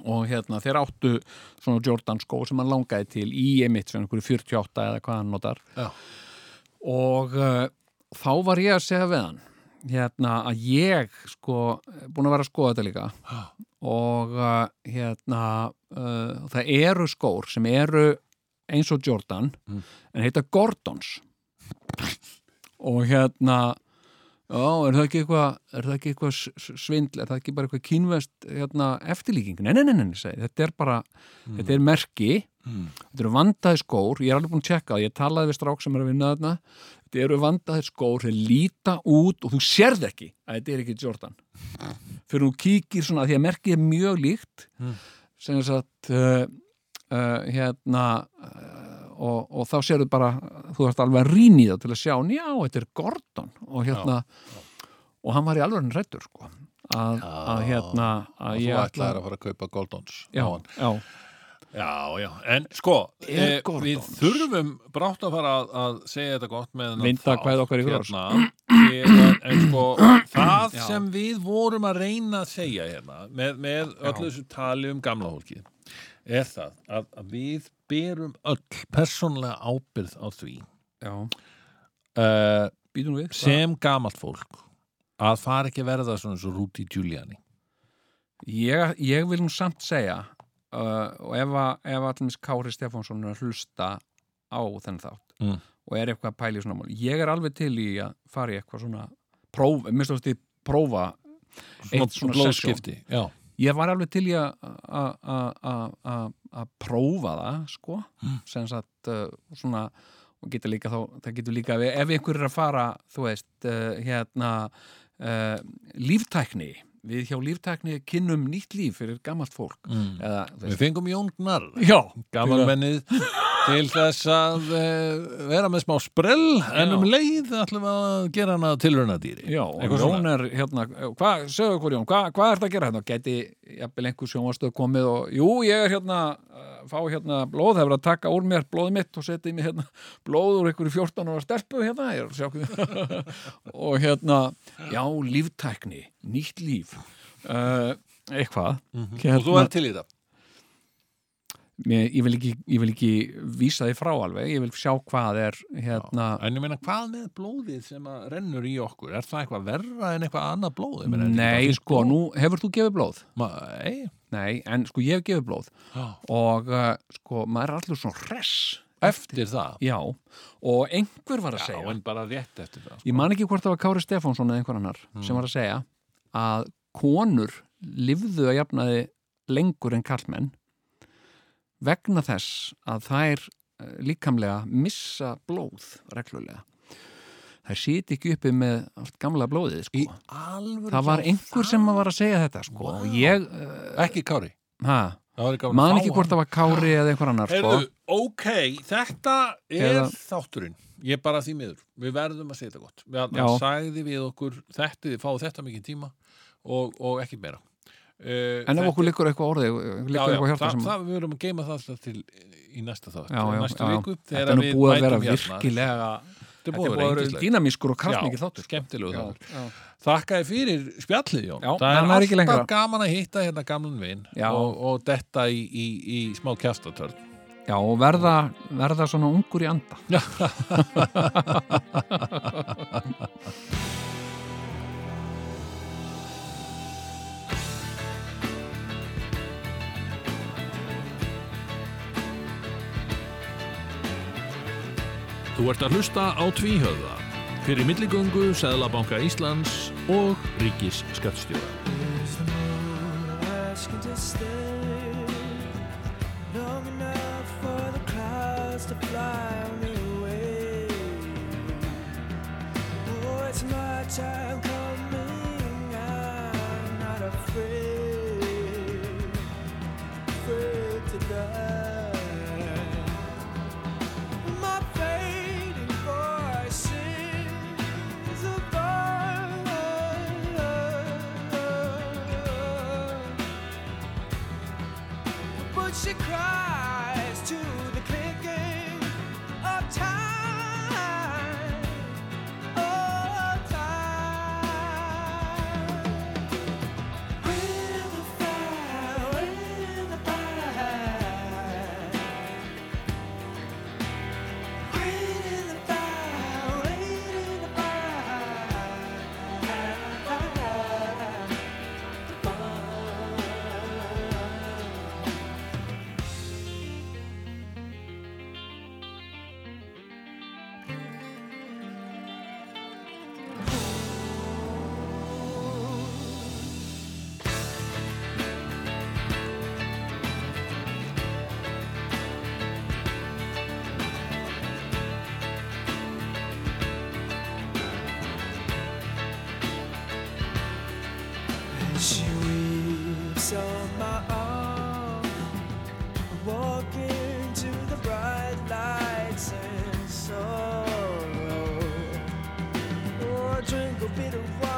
C: og hérna þeir áttu svona Jordan skó sem hann langaði til í emitt svona einhverju 48 eða hvað hann notar
A: Já.
C: og uh, þá var ég að segja við hann hérna að ég sko búin að vera að skoða þetta líka
A: Já.
C: og uh, hérna uh, það eru skór sem eru eins og Jordan en heita Gordons og hérna já, er það ekki eitthvað er það ekki eitthvað s- s- svindl er það ekki bara eitthvað kínvest hérna, eftirlíking nei, nei, nei, nei, nei, segi, ég. þetta er bara þetta er merki,
A: Mm.
C: þetta eru vandaði skór ég er alveg búin að tjekka það, ég talaði við strák sem er að vinna þarna, þetta eru vandaði skór þeir líta út og þú sérð ekki að þetta er ekki Jordan fyrir þú kíkir svona, því að merkið er mjög líkt
A: Mm.
C: sem þess að uh, uh, hérna uh, og, og þá sérðu bara þú þarft alveg að rýna í það til að sjá já, þetta er Gordon og hérna og hann var í alveg hrættur sko að, að hérna
A: og
C: að
A: þú
C: ég
A: ætlaðir að fara að kaupa Goldons
C: já,
A: á hann.
C: já,
A: já, já, en sko
C: Er
A: eh, við
C: Gordons?
A: þurfum brátt að fara að, að segja þetta gott með þennan
C: Vinda
A: þátt
C: hvað okkar í fjós.
A: hérna, Þegar- en sko það sem við vorum að reyna að segja hérna með, með öllu þessu tali um gamla hólkið er það að, að við berum öll persónlega ábyrð á því
C: já,
A: uh,
C: býtum við
A: sem gamalt fólk að fara ekki að verða svona svo Rúti Giuliani
C: ég, ég vil nú samt segja uh, og ef, að- ef allmins Kári Stefánsson er að hlusta á þenn þátt
A: Mm.
C: og er eitthvað að pæla í svona mál ég er alveg til í að fara í eitthvað svona próf, minnst ástu prófa eitt svona sesjón.
A: blóðskipti já,
C: ég var alveg til í að- að að- að- að- að prófa það sko, sem sagt uh, svona, og getur líka þá, það getur líka, ef einhver er að fara þú veist, uh, hérna uh, líftækni við hjá líftækni kynnum nýtt líf fyrir gamalt fólk
A: Mm.
C: eða, þú
A: við
C: veist,
A: fengum Jón Gnarr
C: já,
A: gamanmennið til þess að uh, vera með smá sprell en
C: Já.
A: um leið ætlum við að gera hana tilraunadýri
C: Já, og
A: Eitthvað
C: Jón
A: svona.
C: er hérna, hvað, segðu okkur Jón, hvað, hvað er þetta að gera hérna? Geti, jafnvel einhver sjónvastöð komið og, jú, ég er hérna uh, fá hérna blóð, það er verið að taka úr mér blóð mitt og setja í mig hérna blóð úr einhverju 14 ára stelpu hérna ég er að sjá hvernig- og hérna já, líftækni, nýtt líf uh, eitthvað
A: Mhm.
C: hérna,
A: og þú er til í það
C: mér, ég, vil ekki, ég vil ekki vísa því frá alveg, ég vil sjá hvað er hérna,
A: En ég meina, hvað með blóðið sem að rennur í okkur? Er það eitthvað verra en eitthvað annað blóð? Ég meina, er þetta ekki
C: nei
A: bara fínt
C: sko,
A: blóð?
C: nú hefur þú gefið blóð
A: Ma, ei,
C: nei, en sko ég hef gefið blóð
A: Já.
C: og uh, sko, maður er allur svona hress
A: eftir það
C: Já, og einhver var að segja
A: en bara rétt eftir það
C: Ég man ekki hvort það sko. var Kári Stefánsson eða einhver annar
A: Mm.
C: sem var að segja að konur lifðu að jafnaði lengur en kallmenn vegna þess að þær eh, líkamlega missa blóð reglulega. Þær sýti ekki uppi með allt gamla blóðið sko.
A: alvöru
C: það var
A: hjá
C: einhver
A: það?
C: sem var að segja þetta sko. og ég, uh,
A: Ekki Kári
C: ha,
A: Það var ekki gaman að
C: man
A: fá
C: ekki
A: hann.
C: hvort það var Kári eða einhver annar sko.
A: Heyrðu, ok, þetta er
C: Eða-
A: þátturinn Ég bara því miður, við verðum að segja þetta gott Við
C: Já.
A: hann sagði við okkur þetta, þið fáið þetta mikið tíma og, og ekki meira uh,
C: En ef okkur liggur eitthvað orðið, liggur eitthvað hjarta
A: það,
C: sem...
A: það, við verum að geima það alltaf til í næsta þátt
C: já, já,
A: næstu
C: já, já.
A: viku
C: þetta er nú
A: við
C: búið að vera
A: mætum hérna.
C: virkilega
A: Þetta er
C: þetta
A: búið að
C: er búið að
A: vera
C: vera
A: yndislegt.
C: dýnamískur og kraftmikið
A: Já,
C: þáttur sko.
A: skemmtilegur
C: Já,
A: þáttur
C: já.
A: Þakka þér fyrir spjallið Jón
C: Já,
A: Það er
C: það er
A: alltaf
C: ekki lengra.
A: gaman að hitta hérna gamlan vin
C: Já.
A: og, og detta í, í, í smá kjastatörn
C: já, og verða, verða svona ungur í anda
B: Þú ert að hlusta á tvíhöða fyrir milligöngu Seðlabanka Íslands og Ríkis skattstjóra.
F: Is the moon asking to stay long enough for the clouds to fly me away? Oh, it's my time coming. I'm not afraid, afraid to die. My fading voice sings a bird, but she cries to the clicking of time. Oh, time. When the fire, when the fire. She weeps on my arm. Walk into the bright lights and sorrow. Or Oh, drink a bit of wine. Oh, Oh, oh.